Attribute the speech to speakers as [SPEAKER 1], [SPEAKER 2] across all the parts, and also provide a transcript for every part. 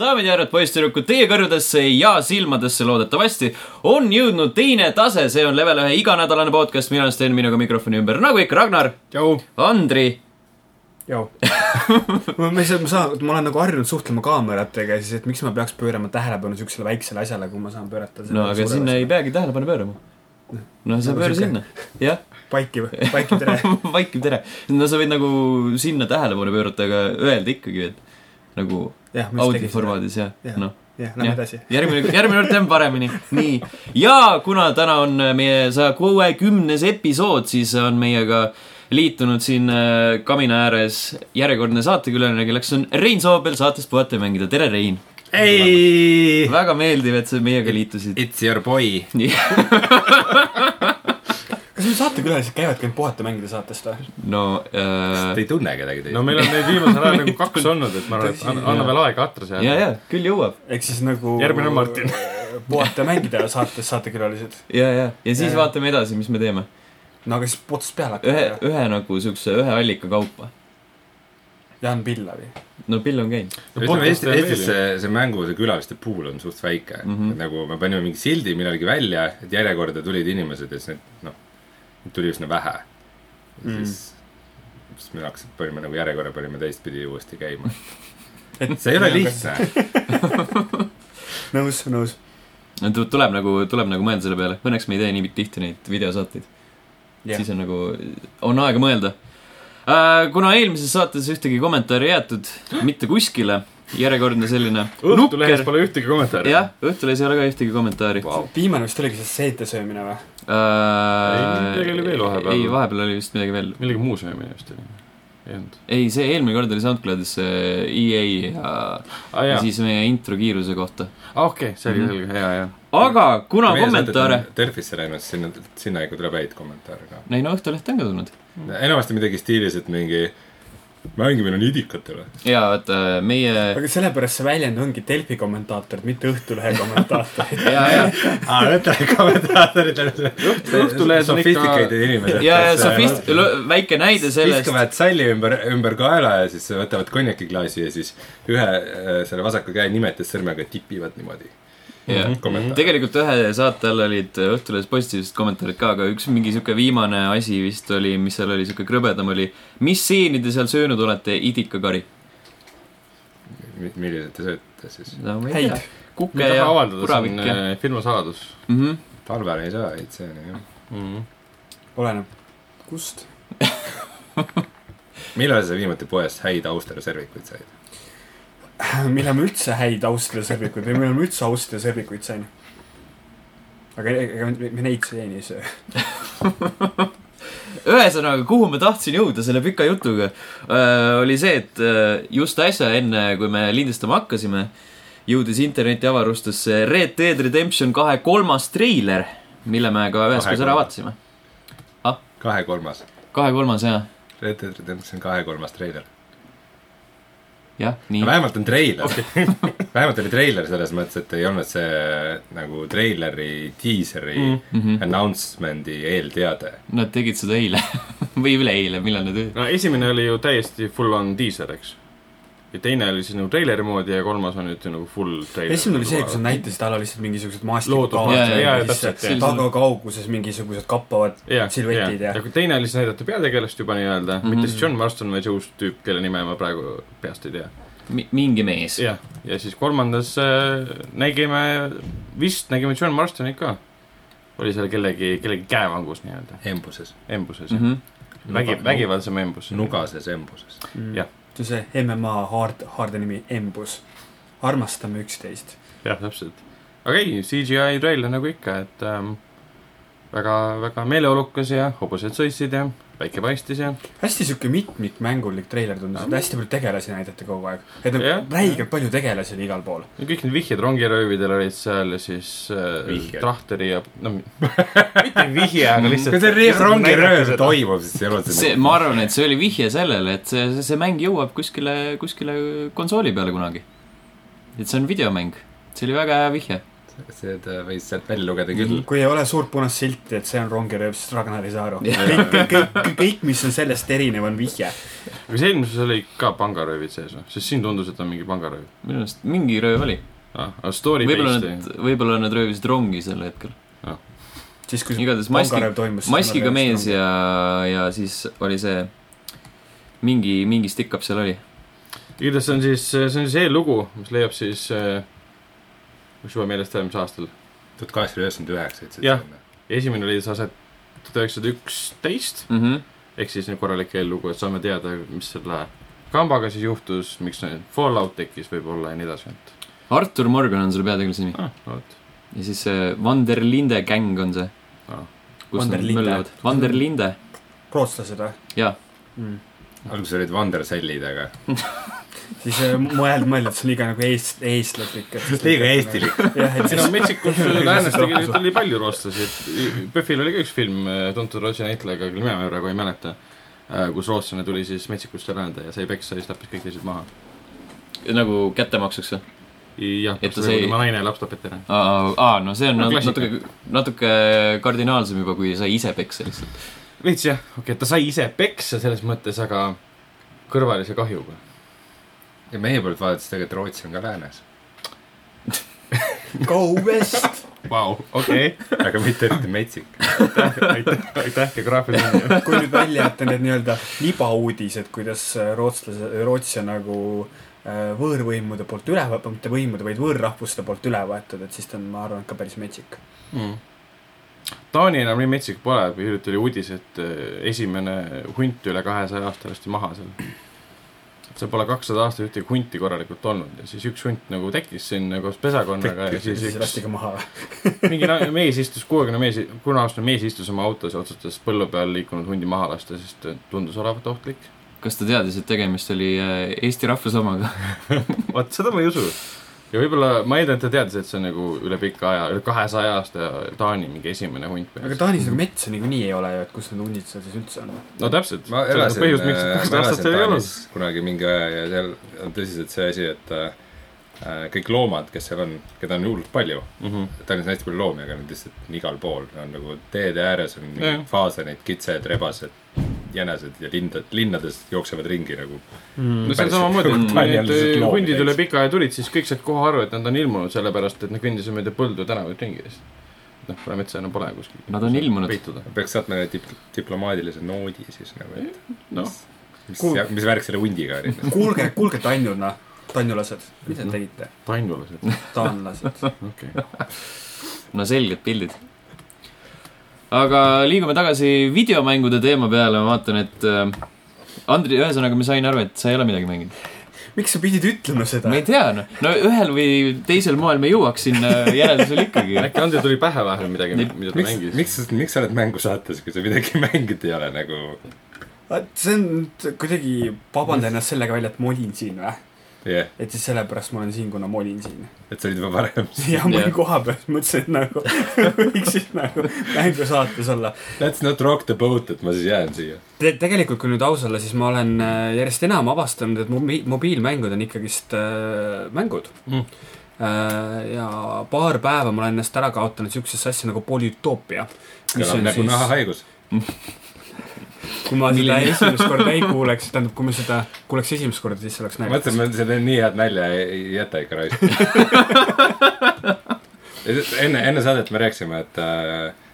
[SPEAKER 1] daamid ja härrad , poisssüdrukud , teie kõrvadesse ja silmadesse loodetavasti on jõudnud teine tase , see on level ühe iganädalane podcast , mina olen Sten , minuga mikrofoni ümber , nagu ikka , Ragnar ,
[SPEAKER 2] tšau .
[SPEAKER 1] Andri
[SPEAKER 2] tšau . ma lihtsalt , ma saan , ma olen nagu harjunud suhtlema kaameratega ja siis , et miks ma peaks pöörama tähelepanu siuksele väiksele asjale , kui ma saan pöörata .
[SPEAKER 1] no aga sinna ei . peagi tähelepanu pöörama . no sa
[SPEAKER 2] Nagu
[SPEAKER 1] pööra
[SPEAKER 2] sihuke-
[SPEAKER 1] sinna , jah ,
[SPEAKER 2] paikiv , paikiv tere .
[SPEAKER 1] vaikiv tere . no sa võid nagu sinna tähelepanu pöörata , aga öelda ikkagi , et nagu
[SPEAKER 2] jah , ma just tegin seda .
[SPEAKER 1] audioformaadis ja
[SPEAKER 2] Jah.
[SPEAKER 1] noh ,
[SPEAKER 2] jah , lähme edasi .
[SPEAKER 1] järgmine , järgmine kord teeme paremini . nii , ja kuna täna on äh, meie saja kuuekümnes episood , siis on meiega liitunud siin äh, kamina ääres järjekordne saatekülaline , kelleks on Rein Soobel saatest Puhata ja mängida . tere , Rein !
[SPEAKER 2] ei .
[SPEAKER 1] väga meeldiv , et sa
[SPEAKER 2] Eh.
[SPEAKER 1] meiega liitusid .
[SPEAKER 3] It's your boy .
[SPEAKER 2] kas meil saatekülalised käivadki ainult puhata mängida saatest või ?
[SPEAKER 1] no äh,
[SPEAKER 3] Te ei tunne kedagi teist
[SPEAKER 4] no meil on neid viimasel ajal nagu kaks olnud , et ma arvan , et anna, anna veel aega atra
[SPEAKER 1] ja ,
[SPEAKER 4] seal .
[SPEAKER 1] ja küll jõuab
[SPEAKER 2] ehk siis nagu .
[SPEAKER 4] Järgmine on Martin. .
[SPEAKER 2] puhata mängida saates saatekülalised .
[SPEAKER 1] ja , ja , ja siis ja,
[SPEAKER 2] Ja, ja.
[SPEAKER 1] vaatame edasi , mis me teeme .
[SPEAKER 2] no aga siis otsast peale
[SPEAKER 1] ühe ,
[SPEAKER 2] hakata .
[SPEAKER 1] ühe nagu siukse ühe allika kaupa .
[SPEAKER 2] Jaan Pillavi .
[SPEAKER 1] no pill on käinud .
[SPEAKER 3] ütleme Eestis , Eestis see , see mängude külaliste pool on suht väike mm .
[SPEAKER 1] Mhm.
[SPEAKER 3] -hmm. nagu me panime mingi sildi millalgi välja , et järjekorda tulid inimesed ja siis need , noh , neid tuli üsna vähe .
[SPEAKER 1] Mhm.
[SPEAKER 2] Mm.
[SPEAKER 3] siis , siis me hakkasime , panime nagu järjekorra panime teistpidi uuesti käima . see ei ole
[SPEAKER 1] nagu
[SPEAKER 3] lihtne .
[SPEAKER 2] nõus , nõus .
[SPEAKER 1] tuleb nagu , tuleb nagu mõelda selle peale . Õnneks me ei tee nii tihti neid videosaateid . yeah. siis on nagu , on aega mõelda . kuna eelmises saates ühtegi kommentaari ei jäetud mitte kuskile , järjekordne selline
[SPEAKER 4] Õhtulehes pole ühtegi kommentaari .
[SPEAKER 1] jah , Õhtulehes ei ole ka ühtegi kommentaari
[SPEAKER 3] Vau.
[SPEAKER 2] viimane vist oligi see seete söömine või ?
[SPEAKER 4] Ei, midagi oli veel vahepeal.
[SPEAKER 1] Äh, ei , vahepeal oli vist midagi veel .
[SPEAKER 4] millegi muu söömine vist oli . ei olnud .
[SPEAKER 1] ei , see eelmine kord oli SoundCloudis see EA ja,
[SPEAKER 4] aa
[SPEAKER 1] ja
[SPEAKER 4] Ah, jaa ,
[SPEAKER 1] siis meie intro kiiruse kohta .
[SPEAKER 4] okei , see oli
[SPEAKER 1] Mhm.
[SPEAKER 4] selge , jaa , jaa .
[SPEAKER 1] aga kuna kommentaare ,
[SPEAKER 3] Delfisse läinud , sinna , sinna ikka tuleb häid kommentaare ka .
[SPEAKER 1] ei no Õhtuleht on ka tulnud .
[SPEAKER 3] enamasti midagi stiilis , et mingi mängimine on idikatele .
[SPEAKER 1] ja vaata äh, meie
[SPEAKER 2] aga sellepärast see väljend ongi Delfi kommentaatorid , mitte Õhtulehe kommentaatorid .
[SPEAKER 1] ja , ja ,
[SPEAKER 3] aa , võtame kommentaatorid .
[SPEAKER 4] Õhtulehes on ikka ,
[SPEAKER 3] Sophisticated inimesed .
[SPEAKER 1] ja , ja sofist- , väike näide sellest .
[SPEAKER 3] viskavad salli ümber , ümber kaela ja siis võtavad konjakiklaasi ja siis ühe äh, selle vasaku käe nimetes sõrmega tipivad niimoodi .
[SPEAKER 1] jah ,
[SPEAKER 3] Mhm. Kommentaar.
[SPEAKER 1] tegelikult ühe saate all olid Õhtulehes positiivsed kommentaarid ka , aga üks mingi sihuke viimane asi vist oli , mis seal oli sihuke krõbedam oli . mis seeni te seal söönud olete , idikakari ?
[SPEAKER 3] millised te sööte siis ?
[SPEAKER 1] no ma ei
[SPEAKER 2] häid
[SPEAKER 1] tea ., kuke
[SPEAKER 4] mida
[SPEAKER 1] ja
[SPEAKER 4] avaldada , see
[SPEAKER 1] puravik
[SPEAKER 4] on
[SPEAKER 1] ja
[SPEAKER 4] äh, filmisaladus
[SPEAKER 1] mm . -hmm.
[SPEAKER 3] talvel ei saa häid seeni jah .
[SPEAKER 1] Mhm.
[SPEAKER 4] mm. .
[SPEAKER 2] oleneb , kust .
[SPEAKER 3] millal sa viimati poest häid austerservikuid said ?
[SPEAKER 2] millal ma üldse häid Austria sõbrikuid või millal ma üldse Austria sõbrikuid sain ? aga e-, ega me- me neid seeni ei söö .
[SPEAKER 1] ühesõnaga , kuhu ma tahtsin jõuda selle pika jutuga , oli see , et öö, just äsja , enne kui me lindistama hakkasime , jõudis interneti avarustesse Red Dead Redemption kahe kolmas treiler , mille me ka üheskoos ära
[SPEAKER 3] kolmas.
[SPEAKER 1] vaatasime .
[SPEAKER 3] kahe kolmas .
[SPEAKER 1] kahe kolmas , jah ,
[SPEAKER 3] Red Dead Redemption kahe kolmas treiler .
[SPEAKER 1] jah , nii .
[SPEAKER 3] vähemalt on treiler okay. . vähemalt oli treiler selles mõttes , et ei olnud see nagu treileri , diiseri mm.
[SPEAKER 4] Mm.
[SPEAKER 1] Mhm.
[SPEAKER 3] announcement'i eelteade .
[SPEAKER 1] Nad tegid seda eile või üleeile , millal nad olid ?
[SPEAKER 4] no esimene oli ju täiesti full on diiser , eks . ja teine oli siis nagu treileri moodi ja kolmas on nüüd ju nagu full treiler .
[SPEAKER 2] esimene oli see , kus nad näitasid ala lihtsalt mingisugused
[SPEAKER 4] Loodud-
[SPEAKER 2] maastikukaartid
[SPEAKER 1] jaa, jaa, jaa,
[SPEAKER 4] täpselt,
[SPEAKER 2] ja
[SPEAKER 1] jah.
[SPEAKER 2] tagakauguses mingisugused kappavad
[SPEAKER 4] jah ,
[SPEAKER 2] silhuetid ja
[SPEAKER 4] ja kui teine oli siis näidata peategelast juba nii-öelda mm , -hmm. mitte
[SPEAKER 1] Mhm.
[SPEAKER 4] siis John Marston , vaid see uus tüüp , kelle nime ma praegu peast ei tea .
[SPEAKER 1] mingi mees .
[SPEAKER 4] jah , ja siis kolmandas äh, nägime , vist nägime John Marstonit ka . oli seal kellegi , kellegi käevangus nii-öelda ,
[SPEAKER 3] embuses .
[SPEAKER 4] embuses mm ,
[SPEAKER 1] Mhm.
[SPEAKER 4] -hmm. vägi , vägivaldsem embus .
[SPEAKER 3] nugases embuses .
[SPEAKER 2] Mm.
[SPEAKER 4] Jah.
[SPEAKER 2] see on see MMA haard , haarde nimi Embus . armastame üksteist .
[SPEAKER 4] jah , täpselt . aga ei , CGI trailer nagu ikka , et ähm, väga , väga meeleolukas ja hobused sõitsid ja päike paistis ja
[SPEAKER 2] hästi sihuke mitmikmängulik treiler tundus , et hästi palju tegelasi näidati kogu aeg . et
[SPEAKER 4] Jah.
[SPEAKER 2] on räigelt palju tegelasi oli igal pool .
[SPEAKER 4] ja kõik need vihjed rongiröövidel olid seal ja siis äh,
[SPEAKER 3] Vihjed.
[SPEAKER 4] trahteri ja no mi- mitte vihje , aga lihtsalt
[SPEAKER 3] kui see
[SPEAKER 4] lihtsalt näidati
[SPEAKER 3] rongirööv
[SPEAKER 4] seda.
[SPEAKER 3] toimub , siis ei ole
[SPEAKER 1] see , ma arvan , et see oli vihje sellele , et see , see mäng jõuab kuskile , kuskile konsooli peale kunagi . et see on videomäng . see oli väga hea vihje .
[SPEAKER 3] nagu- seda äh, võis sealt välja lugeda
[SPEAKER 1] Mhm.
[SPEAKER 3] küll .
[SPEAKER 2] kui ei ole suurt punast silti , et see on rongirööp , siis Ragnar ei saa aru . kõik , kõik , kõik , kõik , mis on sellest erinev , on vihje .
[SPEAKER 4] kas eelmises oli ka pangaröövid sees või ? sest siin tundus , et on mingi pangarööv .
[SPEAKER 1] minu arust mingi rööv oli .
[SPEAKER 4] ah, . Story
[SPEAKER 1] võib-olla
[SPEAKER 4] based
[SPEAKER 1] nad , võib-olla nad röövisid rongi sel hetkel .
[SPEAKER 2] siis , kui
[SPEAKER 1] igatahes maski ,
[SPEAKER 2] toimus .
[SPEAKER 1] maskiga mees . ja , ja siis oli see mingi , mingi stick-up seal oli .
[SPEAKER 4] või ? igatahes see on siis , see on siis eellugu , mis leiab siis äh, , mis juba meelest järgmisel aastal .
[SPEAKER 3] tuhat kaheksasada üheksakümmend üheksa ütlesid
[SPEAKER 4] Jah. . esimene leidis aset tuhat üheksasada üksteist
[SPEAKER 1] Mhm.
[SPEAKER 4] ehk siis nüüd korralik eellugu , et saame teada , mis selle kambaga siis juhtus , miks see fallout tekkis võib-olla ja nii edasi .
[SPEAKER 1] Artur Morgan on selle peategelase nimi
[SPEAKER 4] ah, . vot ,
[SPEAKER 1] ja siis see Vanderlinde gäng on see
[SPEAKER 4] Ah. .
[SPEAKER 1] kus nad
[SPEAKER 2] Vanderlinde.
[SPEAKER 1] möllavad . Vanderlinde ,
[SPEAKER 2] rootslased või
[SPEAKER 1] jaa .
[SPEAKER 2] nagu mm. ?
[SPEAKER 3] alguses olid Vandersellid , aga
[SPEAKER 2] siis äh, mõeld , mõeld , et see on liiga nagu eest- , eestlaslik .
[SPEAKER 3] liiga . eestilik .
[SPEAKER 2] jah , et
[SPEAKER 4] siin
[SPEAKER 2] siis
[SPEAKER 4] on metsikus läänes tegelikult oli palju rootslasi , PÖFFil oli ka üks film eh, tuntud Rootsi näitlejaga , küll mina praegu ei mäletata , kus rootslane tuli siis metsikust läände ja sai peksa ja siis tappis kõik teised maha .
[SPEAKER 1] nagu kättemaksuks või ?
[SPEAKER 4] jah ,
[SPEAKER 1] Et ta
[SPEAKER 4] kus
[SPEAKER 1] sai-
[SPEAKER 4] oli tema naine ja laps tapeti ära .
[SPEAKER 1] aa , aa , no see on
[SPEAKER 4] No
[SPEAKER 1] nat-
[SPEAKER 4] klassika.
[SPEAKER 1] natuke , natuke kardinaalsem juba , kui sai ise peksa lihtsalt .
[SPEAKER 4] veits jah , okei okay, , ta sai ise peksa selles mõttes , aga kõrvalise kahjuga .
[SPEAKER 3] ja meie poolt vaadates tegelikult Rootsi on ka läänes ,
[SPEAKER 2] go west .
[SPEAKER 4] Vau , okei ,
[SPEAKER 3] aga mitte eriti metsik .
[SPEAKER 4] aitäh , aitäh geograafiline .
[SPEAKER 2] kui nüüd välja jätta need nii-öelda libauudised , kuidas äh, rootslased , Rootsi on nagu äh, võõrvõimude poolt üle , mitte võimude , vaid võõrrahvuste poolt üle võetud , et siis ta on , ma arvan , ka päris metsik .
[SPEAKER 4] mm. . Taani enam nii metsik pole , hiljuti oli uudis , et eh, esimene hunt üle kahesaja aasta lasti maha seal . seal pole kakssada aastat ühtegi hunti korralikult olnud ja siis üks hunt nagu tekkis sinna koos pesakonnaga ja
[SPEAKER 2] ja
[SPEAKER 3] Tekkis
[SPEAKER 4] siis
[SPEAKER 2] siis
[SPEAKER 4] üks
[SPEAKER 2] lasti ka maha .
[SPEAKER 4] mingi na- mees istus , kuuekümne mees , kuuekümne aastane mees istus oma autos ja otsustas põllu peal liikunud hundi maha lasta , sest tundus olevat ohtlik .
[SPEAKER 1] kas ta teadis , et tegemist oli äh, Eesti rahvusamaga ?
[SPEAKER 4] vot seda ma ei usu . ja võib-olla ma eeldan , et ta teadis , et see on nagu üle pika aja , üle kahesaja aasta Taani mingi esimene hunt .
[SPEAKER 2] aga Taanis nagu metsa niikuinii ei ole ju , et kus need hundid seal siis üldse on .
[SPEAKER 4] no täpselt .
[SPEAKER 3] ma elasin ,
[SPEAKER 4] põhjus , miks see kakssada aastat seal ei olnud .
[SPEAKER 3] kunagi mingi aja ja seal on tõsiselt see asi , et äh, kõik loomad , kes seal on , keda on hullult palju ,
[SPEAKER 4] Mhm.
[SPEAKER 3] Tallinnas on hästi palju loomi , aga nad lihtsalt on igal pool , on nagu teede ääres on
[SPEAKER 4] Jajah.
[SPEAKER 3] mingid faasanid , kitsed , rebased , jänesed ja lindad , linnades jooksevad ringi nagu .
[SPEAKER 4] no see on
[SPEAKER 3] Päris-
[SPEAKER 4] samamoodi , et kui
[SPEAKER 3] Tallinnas
[SPEAKER 4] need
[SPEAKER 3] lihtsalt
[SPEAKER 4] eh,
[SPEAKER 3] loomi
[SPEAKER 4] hundid üle
[SPEAKER 3] täis.
[SPEAKER 4] pika aja tulid , siis kõik said kohe aru , et nad on ilmunud , sellepärast et nad kõndisid mööda põldu ja tänavaid ringi ja siis noh , kuna metsa enam pole kuskil .
[SPEAKER 1] Nad on ilmunud.
[SPEAKER 4] peituda .
[SPEAKER 3] peaks saatma ühe dip- , diplomaatilise noodi siis nagu , et
[SPEAKER 4] noh ,
[SPEAKER 3] mis
[SPEAKER 2] Kuul- ,
[SPEAKER 3] mis värk selle hundiga oli .
[SPEAKER 2] kuulge , kuulge , Tannuna , tannulased , mis
[SPEAKER 4] Mhm.
[SPEAKER 2] te tegite ?
[SPEAKER 4] taimlased ,
[SPEAKER 2] taanlased .
[SPEAKER 4] okei .
[SPEAKER 1] no selged pildid . aga liigume tagasi videomängude teema peale , ma vaatan , et äh, Andri , ühesõnaga ma sain aru , et sa ei ole midagi mänginud .
[SPEAKER 2] miks sa pidid ütlema seda
[SPEAKER 1] ma ? ei tea , noh , no ühel või teisel moel me jõuaks sinna äh, järeldusele ikkagi .
[SPEAKER 4] äkki Andrei tuli pähe vahel midagi , mida ta
[SPEAKER 3] miks ,
[SPEAKER 4] mängis ?
[SPEAKER 3] miks , miks sa oled mängusaates , kui sa midagi mänginud ei ole nagu ,
[SPEAKER 2] Ah, see on nüüd kuidagi , vabanda ennast sellega välja , et ma olin siin või ?
[SPEAKER 3] jah ,
[SPEAKER 2] et siis sellepärast ma olen siin , kuna ma olin siin .
[SPEAKER 3] et sa olid juba varem .
[SPEAKER 2] ja ma
[SPEAKER 1] Jah.
[SPEAKER 2] olin koha peal , mõtlesin , et nagu võiks siis nagu mängusaates olla .
[SPEAKER 3] Let's not rock the boat , et ma siis jään siia .
[SPEAKER 2] Te tegelikult , kui nüüd aus olla , siis ma olen äh, järjest enam avastanud , et mobi- , mobiilmängud on ikkagist äh, mängud
[SPEAKER 4] Mm.
[SPEAKER 2] Äh, ja paar päeva ma olen ennast ära kaotanud siuksesse asja nagu polütoopia . mis
[SPEAKER 3] kõlab
[SPEAKER 2] on
[SPEAKER 3] nagu
[SPEAKER 2] siis ,
[SPEAKER 3] nahahaigus .
[SPEAKER 2] kui ma seda
[SPEAKER 1] Milline-
[SPEAKER 2] esimest korda ei kuuleks , tähendab , kui ma seda kuuleks esimest korda , siis oleks
[SPEAKER 3] ma
[SPEAKER 2] naljakas
[SPEAKER 3] mõtlen ,. ma selle nii head nalja ei, ei jäta ikka raisku enne , enne saadet me rääkisime , et äh, ,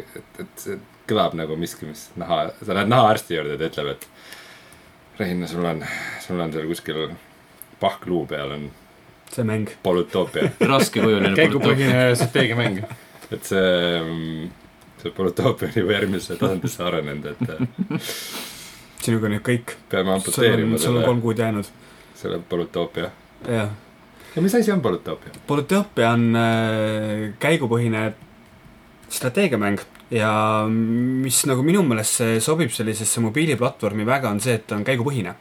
[SPEAKER 3] et , et see kõlab nagu miski , mis naha , sa lähed nahaarsti juurde , ta ütleb , et Rein , sul on , sul on seal kuskil pahkluu peal on
[SPEAKER 2] see mäng .
[SPEAKER 3] polütoopia ,
[SPEAKER 1] raskekujuline polütoopia .
[SPEAKER 4] käigupõhine strateegiamäng .
[SPEAKER 3] et see , see polütoopia on juba järgmisse tasandisse arenenud , et äh,
[SPEAKER 2] sinuga on nüüd kõik . sul
[SPEAKER 3] peame
[SPEAKER 2] on ,
[SPEAKER 3] amputeerima
[SPEAKER 2] sul on
[SPEAKER 3] selle ,
[SPEAKER 2] kolm kuud jäänud .
[SPEAKER 3] selle polütoopia .
[SPEAKER 2] jah .
[SPEAKER 3] ja mis asi on polütoopia ?
[SPEAKER 2] Polütoopia on äh, käigupõhine strateegiamäng ja mis nagu minu meelest see sobib sellisesse mobiiliplatvormi väga , on see , et ta on käigupõhine .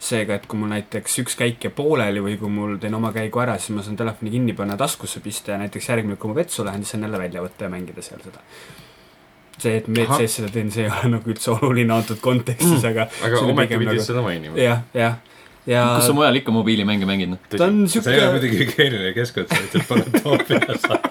[SPEAKER 2] seega , et kui mul näiteks üks käik jääb pooleli või kui mul teen oma käigu ära , siis ma saan telefoni kinni panna , taskusse pista ja näiteks järgmine , kui ma vetsu lähen , siis saan jälle välja võtta ja mängida seal seda . see , et ma
[SPEAKER 4] Ahah.
[SPEAKER 2] WC-s seda teen , see ei ole nagu üldse oluline antud kontekstis , aga
[SPEAKER 4] aga
[SPEAKER 2] See on
[SPEAKER 4] ometi
[SPEAKER 2] pigem
[SPEAKER 4] pidid
[SPEAKER 2] nagu-
[SPEAKER 4] seda mainima .
[SPEAKER 2] jah , jah , ja
[SPEAKER 1] kus sa mujal ikka mobiilimänge mängid , noh .
[SPEAKER 2] ta on
[SPEAKER 3] see ei ole
[SPEAKER 2] sihuke ,
[SPEAKER 3] muidugi hügieeniline keskkond , sa ütled , pane Toompeale saata .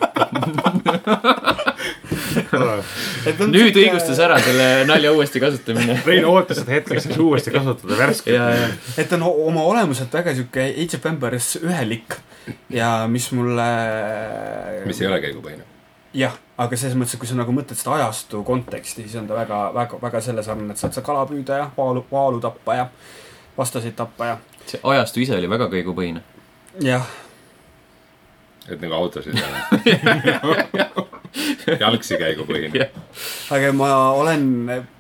[SPEAKER 2] ta on
[SPEAKER 1] nüüd
[SPEAKER 2] sihuke-
[SPEAKER 1] õigustas ära selle nalja uuesti kasutamine .
[SPEAKER 4] Rein ootas seda hetke , siis uuesti kasutada värske .
[SPEAKER 1] ja , ja ,
[SPEAKER 2] et ta on o- oma olemuselt väga sihuke Age of Empires ühelik ja mis mulle
[SPEAKER 3] mis ei ole käigupõhine .
[SPEAKER 2] jah , aga selles mõttes , et kui sa nagu mõtled seda ajastu konteksti , siis on ta väga , väga , väga selle sarnane , et saad sa kala püüda ja vaalu , vaalu tappa ja vastaseid tappa ja ,
[SPEAKER 1] see ajastu ise oli väga kõigupõhine .
[SPEAKER 2] jah ,
[SPEAKER 3] et nagu autosid ei ole . jalgsi käigupõhine .
[SPEAKER 2] aga ma olen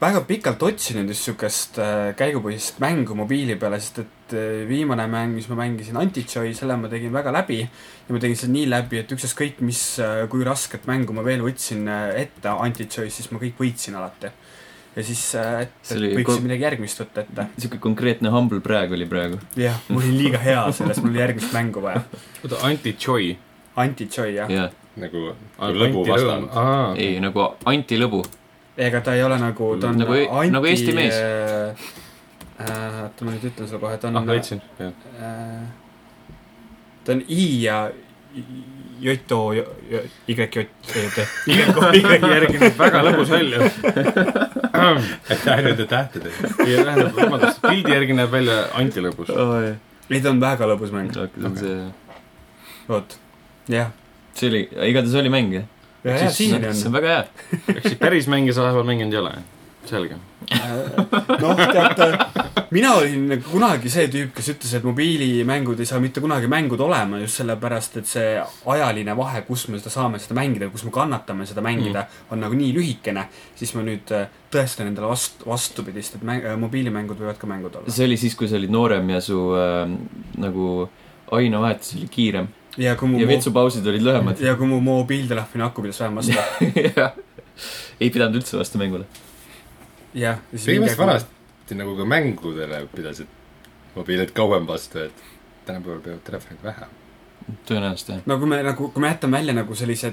[SPEAKER 2] väga pikalt otsinud just siukest äh, käigupõhist mängu mobiili peale , sest et äh, viimane mäng , mis ma mängisin , Anti-Joy , selle ma tegin väga läbi ja ma tegin selle nii läbi , et ükstaskõik mis , kui rasket mängu ma veel võtsin äh, ette Anti-Joy's , siis ma kõik võitsin alati . ja siis , et
[SPEAKER 1] See oli
[SPEAKER 2] võiksin
[SPEAKER 1] ko-
[SPEAKER 2] midagi järgmist võtta ette .
[SPEAKER 1] sihuke konkreetne humble brag oli praegu .
[SPEAKER 2] jah , mul oli liiga hea selles , mul oli järgmist mängu vaja .
[SPEAKER 4] oota , anti-joy .
[SPEAKER 2] Anti-Joy jah ja. ,
[SPEAKER 1] jah ,
[SPEAKER 3] nagu
[SPEAKER 4] Ah,
[SPEAKER 3] lõbu
[SPEAKER 4] anti
[SPEAKER 3] vastand
[SPEAKER 4] rõõm. . Aa.
[SPEAKER 1] ei nagu antilõbu .
[SPEAKER 2] ega ta ei ole nagu , ta on
[SPEAKER 1] Nagu e-
[SPEAKER 2] anti
[SPEAKER 1] nagu Eesti mees.
[SPEAKER 2] äh, äh, oota , ma nüüd ütlen sulle kohe , ta on
[SPEAKER 4] ah , leidsin .
[SPEAKER 2] Äh, ta on I ja Joto , Y-Jot , Y-Jot järgi .
[SPEAKER 4] väga lõbus välja .
[SPEAKER 3] ainult tähtedega .
[SPEAKER 4] ja tähendab , vabandust , pildi järgi näeb välja antilõbus .
[SPEAKER 1] see
[SPEAKER 2] ei , ta on väga lõbus mäng ,
[SPEAKER 1] on see ,
[SPEAKER 2] oot , jah .
[SPEAKER 1] see oli , igatahes oli mäng jah ?
[SPEAKER 2] ja , ja siin
[SPEAKER 1] see
[SPEAKER 2] on
[SPEAKER 1] on , väga hea .
[SPEAKER 4] ehk siis päris mänge sa vahepeal mänginud ei ole ? selge .
[SPEAKER 2] noh , teate , mina olin kunagi see tüüp , kes ütles , et mobiilimängud ei saa mitte kunagi mängud olema just sellepärast , et see ajaline vahe , kus me seda saame seda mängida , kus me kannatame seda mängida mm. , on nagu nii lühikene , siis ma nüüd äh, tõestan endale vastu , vastupidist , et mäng, äh, mobiilimängud võivad ka mängud olla .
[SPEAKER 1] see oli siis , kui sa olid noorem ja su äh, nagu ainevahetus oli kiirem
[SPEAKER 2] ja kui mu
[SPEAKER 1] ja vetsupausid olid lühemad .
[SPEAKER 2] ja kui mu mobiiltelefoni aku pidas vähem vastu .
[SPEAKER 1] ei pidanud üldse vastu mängule .
[SPEAKER 2] jah .
[SPEAKER 3] minu meelest . vanasti nagu ka mängudele pidasid mobiilid kauem vastu , et tänapäeval peavad telefonid vähem .
[SPEAKER 1] tõenäoliselt jah .
[SPEAKER 2] no kui me nagu , kui me jätame välja nagu sellise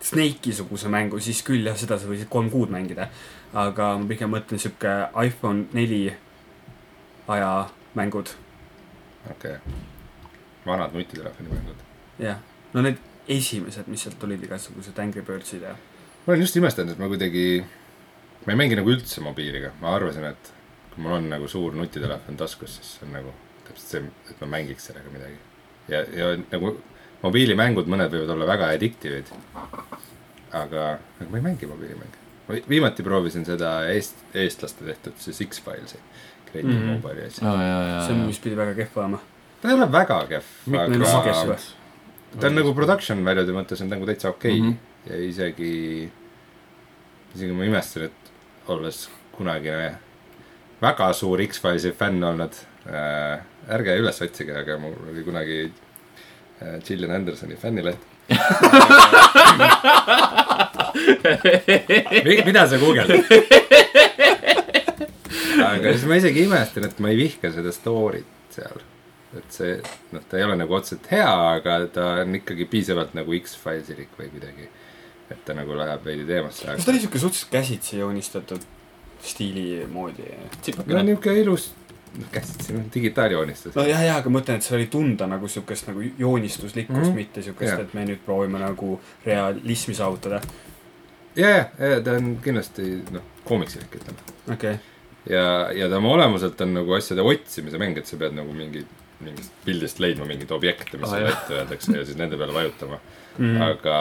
[SPEAKER 2] Snake'i-suguse mängu , siis küll jah , seda sa võisid kolm kuud mängida . aga ma pigem mõtlen sihuke iPhone neli aja mängud ,
[SPEAKER 3] okei okay. . vanad nutitelefoni mängud .
[SPEAKER 2] jah . no need esimesed , mis sealt tulid , igasugused Angry Birdsid ja .
[SPEAKER 3] ma olen just imestanud , et ma kuidagi , ma ei mängi nagu üldse mobiiliga , ma arvasin , et kui mul on nagu suur nutitelefon taskus , siis see on nagu täpselt see , et ma mängiks sellega midagi . ja , ja nagu mobiilimängud , mõned võivad olla väga addictive'id . aga , aga ma ei mängi mobiilimänge . ma vi- viimati proovisin seda eest , eestlaste tehtud siis X-Filesi . Creative mm
[SPEAKER 2] Mhm.
[SPEAKER 3] -hmm. Mobile'i asja
[SPEAKER 1] aa , jaa , jaa ,
[SPEAKER 2] see on , mis pidi väga kehv olema .
[SPEAKER 3] ta ei ole väga kehv ,
[SPEAKER 2] Mitme riski
[SPEAKER 3] aga
[SPEAKER 2] asju.
[SPEAKER 3] ta on nagu production väljude mõttes on nagu täitsa okei okay. mm . -hmm. ja isegi , isegi ma imestan , et olles kunagine väga suur X-Filesi fänn olnud äh, , ärge üles otsige , aga mul oli kunagi äh, Gillian Andersoni fännileht
[SPEAKER 1] jaa .
[SPEAKER 3] Mi- mida sa guugeldad ? aga siis ma isegi imestan , et ma ei vihka seda story't seal . et see , noh , ta ei ole nagu otseselt hea , aga ta on ikkagi piisavalt nagu X-Filesilik või midagi . et ta nagu läheb veidi teemasse .
[SPEAKER 2] kas ta oli sihuke suhteliselt käsitsi joonistatud stiili moodi ?
[SPEAKER 3] no niuke ilus , käsit siin on digitaaljoonistus
[SPEAKER 2] no . jah , jah , aga ma mõtlen , et seal oli tunda nagu siukest nagu joonistuslikkust mm ,
[SPEAKER 3] Mhm.
[SPEAKER 2] -hmm. mitte siukest
[SPEAKER 3] Jah.
[SPEAKER 2] yeah. , et me nüüd proovime nagu realismi saavutada .
[SPEAKER 3] ja , ja , ja ta on kindlasti noh , koomiksilik , ütleme .
[SPEAKER 2] okei okay. ,
[SPEAKER 3] ja , ja ta oma olemuselt on nagu asjade otsimise mäng , et sa pead nagu mingi , mingist pildist leidma mingeid objekte , mis
[SPEAKER 1] Aa,
[SPEAKER 3] sulle
[SPEAKER 1] jah.
[SPEAKER 3] ette öeldakse ja siis nende peale vajutama .
[SPEAKER 2] mm. .
[SPEAKER 3] aga ,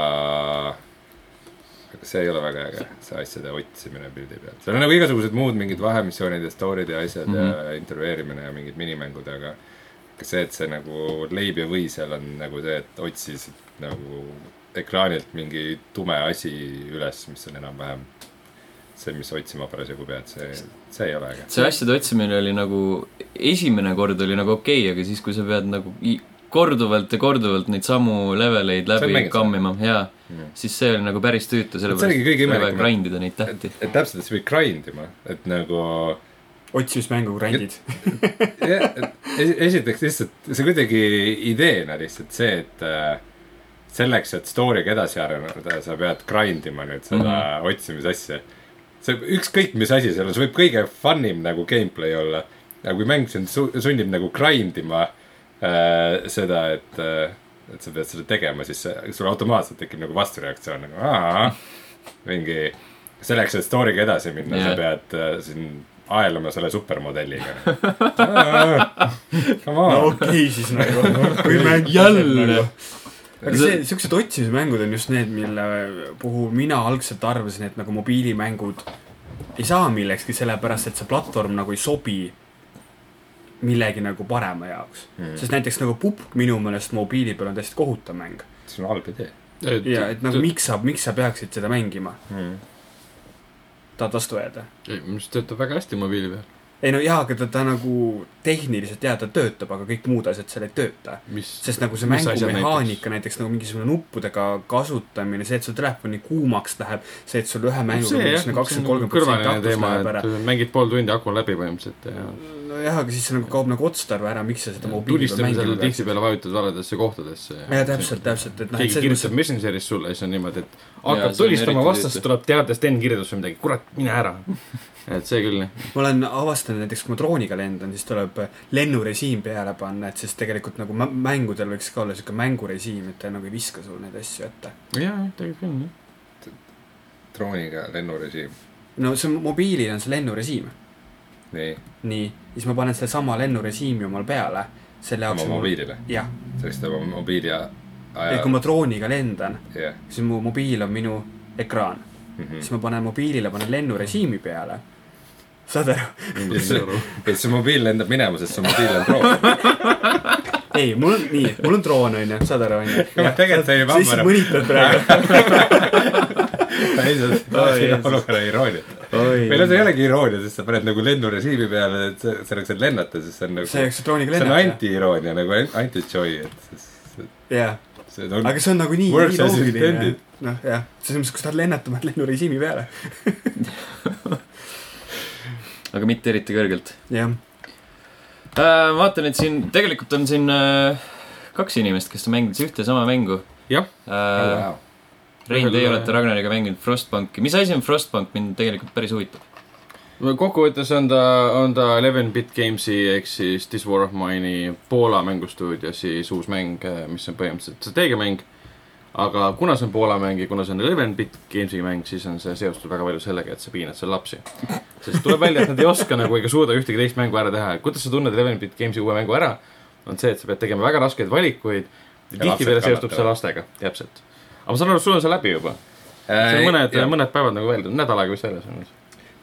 [SPEAKER 3] aga see ei ole väga äge , see asjade otsimine pildi pealt . seal on nagu igasugused muud mingid vahemissioonid ja story'd ja asjad mm -hmm. ja intervjueerimine ja mingid minimängud , aga aga see , et see nagu leib ja või seal on nagu see , et otsisid nagu ekraanilt mingi tume asi üles , mis on enam-vähem see , mis otsima parasjagu pead , see , see ei ole äge .
[SPEAKER 1] see asjade otsimine oli nagu , esimene kord oli nagu okei okay, , aga siis , kui sa pead nagu i- korduvalt ja korduvalt neid samu leveleid
[SPEAKER 3] See on
[SPEAKER 1] läbi
[SPEAKER 3] mängitav.
[SPEAKER 1] kammima , jaa ,
[SPEAKER 3] Mm.
[SPEAKER 1] siis see oli nagu päris tüütu ,
[SPEAKER 3] oligi kõige
[SPEAKER 1] sellepärast oli vaja
[SPEAKER 3] imelikum, et-
[SPEAKER 1] grind ida neid
[SPEAKER 3] et
[SPEAKER 1] tähti .,
[SPEAKER 3] et täpselt , et sa pead grind ima , et nagu
[SPEAKER 2] otsimismängu grandid .
[SPEAKER 3] jah , et esi- esiteks lihtsalt see kuidagi ideena lihtsalt see , et äh, selleks , et story'ga edasi areneda , sa pead grind ima nüüd seda mm -hmm. otsimisasja . see ükskõik mis asi seal on , see võib kõige fun im nagu gameplay olla . aga kui mäng sind su sunnib nagu grind ima äh, seda , et äh, , et sa pead seda tegema , siis see- sul automaatselt tekib nagu vastureaktsioon nagu aa , mingi . selleks , et story'ga edasi minna yeah. ,
[SPEAKER 1] Jah.
[SPEAKER 3] sa pead äh, siin aelama selle supermodelliga . Come
[SPEAKER 2] no
[SPEAKER 3] on ,
[SPEAKER 2] okei okay, siis nagu , kui mäng .
[SPEAKER 1] jälle .
[SPEAKER 2] aga see , siuksed otsimismängud on just need , mille puhul mina algselt arvasin , et nagu mobiilimängud ei saa millekski , sellepärast et see platvorm nagu ei sobi millegi nagu parema jaoks mm. . sest näiteks nagu Pupk minu meelest mobiili peal on täiesti kohutav mäng .
[SPEAKER 3] see on halb idee
[SPEAKER 2] ja et nagu miks sa , miks sa peaksid seda mängima ,
[SPEAKER 3] mm. .
[SPEAKER 2] tahad vastu jääda ?
[SPEAKER 4] minu arust töötab väga hästi mobiili peal ,
[SPEAKER 2] ei no jaa , aga ta, ta nagu tehniliselt jaa , ta töötab , aga kõik muud asjad seal ei tööta .
[SPEAKER 4] mis .
[SPEAKER 2] sest nagu see
[SPEAKER 4] Mis asjad
[SPEAKER 2] mängumehaanika näiteks nagu mingisugune nuppudega kasutamine , see , et sul telefoni kuumaks läheb , see , et sul ühe
[SPEAKER 4] Noh,
[SPEAKER 2] mänguga mingisugune nagu kakskümmend , kolmkümmend protsenti
[SPEAKER 4] kõrvaline
[SPEAKER 2] akus
[SPEAKER 4] nagu teema ,
[SPEAKER 2] läheb ära .
[SPEAKER 4] et mängid pool tundi , aku on läbi põhimõtteliselt ja
[SPEAKER 2] nojah , aga siis see nagu kaob nagu otstarve ära , miks sa seda mobiili peal
[SPEAKER 4] tulistame selle
[SPEAKER 2] mängima pead .
[SPEAKER 4] tihtipeale vajutad valedesse kohtadesse .
[SPEAKER 2] jaa , täpselt ,. täpselt , et noh , et
[SPEAKER 4] keegi
[SPEAKER 2] selles
[SPEAKER 4] kirjutab Messengeris sulle ja siis on niimoodi , et
[SPEAKER 1] Jaa, see
[SPEAKER 4] hakkab
[SPEAKER 1] on
[SPEAKER 4] tulistama
[SPEAKER 1] eriti
[SPEAKER 4] vastast ,
[SPEAKER 1] tüütu.
[SPEAKER 4] tuleb teades Sten kirjutas või midagi , kurat , mine ära . et see küll ,
[SPEAKER 2] mõttes ma olen avastanud näiteks , kui ma drooniga lendan , siis tuleb lennurežiim peale panna , et siis tegelikult nagu mä- mängudel võiks ka olla siuke mängurežiim , et ta nagu ei viska sulle neid asju ette .
[SPEAKER 4] jaa , tegelikult küll , jah .
[SPEAKER 3] drooniga lennurežiim ,
[SPEAKER 2] no see on- mobiilil on see lennurežiim ,
[SPEAKER 3] nii ,
[SPEAKER 2] nii , siis ma panen sellesama lennurežiimi omal peale , selle jaoks on
[SPEAKER 3] oma
[SPEAKER 2] mul-
[SPEAKER 3] mobiilile ,
[SPEAKER 2] jah ,
[SPEAKER 3] sellist oma mobiili a-
[SPEAKER 2] et
[SPEAKER 3] aja
[SPEAKER 2] kui , ma drooniga lendan ,
[SPEAKER 3] jah . Mhm.
[SPEAKER 2] siis mu mobiil on minu ekraan ,
[SPEAKER 3] Mm.
[SPEAKER 2] siis ma panen mobiilile , panen lennurežiimi peale . saad aru ?
[SPEAKER 3] ja see , ja see mobiil lendab minema , sest su mobiil on droon .
[SPEAKER 2] ei , mul on nii , mul on droon onju , saad aru onju ?
[SPEAKER 3] tegelikult sai juba
[SPEAKER 2] sa lihtsalt
[SPEAKER 3] ammu
[SPEAKER 2] mõnitad praegu .
[SPEAKER 3] ära , ei see
[SPEAKER 2] Oi,
[SPEAKER 3] siin on
[SPEAKER 2] Jeesus.
[SPEAKER 3] olukorra iroonia . või no see ei olegi iroonia , sest sa paned nagu lennurežiimi peale , et see- selleks , et lennata , siis see on nagu ,
[SPEAKER 2] see
[SPEAKER 3] see
[SPEAKER 2] oleks drooniga
[SPEAKER 3] on
[SPEAKER 2] lennata .
[SPEAKER 3] anti-iroonia nagu an- anti-joy , et see-
[SPEAKER 2] jah ,
[SPEAKER 3] see- see on
[SPEAKER 2] aga see on nagunii
[SPEAKER 3] Works
[SPEAKER 2] nii
[SPEAKER 3] as
[SPEAKER 2] loogiline
[SPEAKER 3] intended. .
[SPEAKER 2] noh , jah , selles mõttes , kui sa tahad lennata , paned lennurežiimi peale .
[SPEAKER 1] aga mitte eriti kõrgelt .
[SPEAKER 2] jah ,
[SPEAKER 1] Äh, vaatan , et siin tegelikult on siin äh, kaks inimest , kes on mänginud ühte sama mängu .
[SPEAKER 4] Jah.
[SPEAKER 1] äh, . Rein , teie olete Ragnariga mänginud Frostbanki , mis asi on Frostbank , mind tegelikult päris huvitab .
[SPEAKER 4] kokkuvõttes on ta , on ta Eleven Bit Gamesi ehk siis This War of Mine'i Poola mängustuudios siis uus mäng , mis on põhimõtteliselt strateegiamäng . aga kuna see on Poola mäng ja kuna see on Eleven Bit Gamesi mäng , siis on see seostub väga palju sellega , et sa piinad seal lapsi . sest tuleb välja , et nad ei oska nagu ega suuda ühtegi teist mängu ära teha , kuidas sa tunned Eleven Bit Gamesi uue mängu ära , on see , et sa pead tegema väga raskeid valikuid ja
[SPEAKER 3] Ja lapsed
[SPEAKER 4] tihtipeale seostub see
[SPEAKER 3] kannatavad.
[SPEAKER 4] lastega , täpselt . aga ma saan aru , et sul on see läbi juba , see
[SPEAKER 3] Äh,
[SPEAKER 4] on mõned
[SPEAKER 3] ja- ,
[SPEAKER 4] mõned päevad nagu veel , nädal aega vist väljas on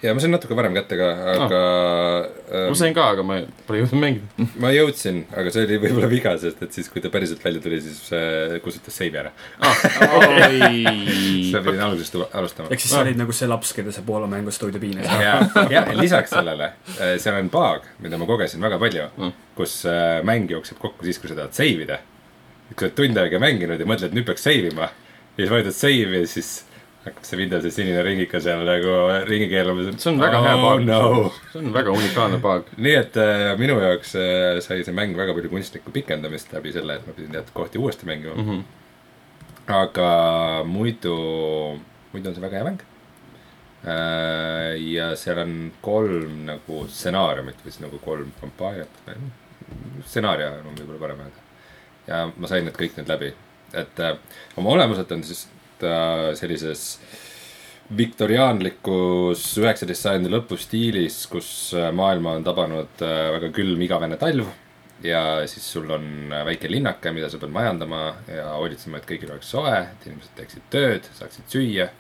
[SPEAKER 3] ja ma sain natuke varem kätte ka , aga
[SPEAKER 2] Ah.
[SPEAKER 3] ähm,
[SPEAKER 4] ma sain ka , aga ma pole jõudnud mängida .
[SPEAKER 3] ma jõudsin , aga see oli võib-olla viga , sest et siis , kui ta päriselt välja tuli , siis äh, kustutas seivi ära . siis
[SPEAKER 1] oi ,
[SPEAKER 3] ma pidin algusest u- alustama .
[SPEAKER 2] ehk siis sa olid nagu see laps , keda see Poola mängustuudio piinas .
[SPEAKER 3] ja , ja lisaks sellele , seal on bug , mida ma kogesin väga palju mm. , kus äh, mäng jookseb kokku siis , kui sa tahad save ida . kui sa oled tund aega mänginud ja mõtled , nüüd peaks save ima ja siis vajutad save ja siis hakkab see Windowsi sinine ringika seal nagu ringi keerama .
[SPEAKER 4] See on väga hea
[SPEAKER 3] oh,
[SPEAKER 4] bug.
[SPEAKER 3] no. .
[SPEAKER 4] see on väga unikaalne bug .
[SPEAKER 3] nii et äh, minu jaoks äh, sai see mäng väga palju kunstlikku pikendamist läbi selle , et ma pidin teatud kohti uuesti mängima mm .
[SPEAKER 4] Mhm.
[SPEAKER 3] -hmm. aga muidu , muidu on see väga hea mäng äh, . ja seal on kolm nagu stsenaariumit või siis nagu kolm kampaaniat , stsenaarium on võib-olla parem öelda . ja ma sain need kõik nüüd läbi , et äh, oma olemuselt on siis ta sellises viktoriaanlikus üheksateist sajandi lõpu stiilis , kus äh, maailma on tabanud äh, väga külm igavene talv . ja siis sul on väike linnake , mida sa pead majandama ja hoolitsema , et kõigil oleks soe , et inimesed teeksid tööd , saaksid süüa ,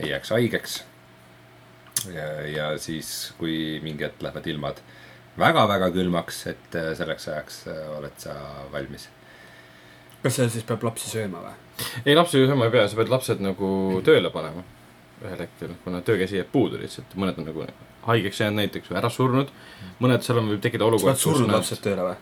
[SPEAKER 3] ei jääks haigeks . ja siis , kui mingi hetk lähevad ilmad väga-väga külmaks , et äh, selleks ajaks äh, oled sa valmis .
[SPEAKER 2] kas seal siis peab lapsi sööma või ?
[SPEAKER 4] ei , lapsi ju sama ei pea , sa pead lapsed nagu tööle panema ühel hetkel , kuna töökäsi jääb puudu lihtsalt , mõned on nagu haigeks jäänud näiteks või ära surnud . mõned seal on , võib tekkida
[SPEAKER 2] sa
[SPEAKER 4] olukord
[SPEAKER 2] pead , surnud lapsed tööle või ?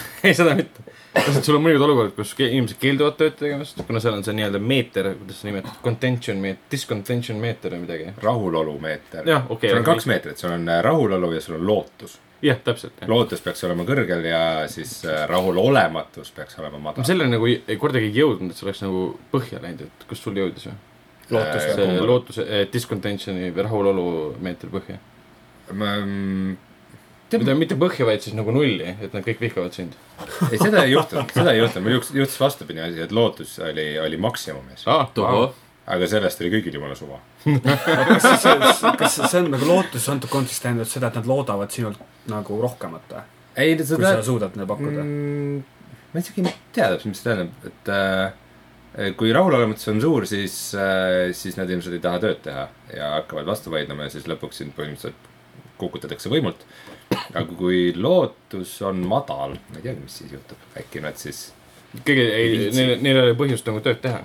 [SPEAKER 4] ei , seda mitte . lihtsalt sul on mõnikord olukord , kus ke- inimesed keelduvad tööd tegemast , kuna seal on see nii-öelda meeter , kuidas seda nimetada , contention meet- , discontention meeter või midagi .
[SPEAKER 3] rahulolumeeter .
[SPEAKER 4] Jah, okei,
[SPEAKER 3] sul on
[SPEAKER 4] okei.
[SPEAKER 3] kaks meetrit , sul on äh, rahulolu ja sul on lootus .
[SPEAKER 4] jah , täpselt .
[SPEAKER 3] lootus peaks olema kõrgel ja siis äh, rahulolematus peaks olema
[SPEAKER 4] ma
[SPEAKER 3] madal .
[SPEAKER 4] selleni nagu ei- ei kordagi ei jõudnud , et see oleks nagu põhja läinud , et kus sul jõudis või ?
[SPEAKER 2] lootus
[SPEAKER 3] Äh,
[SPEAKER 4] see eh,
[SPEAKER 3] Kumb-
[SPEAKER 4] lootuse , discontentioni või rahulolu meeter põhja .
[SPEAKER 3] ma mm,
[SPEAKER 4] mitte , mitte põhja , vaid siis nagu nulli , et nad kõik vihkavad sind .
[SPEAKER 3] ei , seda ei juhtunud , seda ei juhtunud , meil juhtus , juhtus vastupidi asi , et lootus oli , oli maksimumis .
[SPEAKER 4] Ah,
[SPEAKER 1] tohoh ,
[SPEAKER 3] aga sellest oli kõigil jumala suva .
[SPEAKER 2] kas siis , kas see on nagu lootus antud kontekstis tähendab seda , et nad loodavad sinult nagu rohkemat või ?
[SPEAKER 3] ei ,
[SPEAKER 2] kui sa suudad neile pakkuda mm. ?
[SPEAKER 3] mm, . ma isegi ei tea täpselt , mis see tähendab , et äh, kui rahulolematus on suur , siis äh, , siis nad ilmselt ei taha tööd teha ja hakkavad vastu vaidlema ja siis lõpuks sind põhimõtteliselt kukutatakse võimult . aga kui lootus on madal , ma ei teagi , mis siis juhtub , äkki nad siis ,
[SPEAKER 4] kõige , ei , neil , neil ei ole põhjust nagu tööd teha .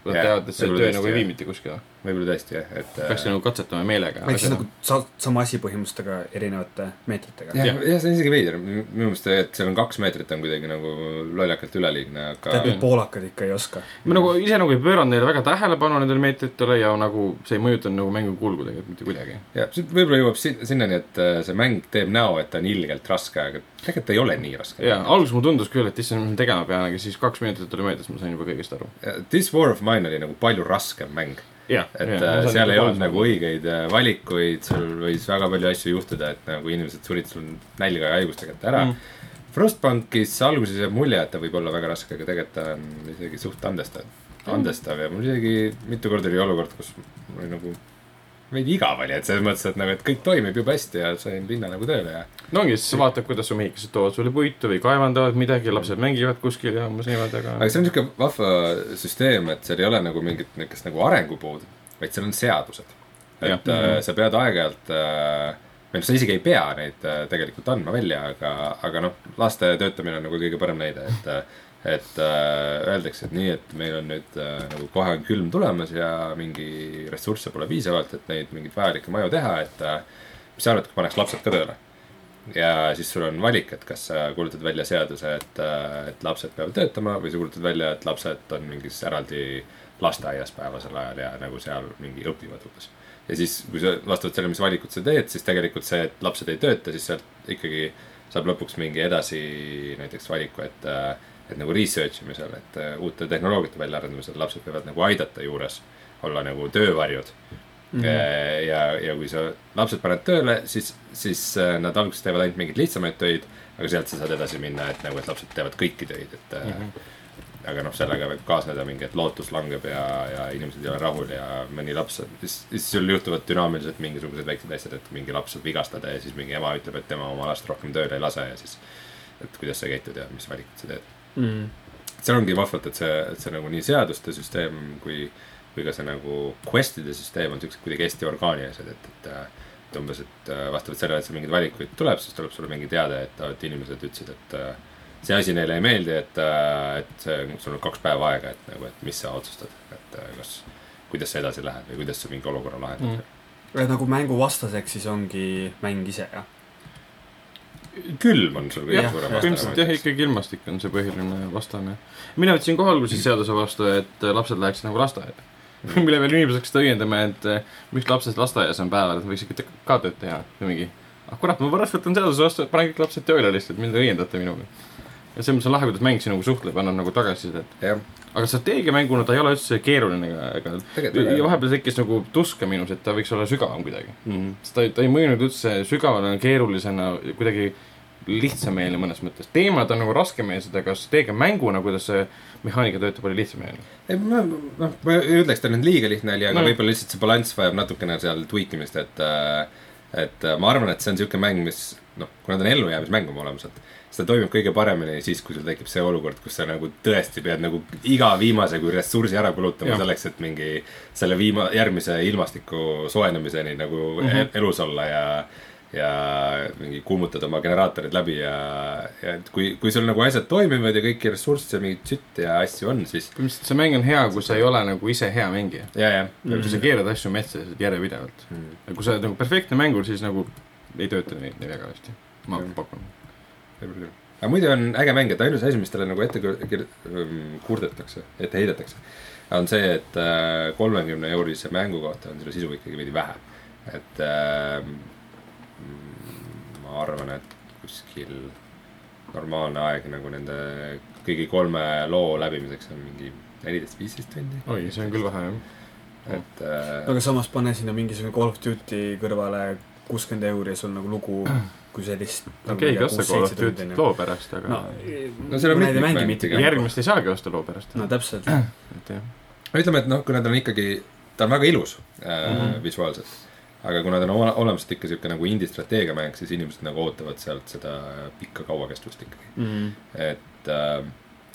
[SPEAKER 4] Nad
[SPEAKER 3] Jah,
[SPEAKER 4] teavad , et see
[SPEAKER 3] võib-olla
[SPEAKER 4] töö
[SPEAKER 3] tõesti,
[SPEAKER 4] nagu ei
[SPEAKER 3] jah.
[SPEAKER 4] vii mitte kuskile .
[SPEAKER 3] võib-olla tõesti jah , et äh, .
[SPEAKER 4] peaks nagu katsetama meelega .
[SPEAKER 2] ehk siis nagu sa- , sama asi põhimõttega erinevate meetritega .
[SPEAKER 3] jah , jah , see on isegi veider , minu meelest , et seal on kaks meetrit , on kuidagi nagu lollakalt üleliigne , aga
[SPEAKER 2] tead , need poolakad ikka ei oska .
[SPEAKER 4] ma nagu ise nagu ei pööranud neile väga tähelepanu nendele meetritele ja nagu see ei mõjutanud nagu mängu kulgu tegelikult mitte kuidagi .
[SPEAKER 3] jah , see võib-olla jõuab sin- sinnani , et äh, see mäng teeb näo , et ta on ilgelt raske , aga tegelikult ei ole nii raske .
[SPEAKER 4] ja alguses mulle tundus küll , et issand , mis ma tegema pean , aga siis kaks minutit oli möödas , ma sain juba kõigest aru .
[SPEAKER 3] This War of Mine oli nagu palju raskem mäng ,
[SPEAKER 4] jah ,
[SPEAKER 3] et ja, seal ei olnud nagu . õigeid äh, valikuid , sul võis väga palju asju juhtuda , et nagu inimesed surid sul nälga ja haiguste kätte ära mm. . Frostbankis alguses jääb mulje , et ta võib olla väga raske , aga tegelikult ta on isegi suht andestav , andestav ja mul isegi mitu korda oli olukord , kus mul oli nagu veidi igav oli , et selles mõttes , et nagu , et kõik toimib jube hästi ja sain pinna nagu tööle ja
[SPEAKER 4] no ongi , siis sa vaatad , kuidas su mehikesed toovad sulle puitu või kaevandavad midagi , lapsed mängivad kuskil ja umbes niimoodi , aga
[SPEAKER 3] aga see on niisugune vahva süsteem , et seal ei ole nagu mingit niisugust nagu arengupuud , vaid seal on seadused .
[SPEAKER 4] Jah.
[SPEAKER 3] et äh, sa pead aeg-ajalt äh, , või noh , sa isegi ei pea neid äh, tegelikult andma välja , aga , aga noh , laste töötamine on nagu kõige parem näide , et äh, et äh, öeldakse , et nii , et meil on nüüd äh, nagu kohe on külm tulemas ja mingi ressursse pole piisavalt , et neid mingeid vajalikke maju teha , et äh, mis sa arvad , kui paneks lapsed ka tööle ? ja siis sul on valik , et kas sa kuulutad välja seaduse , et , et lapsed peavad töötama või sa kuulutad välja , et lapsed on mingis eraldi lasteaias päevasel ajal ja nagu seal mingi õpivad umbes . ja siis , kui sa vastavalt sellele , mis valikud sa teed , siis tegelikult see , et lapsed ei tööta , siis sealt ikkagi saab lõpuks mingi edasi näiteks valiku , et , et nagu research imisel , et äh, uute tehnoloogiate väljaarendamisel lapsed peavad nagu aidata juures olla nagu töövarjud mm . -hmm. ja , ja kui sa lapsed paned tööle , siis , siis äh, nad alguses teevad ainult mingeid lihtsamaid töid , aga sealt sa saad edasi minna , et nagu , et lapsed teevad kõiki töid , et mm . -hmm. aga noh , sellega võib kaasneda mingi , et lootus langeb ja , ja inimesed ei ole rahul ja mõni laps , siis , siis sul juhtuvad dünaamiliselt mingisugused väiksed asjad , et mingi laps saab vigastada ja siis mingi ema ütleb , et tema oma last rohkem tööle ei lase ja siis , et kuidas sa käitud ja mis valikud sa teed . seal ongi vahvalt , et see , et see nagu nii seaduste süsteem kui , kui ka see nagu quest'ide süsteem on siuksed kuidagi hästi orgaanilised , et , et äh, et umbes , et äh, vastavalt sellele , et seal mingeid valikuid tuleb , siis tuleb sulle mingi teade , et, äh, et inimesed ütlesid , et äh, see asi neile ei meeldi , et , et see- sul on kaks päeva aega , et nagu , et mis sa otsustad , et äh, kas , kuidas sa edasi lähed või kuidas sa mingi olukorra lahendad mm. .
[SPEAKER 2] nagu mängu vastaseks siis ongi mäng ise , jah ?
[SPEAKER 3] külm on sul kõige
[SPEAKER 2] Jah,
[SPEAKER 3] suurem
[SPEAKER 2] jah.
[SPEAKER 4] põhimõtteliselt jah ,. ikkagi ilmastik on see põhiline vastane . mina võtsin kohe alguses
[SPEAKER 3] Mm.
[SPEAKER 4] seaduse vastu , et lapsed läheksid nagu lasteaeda . mille peale inimesed hakkasid õiendama , et eh, miks lapsed lasteaias on päeval , et võiks ikka te- ka tööd teha või mingi . ah kurat , ma pärast võtan seaduse vastu , et panen kõik lapsed tööle lihtsalt , mida te õiendate minuga . ja selles mõttes on lahe , kuidas mäng sinuga suhtleb , annab nagu tagasisidet .
[SPEAKER 3] jah ,
[SPEAKER 4] aga strateegiamänguna ta ei ole üldse keeruline ega , ega
[SPEAKER 3] Tegelikult ei ole.
[SPEAKER 4] ja vahepeal tekkis nagu tuska minus , et ta võiks olla sügavam kuidagi .
[SPEAKER 3] mm
[SPEAKER 4] sest ta , ta ei mõjunud üldse sügavale , keerulisena , kuidagi lihtsameelne mõnes mõttes . teemad on nagu raskemeelsed , aga strateegia mänguna , kuidas see mehaanika töötab , oli lihtsameelne .
[SPEAKER 3] ei , ma , noh , ma ei ütleks , ta nüüd liiga lihtne oli , aga
[SPEAKER 4] No.
[SPEAKER 3] no. võib-olla lihtsalt see balanss vajab natukene seal tweakimist , et äh, et äh, ma arvan , et see on niisugune mäng , mis noh , kuna ta on ellujäämismäng oma olemuselt , siis ta toimib kõige paremini siis , kui sul tekib see olukord , kus sa nagu tõesti pead nagu iga viimase kui ressursi ära kulutama
[SPEAKER 4] Jah.
[SPEAKER 3] ja. selleks , et mingi selle viima- , järgmise ilmastiku soojenemiseni nagu mm -hmm. elus olla ja ja mingi kuumutad oma generaatorid läbi ja , ja et kui , kui sul nagu asjad toimivad ja kõiki ressursse , mingit sütte ja asju on , siis
[SPEAKER 4] põhimõtteliselt see mäng on hea , kui sa ei ole nagu ise hea mängija .
[SPEAKER 3] ja , jah ,
[SPEAKER 4] kui sa keerad asju metsa lihtsalt järjepidevalt . aga kui sa oled nagu perfektne mängur , siis nagu ei tööta nii, nii väga hästi . ma
[SPEAKER 3] Jah.
[SPEAKER 4] pakun .
[SPEAKER 3] võib-olla küll . aga muidu on äge mäng , et ainus asi , mis talle nagu ette kir- kir- ähm, kurdetakse , ette heidetakse , on see , et äh, kolmekümne eurise mängu kohta on selle sisu ikkagi veidi vähe . et ähm, mm, ma arvan , et kuskil normaalne aeg nagu nende kõigi kolme loo läbimiseks on mingi neliteist , viisteist tundi .
[SPEAKER 4] oi , see on küll vähe jah .
[SPEAKER 3] et äh,
[SPEAKER 2] aga samas pane sinna mingisugune Call of Duty kõrvale kuuskümmend euri ja sul nagu lugu kui sellist .
[SPEAKER 4] okei , ei osta Call of Duty't loo pärast , aga
[SPEAKER 2] no
[SPEAKER 4] no,
[SPEAKER 3] No seal on
[SPEAKER 2] mõned ei mängi
[SPEAKER 3] mitmeid mänge
[SPEAKER 2] mitte
[SPEAKER 3] pigem.
[SPEAKER 2] midagi .
[SPEAKER 4] järgmist ei saagi osta loo pärast ,
[SPEAKER 2] no täpselt .
[SPEAKER 4] et jah .
[SPEAKER 3] no ütleme , et noh , kuna ta on ikkagi , ta on väga ilus äh, mm -hmm. visuaalselt . aga kuna ta on ole- olemuselt ikka sihuke nagu indie strateegiamäng , siis inimesed nagu ootavad sealt seda pikka kauakestvust ikkagi ,
[SPEAKER 4] Mm.
[SPEAKER 3] et äh,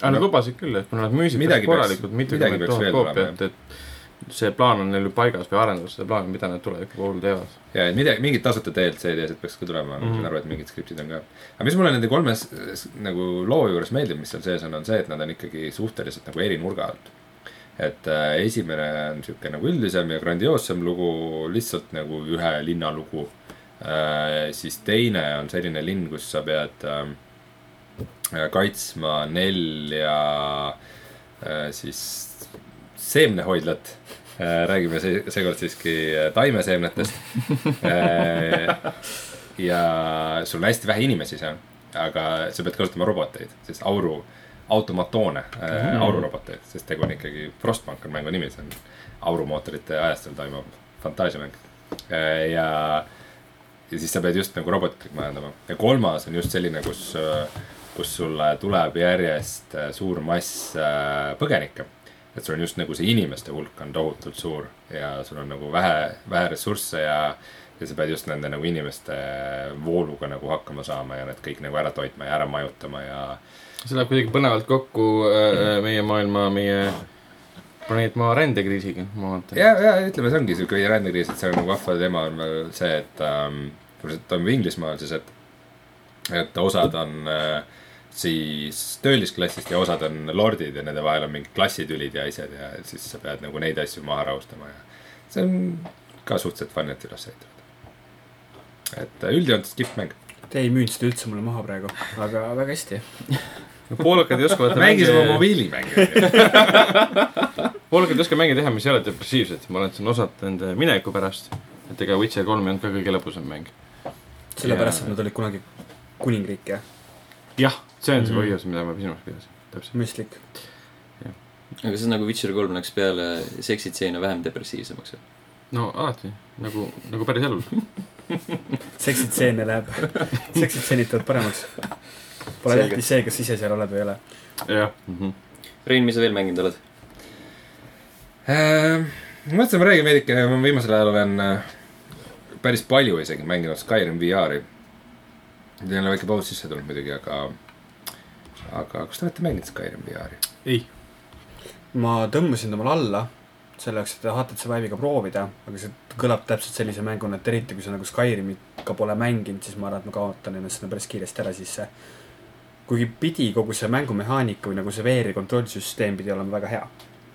[SPEAKER 4] aga nad
[SPEAKER 3] No.
[SPEAKER 4] lubasid küll , et kui nad müüsid
[SPEAKER 3] Midagi
[SPEAKER 4] midagi
[SPEAKER 3] peaks-
[SPEAKER 4] korralikult
[SPEAKER 3] midagi
[SPEAKER 4] mitukümmend
[SPEAKER 3] peaks
[SPEAKER 4] tuhat
[SPEAKER 3] veel
[SPEAKER 4] koopiat , et see plaan on neil ju paigas või arendavad seda plaani , mida nad tuleviku puhul teevad .
[SPEAKER 3] ja et midagi , mingid tasuta DLC-d ja asjad peaks ka tulema , ma
[SPEAKER 4] Mhm.
[SPEAKER 3] saan aru , et mingid skriptid on ka . aga mis mulle nende kolme s- s- nagu loo juures meeldib , mis seal sees on , on see , et nad on ikkagi suhteliselt nagu eri nurga alt . et äh, esimene on sihuke nagu üldisem ja grandioossem lugu , lihtsalt nagu ühe linna lugu äh, . siis teine on selline linn , kus sa pead äh, äh, kaitsma nelja äh, siis seemnehoidlat äh, . räägime see, seekord siiski äh, taimeseemnetest äh, . ja sul on hästi vähe inimesi seal , aga sa pead kasutama roboteid , siis auru , automatoone äh, mm. , aururoboteid , sest tegu on ikkagi , Frostbank on mängu nimi , see on aurumootorite ajastul toimuv fantaasiamäng äh, ja ja siis sa pead just nagu robotit majandama ja kolmas on just selline , kus , kus sulle tuleb järjest äh, suur mass äh, põgenikke . et sul on just nagu see inimeste hulk on tohutult suur ja sul on nagu vähe , vähe ressursse ja , ja sa pead just nende nagu inimeste vooluga nagu hakkama saama ja need kõik nagu ära toitma ja ära majutama ja
[SPEAKER 4] see läheb kuidagi põnevalt kokku äh, meie maailma , meie planeet Maa rändekriisiga , ma vaatan .
[SPEAKER 3] ja , ja ütleme , see ongi siuke rändekriis , et see on nagu vahva teema on veel see , et ähm, kui see toimub Inglismaal , siis et , et osad on äh, siis töölisklassist ja osad on lordid ja nende vahel on mingid klassitülid ja asjad ja siis sa pead nagu neid asju maha rahustama ja see on ka suhteliselt fun , et üles ehitada . et äh, üldjoontes kihvt mäng .
[SPEAKER 2] Te ei müünud seda üldse mulle maha praegu , aga väga hästi .
[SPEAKER 4] poolakad ei oska vaata
[SPEAKER 3] mängisime
[SPEAKER 4] mänge ,
[SPEAKER 3] mobiilimänge .
[SPEAKER 4] poolakad ei oska mänge teha , mis ei ole depressiivsed , ma arvan , et see on osalt nende mineviku pärast . et ega Witcher kolm ei olnud ka kõige lõbusam mäng .
[SPEAKER 2] sellepärast ,
[SPEAKER 4] Jaa.
[SPEAKER 2] et nad olid kunagi kuningriik ja
[SPEAKER 4] jah , see on see
[SPEAKER 1] Mhm.
[SPEAKER 4] põhjus , mida ma silmas pidasin , täpselt .
[SPEAKER 2] mõistlik .
[SPEAKER 1] aga see on nagu Witcher kolm läks peale seksitseene vähem depressiivsemaks .
[SPEAKER 4] no alati , nagu , nagu päris elul .
[SPEAKER 2] seksitseene läheb , seksitseenid tulevad paremaks . Pole
[SPEAKER 1] Selge.
[SPEAKER 2] tähtis see , kas ise seal oled või ei ole .
[SPEAKER 4] jah mm -hmm. .
[SPEAKER 1] Rein , mis sa veel mänginud oled ?
[SPEAKER 3] ma Ehm, mõtlesin , et ma räägin veidike , ma viimasel ajal olen äh, päris palju isegi mänginud Skyrim VR-i . Teil on väike paus sisse tulnud muidugi , aga , aga kas te olete mänginud Skyrim VR-i ?
[SPEAKER 4] ei .
[SPEAKER 2] ma tõmbasin talle alla selleks , et HTC Vive'iga proovida , aga see kõlab täpselt sellise mänguna , et eriti kui sa nagu Skyrimi ka pole mänginud , siis ma arvan , et ma kaotan ennast sinna päris kiiresti ära sisse . kuigi pidi kogu see mängumehaanika või nagu see VR-i kontrollsüsteem pidi olema väga hea .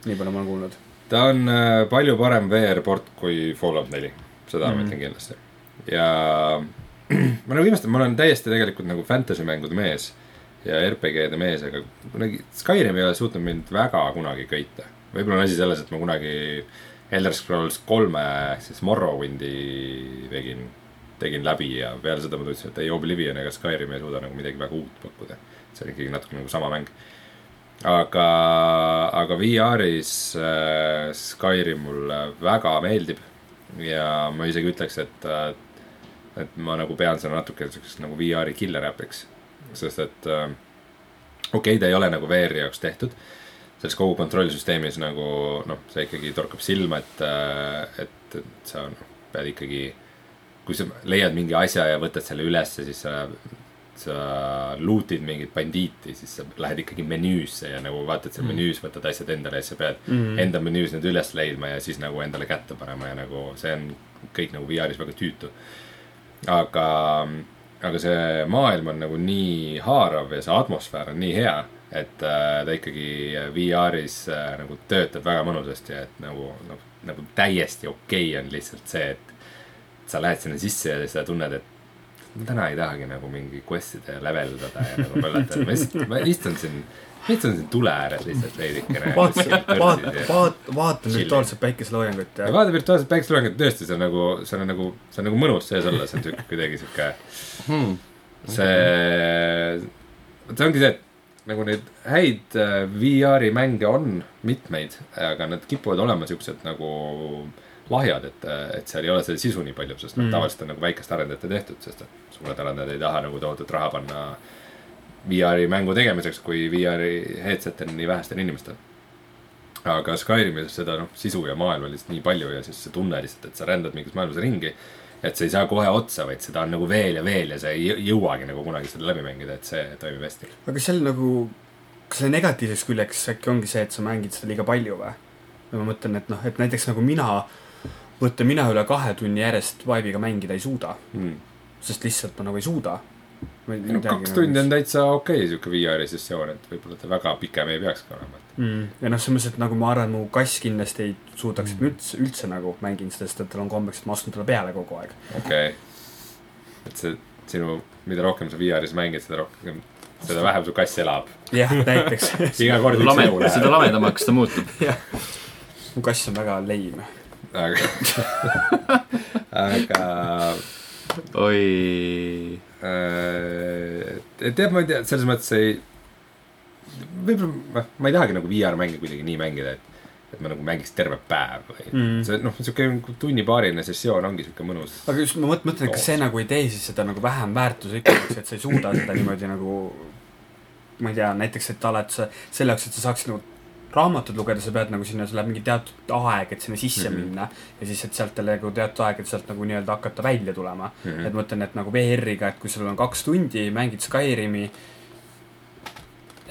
[SPEAKER 2] nii palju ma olen kuulnud .
[SPEAKER 3] ta on äh, palju parem VR-port kui Fallout neli , seda mm -hmm.
[SPEAKER 2] Mhm.
[SPEAKER 3] ma ütlen kindlasti . ja ma nagu imestan , ma olen täiesti tegelikult nagu fantasy mängude mees ja RPG-de mees , aga kuidagi Skyrim ei ole suutnud mind väga kunagi köita . võib-olla on asi selles , et ma kunagi Elder Scrolls kolme ehk siis Morrowindi tegin , tegin läbi ja peale seda ma tundsin , et ei Oblivion ega Skyrim ei suuda nagu midagi väga uut pakkuda . see on ikkagi natuke nagu sama mäng . aga , aga VR-is äh, Skyrim mulle väga meeldib ja ma isegi ütleks , et , et ma nagu pean seda natuke siukseks nagu VR-i killer äpiks , sest et äh, okei okay, , ta ei ole nagu VR-i jaoks tehtud , selles kogu kontrollsüsteemis nagu noh , see ikkagi torkab silma , et , et , et sa noh , pead ikkagi , kui sa leiad mingi asja ja võtad selle ülesse , siis sa , sa luutid mingit bandiiti , siis sa lähed ikkagi menüüsse ja nagu vaatad seal
[SPEAKER 1] Mm.
[SPEAKER 3] menüüs , võtad asjad endale ja siis sa pead
[SPEAKER 2] Mm.
[SPEAKER 3] enda menüüs need üles leidma ja siis nagu endale kätte panema ja nagu see on kõik nagu VR-is väga tüütu . aga , aga see maailm on nagu nii haarav ja see atmosfäär on nii hea , et äh, ta ikkagi VR-is äh, nagu töötab väga mõnusasti , et nagu , nagu , nagu täiesti okei okay on lihtsalt see , et sa lähed sinna sisse ja sa tunned , et ma täna ei tahagi nagu mingi quest'ide ja level dada ja nagu möllata , ma lihtsalt , ma istun siin , ma istun siin tule ääres lihtsalt veidikene .
[SPEAKER 2] vaata , vaata , vaata , vaata
[SPEAKER 3] Chill.
[SPEAKER 2] virtuaalset päikeseloojangut
[SPEAKER 3] ja
[SPEAKER 2] ja
[SPEAKER 3] vaata virtuaalset päikeseloojangut tõesti , see on nagu , see on nagu , see on nagu mõnus sees olla , see on siuke kuidagi siuke ,
[SPEAKER 4] Hmm.
[SPEAKER 3] see , see ongi see , et nagu neid häid äh, VR-i mänge on mitmeid , aga nad kipuvad olema siuksed nagu lahjad , et , et seal ei ole seda sisu nii palju , sest mm. tavaliselt on nagu väikeste arendajate tehtud , sest et suured arendajad ei taha nagu tohutut raha panna VR-i mängu tegemiseks , kui VR-i headset on nii vähestel inimestel . aga Skyrimis seda noh , sisu ja maailma on lihtsalt nii palju ja siis see tunne lihtsalt , et sa rändad mingis maailmas ringi . et sa ei saa kohe otsa , vaid seda on nagu veel ja veel ja sa ei jõ- jõuagi nagu kunagi seda läbi mängida , et see toimib hästi .
[SPEAKER 2] aga kas seal nagu , kas selle negatiivseks küljeks äkki ongi see , et sa mängid seda liiga palju või ? või ma mõtlen , et noh , et näiteks nagu mina , mõtle , mina üle kahe tunni järjest Vive'iga mängida ei suuda ,
[SPEAKER 3] Mm.
[SPEAKER 1] Hmm,
[SPEAKER 2] sest lihtsalt ma nagu ei suuda .
[SPEAKER 3] no kaks
[SPEAKER 1] nagu
[SPEAKER 2] nagu
[SPEAKER 3] tundi on täitsa okei okay, sihuke VR-i sessioon , et võib-olla ta väga pikem ei peakski olema , et
[SPEAKER 2] mm. . ja noh , selles mõttes , et nagu ma arvan , mu kass kindlasti ei suudaks mm. üldse , üldse nagu mängida seda , sest et tal on kombeks , et ma astun talle peale kogu aeg .
[SPEAKER 3] okei okay. . et see sinu , mida rohkem sa VR-is mängid , seda rohkem , seda vähem su kass elab .
[SPEAKER 2] jah , näiteks .
[SPEAKER 3] iga kord üks
[SPEAKER 1] lame
[SPEAKER 3] elu ,
[SPEAKER 1] seda
[SPEAKER 3] läheb .
[SPEAKER 1] lamedamaks ta muutub .
[SPEAKER 2] mu kass on väga leim .
[SPEAKER 3] aga , aga
[SPEAKER 1] oi .
[SPEAKER 3] äh, , tead , ma ei tea , selles mõttes ei , võib-olla ma, ma ei tahagi nagu VR-mänge kuidagi nii mängida , et , et ma nagu mängiks terve päev või mm.
[SPEAKER 2] Mm.
[SPEAKER 3] see noh , sihuke nagu tunnipaarine sessioon ongi sihuke mõnus .
[SPEAKER 2] aga just ma mõt- mõtlen , et kas see nagu ei tee siis seda nagu vähem väärtuslikuks , et sa ei suuda seda niimoodi nagu , ma ei tea , näiteks , et alati sa , selle jaoks , et sa saaksid nagu raamatut lugeda , sa pead nagu sinna , sul läheb mingi teatud aeg , et sinna sisse mm
[SPEAKER 3] Mhm.
[SPEAKER 2] -hmm. minna ja siis , et sealt jälle nagu teatud aeg , et sealt nagu nii-öelda hakata välja tulema mm . -hmm.
[SPEAKER 3] Mhm.
[SPEAKER 2] et ma ütlen , et nagu VR-iga , et kui sul on kaks tundi , mängid Skyrimi ,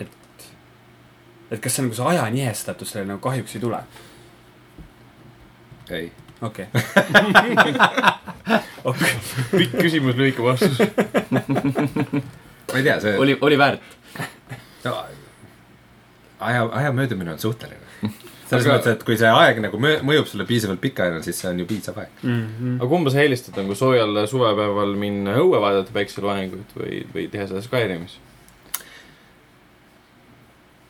[SPEAKER 2] et , et kas see nagu see aja nihestatus sellele nagu kahjuks ei tule ?
[SPEAKER 3] ei ,
[SPEAKER 2] okei okay. ,
[SPEAKER 4] pikk küsimus , lühike vastus .
[SPEAKER 3] ma ei tea , see
[SPEAKER 1] oli , oli väärt .
[SPEAKER 3] no, . aja , aja möödumine on suhteline . selles
[SPEAKER 4] Aga-
[SPEAKER 3] aga... mõttes , et kui see aeg nagu mõ- mõjub sulle piisavalt pikaajaline , siis see on ju piisav aeg .
[SPEAKER 2] mm .
[SPEAKER 4] aga kumba sa eelistad nagu soojal suvepäeval minna õue vaadata päikseloengut või , või teha seda Skyrimis ?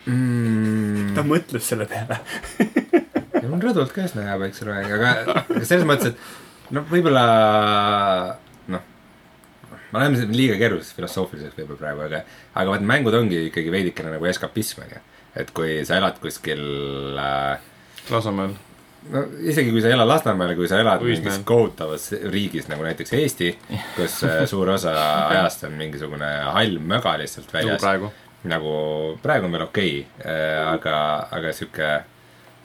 [SPEAKER 2] -hmm. ta mõtles selle peale .
[SPEAKER 3] ja mul rõdult käes näha väiksel aeg , aga , aga selles mõttes , et noh , võib-olla noh , me oleme siin liiga keeruliseks filosoofiliseks võib-olla praegu , aga , aga vaat mängud ongi ikkagi veidikene nagu eskapism , onju . et kui sa elad kuskil äh,
[SPEAKER 4] Lasnamäel .
[SPEAKER 3] no isegi kui sa ei ela Lasnamäel , kui sa elad
[SPEAKER 4] Õismäel.
[SPEAKER 3] mingis kohutavas riigis nagu näiteks Eesti , kus äh, suur osa ajast on mingisugune hall möga lihtsalt
[SPEAKER 4] nagu
[SPEAKER 3] väljas .
[SPEAKER 4] praegu .
[SPEAKER 3] nagu praegu on veel okei okay, , aga , aga sihuke ,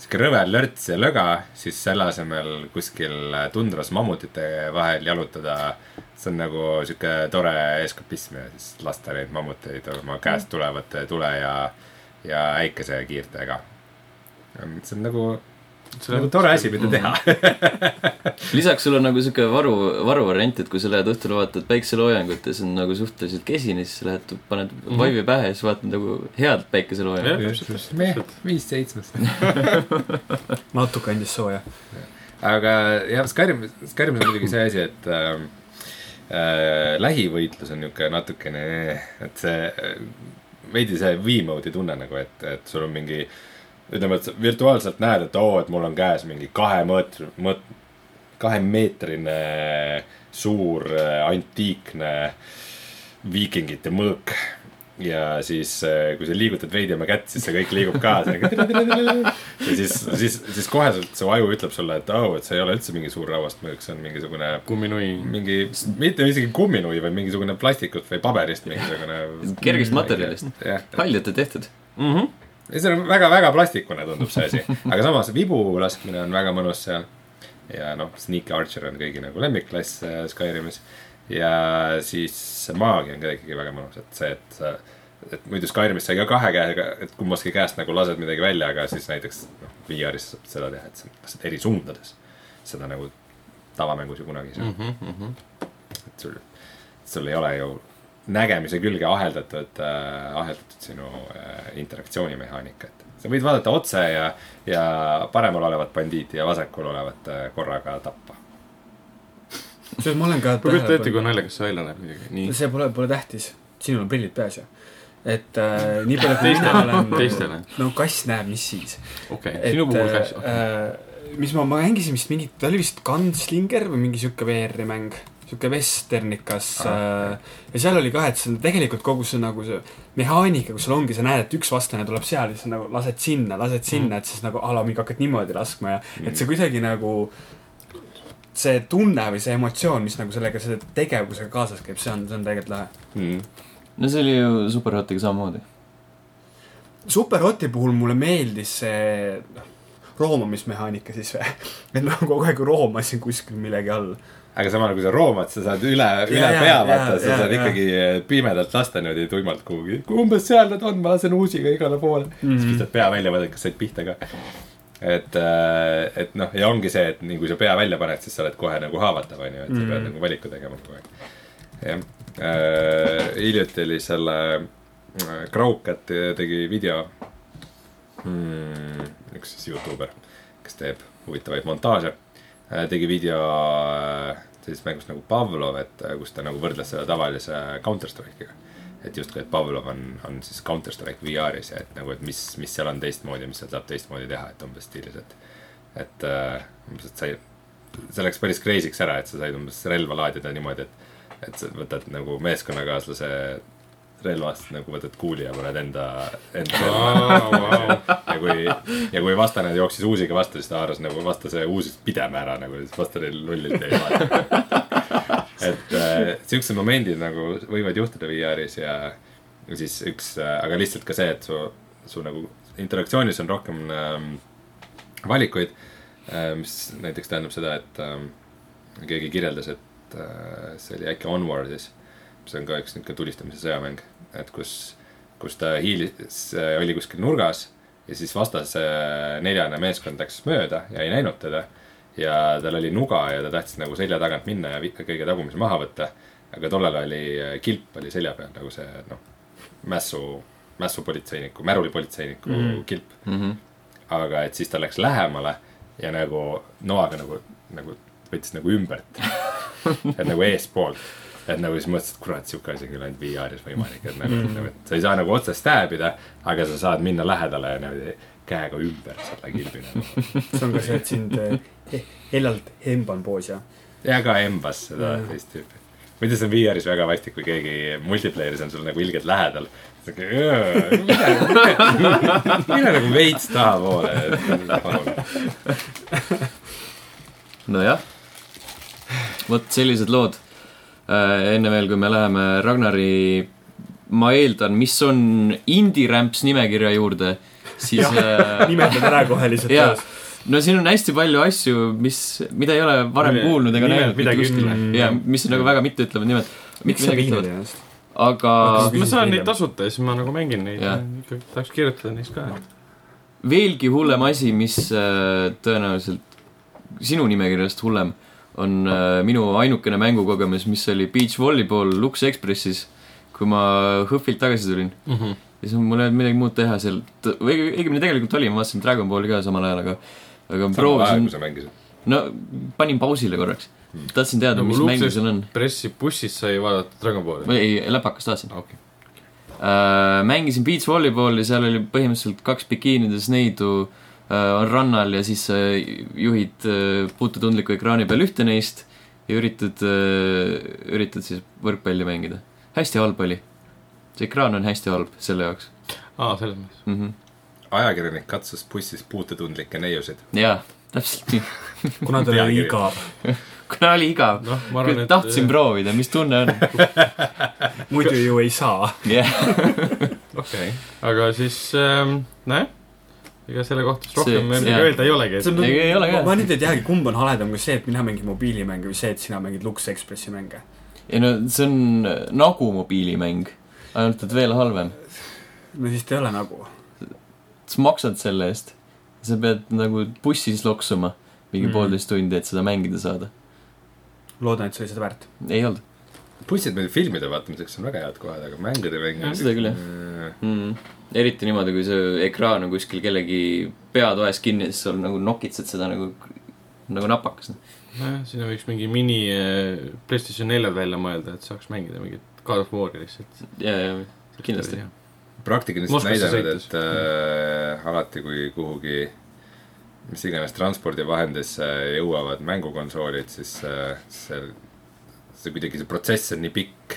[SPEAKER 3] sihuke rõve lörts ja löga , siis selle asemel kuskil tundras mammutite vahel jalutada , see on nagu sihuke tore eskapism ja siis lasta neid mammuteid oma käest tulevate tule ja , ja äikesekiirtega . see on nagu , nagu tore asi , mida teha .
[SPEAKER 1] lisaks sul on nagu sihuke varu , varuvariant , et kui sa lähed õhtul vaatad päikseloojangut ja see on nagu suhteliselt kesine , siis lähed , paned
[SPEAKER 4] Mhm.
[SPEAKER 1] vaibi pähe ja siis vaatad nagu head päikeseloojangut .
[SPEAKER 4] Mm,
[SPEAKER 3] viis seitsmest .
[SPEAKER 2] natuke andis sooja .
[SPEAKER 3] aga jah , Skyrim , Skyrim on muidugi see asi , et ähm, äh, lähivõitlus on niuke natukene , et see äh, veidi see V-mode'i tunne nagu , et , et sul on mingi , ütleme , et sa virtuaalselt näed , et oo , et mul on käes mingi kahe mõõt- , mõõt- , kahemeetrine suur äh, antiikne viikingite mõõk ja siis , kui sa liigutad veidi oma kätt , siis see kõik liigub ka . ja siis , siis , siis koheselt su aju ütleb sulle , et au , et see ei ole üldse mingi suur rauast mõõk , see on mingisugune ,
[SPEAKER 4] kumminui .
[SPEAKER 3] mingi , mitte isegi kumminui , vaid mingisugune plastikut või paberist mingisugune .
[SPEAKER 1] kergest materjalist .
[SPEAKER 3] jah ,
[SPEAKER 1] paljalt on tehtud .
[SPEAKER 3] ja see on väga-väga plastikune tundub see asi , aga samas vibu laskmine on väga mõnus seal . ja noh , Sneak Archer on kõigi nagu lemmikklass äh, Skyrimis ja siis see maagia on ka ikkagi väga mõnus , et see , et sa , et muidu Skyrimis sai ka kahe käega , et kummastki käest nagu lased midagi välja , aga siis näiteks noh , VR-is saab seda teha , et sa lased eri suundades . seda nagu tavamängus ju kunagi ei saa , et sul , sul ei ole ju nägemise külge aheldatud äh, , aheldatud sinu äh, interaktsioonimehaanika , et sa võid vaadata otse ja , ja paremal olevat bandiiti ja vasakul olevat äh, korraga tappa .
[SPEAKER 2] kusjuures ma olen ka
[SPEAKER 4] ma kujutan ette , kui naljakas see välja näeb muidugi . nii .
[SPEAKER 2] see pole , pole tähtis , sinul on prillid peas ju . et äh, nii palju kui mina olen
[SPEAKER 4] teistele. ,
[SPEAKER 2] no kass näeb , mis siis .
[SPEAKER 4] okei ,
[SPEAKER 2] et
[SPEAKER 4] sinu puhul käis .
[SPEAKER 2] äh, mis ma , ma mängisin vist mingit , ta oli vist Gunslinger või mingi sihuke VR-i mäng , sihuke vesternikas
[SPEAKER 3] Ah,
[SPEAKER 2] ah, . Äh, ja seal oli ka , et see on tegelikult kogu see nagu see mehaanika , kus sul ongi , sa näed , et üks vastane tuleb seal ja siis
[SPEAKER 4] Mhm.
[SPEAKER 2] sa nagu lased sinna , lased sinna mm. , et siis nagu a la mingi hakkad niimoodi laskma ja mm. et see kuidagi nagu see tunne või see emotsioon , mis nagu sellega , selle tegevusega kaasas käib , see on , see on tegelikult lahe .
[SPEAKER 3] mm. .
[SPEAKER 1] no see oli ju Superhotiga samamoodi .
[SPEAKER 2] Superhoti puhul mulle meeldis see noh, roomamismehaanika siis või , et ma kogu aeg roomasin kuskil millegi all .
[SPEAKER 3] aga samal ajal , kui sa roomad , sa saad üle , üle
[SPEAKER 2] jaa,
[SPEAKER 3] pea
[SPEAKER 2] jaa,
[SPEAKER 3] vaata , sa
[SPEAKER 2] jaa,
[SPEAKER 3] saad
[SPEAKER 2] jaa.
[SPEAKER 3] ikkagi äh, pimedalt lasta niimoodi tuimalt kuhugi . umbes seal nad on , ma lasen uusiga igale poole mm .
[SPEAKER 1] Mhm.
[SPEAKER 3] -hmm. siis
[SPEAKER 2] Mhm.
[SPEAKER 3] pistad pea välja , vaatad , kas said pihta ka . et , et noh , ja ongi see , et nii kui sa pea välja paned , siis sa oled kohe nagu haavatav , onju , et sa pead nagu valiku tegema kogu aeg . jah , hiljuti oli selle , Kraukat tegi video mm, . üks siis Youtuber , kes teeb huvitavaid montaaže , tegi video äh, sellisest mängust nagu Pavlov , et äh, kus ta nagu võrdles seda tavalise Counter Strike'iga . et justkui , et Pavlov on , on siis Counter Strike VR-is ja et nagu , et mis , mis seal on teistmoodi , mis seal saab teistmoodi teha , et umbes stiilis , et . et äh, umbes , et sai , see läks päris crazy'ks ära , et sa said umbes relva laadida niimoodi , et , et sa võtad nagu meeskonnakaaslase relvast nagu võtad kuuli ja paned enda , enda relva ja kui , ja kui vastane jooksis uusiga vastu , siis ta haaras nagu vastase uusis pideme ära nagu , siis vastane nullilt jäi vaatama . et äh, siuksed momendid nagu võivad juhtuda VR-is ja ja siis üks äh, , aga lihtsalt ka see , et su , su nagu interaktsioonis on rohkem ähm, valikuid äh, . mis näiteks tähendab seda , et ähm, keegi kirjeldas , et äh, see oli äkki Onwardis , mis on ka üks niuke tulistamise sõjamäng , et kus , kus ta hiilis , oli kuskil nurgas ja siis vastase neljane meeskond läks mööda ja ei näinud teda . ja tal oli nuga ja ta tahtis nagu selja tagant minna ja vi- kõige tagumise maha võtta . aga tollal oli äh, kilp oli selja peal nagu see noh , mässu , mässupolitseiniku , märulipolitseiniku mm -hmm. kilp mm .
[SPEAKER 1] Mhm.
[SPEAKER 3] aga et siis ta läks lähemale ja nagu noaga nagu , nagu võttis nagu ümbert . et nagu eespoolt et nagu siis mõtlesin , et kurat , sihuke asi on küll ainult VR-is võimalik , et nagu , nagu , et sa ei saa nagu otsest tääbida , aga sa saad minna lähedale ja niimoodi käega ümber selle kilbi nagu .
[SPEAKER 2] see on ka see , et sind eh, heljalt hemban poos ja .
[SPEAKER 3] ja ka embas seda teist tüüpi . muide , see on VR-is väga vastik , kui keegi multiplayer'is on sul nagu ilgelt lähedal . mine mine nagu veits tahapoole .
[SPEAKER 1] nojah , vot sellised lood . enne veel , kui me läheme Ragnari , ma eeldan , mis on indie-rämps nimekirja juurde , siis äh,
[SPEAKER 2] nimetad ära kohe lihtsalt
[SPEAKER 1] jaa , no siin on hästi palju asju , mis , mida ei ole varem
[SPEAKER 4] Mille-
[SPEAKER 1] kuulnud ega
[SPEAKER 4] nimed
[SPEAKER 1] näinud mitte
[SPEAKER 4] midagi
[SPEAKER 1] kuskil
[SPEAKER 4] ütlevad.
[SPEAKER 1] ja mis on nagu väga mitteütlevad nimed .
[SPEAKER 2] miks sa viinad ? ennast ?
[SPEAKER 1] aga
[SPEAKER 2] Hakkasid-
[SPEAKER 4] ma saan neid tasuta ja siis ma nagu mängin neid
[SPEAKER 1] Jah. ,
[SPEAKER 4] tahaks kirjutada neist ka .
[SPEAKER 1] veelgi hullem asi , mis äh, tõenäoliselt sinu nimekirjast hullem , on äh, minu ainukene mängukogemus , mis oli Beach Volleyball Lux Expressis , kui ma HÖFFilt tagasi tulin . ja siis mul ei olnud midagi muud teha seal , õigemini tegelikult oli , ma vaatasin Dragon Balli ka samal ajal , aga aga proovisin ,
[SPEAKER 3] sa mängisid .
[SPEAKER 1] no panin pausile korraks . tahtsin teada ,
[SPEAKER 4] Nagu
[SPEAKER 1] mis
[SPEAKER 4] Lux
[SPEAKER 1] mäng
[SPEAKER 4] Ex-
[SPEAKER 1] seal on .
[SPEAKER 4] pressi bussis sai vaadata Dragon Balli .
[SPEAKER 1] või ei , läpakas tahtsin .
[SPEAKER 4] okei ,
[SPEAKER 1] Äh, mängisin Beach Volleyballi , seal oli põhimõtteliselt kaks bikiinides neidu äh, on rannal ja siis sa juhid äh, puututundliku ekraani peal ühte neist ja üritad , üritad siis võrkpalli mängida . hästi halb oli . see ekraan on hästi halb selle jaoks
[SPEAKER 4] aa , selles mõttes .
[SPEAKER 1] mm . -hmm.
[SPEAKER 3] ajakirjanik katsus bussis puututundlikke neiusid .
[SPEAKER 1] jaa , täpselt nii .
[SPEAKER 2] kuna tal oli
[SPEAKER 3] Pealkiri.
[SPEAKER 2] igav .
[SPEAKER 1] kuna oli igav no, ,
[SPEAKER 4] noh , ma arvan , et .
[SPEAKER 1] tahtsin . proovida , mis tunne on .
[SPEAKER 2] muidu ju ei saa .
[SPEAKER 1] jah ,
[SPEAKER 4] okei , aga siis ähm, nojah , ega selle kohta siis
[SPEAKER 1] See-
[SPEAKER 4] rohkem meil
[SPEAKER 1] jah.
[SPEAKER 4] midagi öelda ei olegi , et
[SPEAKER 1] Ei, ei ole ka.
[SPEAKER 2] ma nüüd ei teagi , kumb on haledam , kas see , et mina mängin mobiilimänge või see , et sina mängid Lux Expressi mänge .
[SPEAKER 1] ei no see on nagu mobiilimäng , ainult et veel halvem .
[SPEAKER 2] no siis ta ei ole nagu .
[SPEAKER 1] sa maksad selle eest . sa pead nagu bussis loksuma mingi
[SPEAKER 2] Mm.
[SPEAKER 1] mm. poolteist tundi , et seda mängida saada .
[SPEAKER 2] loodan , et see oli seda väärt .
[SPEAKER 1] ei olnud
[SPEAKER 3] bussid meil filmide vaatamiseks on väga head kohad , aga mängude mängimiseks .
[SPEAKER 1] Seda küll, jah.
[SPEAKER 3] jah
[SPEAKER 1] mm. . eriti niimoodi , kui see ekraan on kuskil kellegi peatoes kinni ja siis sa nagu nokitsed seda nagu , nagu napakas .
[SPEAKER 4] nojah , sinna võiks mingi mini äh, PlayStation 4 välja mõelda , et saaks mängida mingit God of War'i lihtsalt .
[SPEAKER 1] ja , ja , kindlasti. .
[SPEAKER 3] praktilised
[SPEAKER 4] Moskvasse
[SPEAKER 3] näidanud ,
[SPEAKER 4] sõites.
[SPEAKER 3] et äh, alati , kui kuhugi mis iganes transpordivahendisse jõuavad mängukonsoolid , siis äh, see , see kuidagi , see protsess on nii pikk ,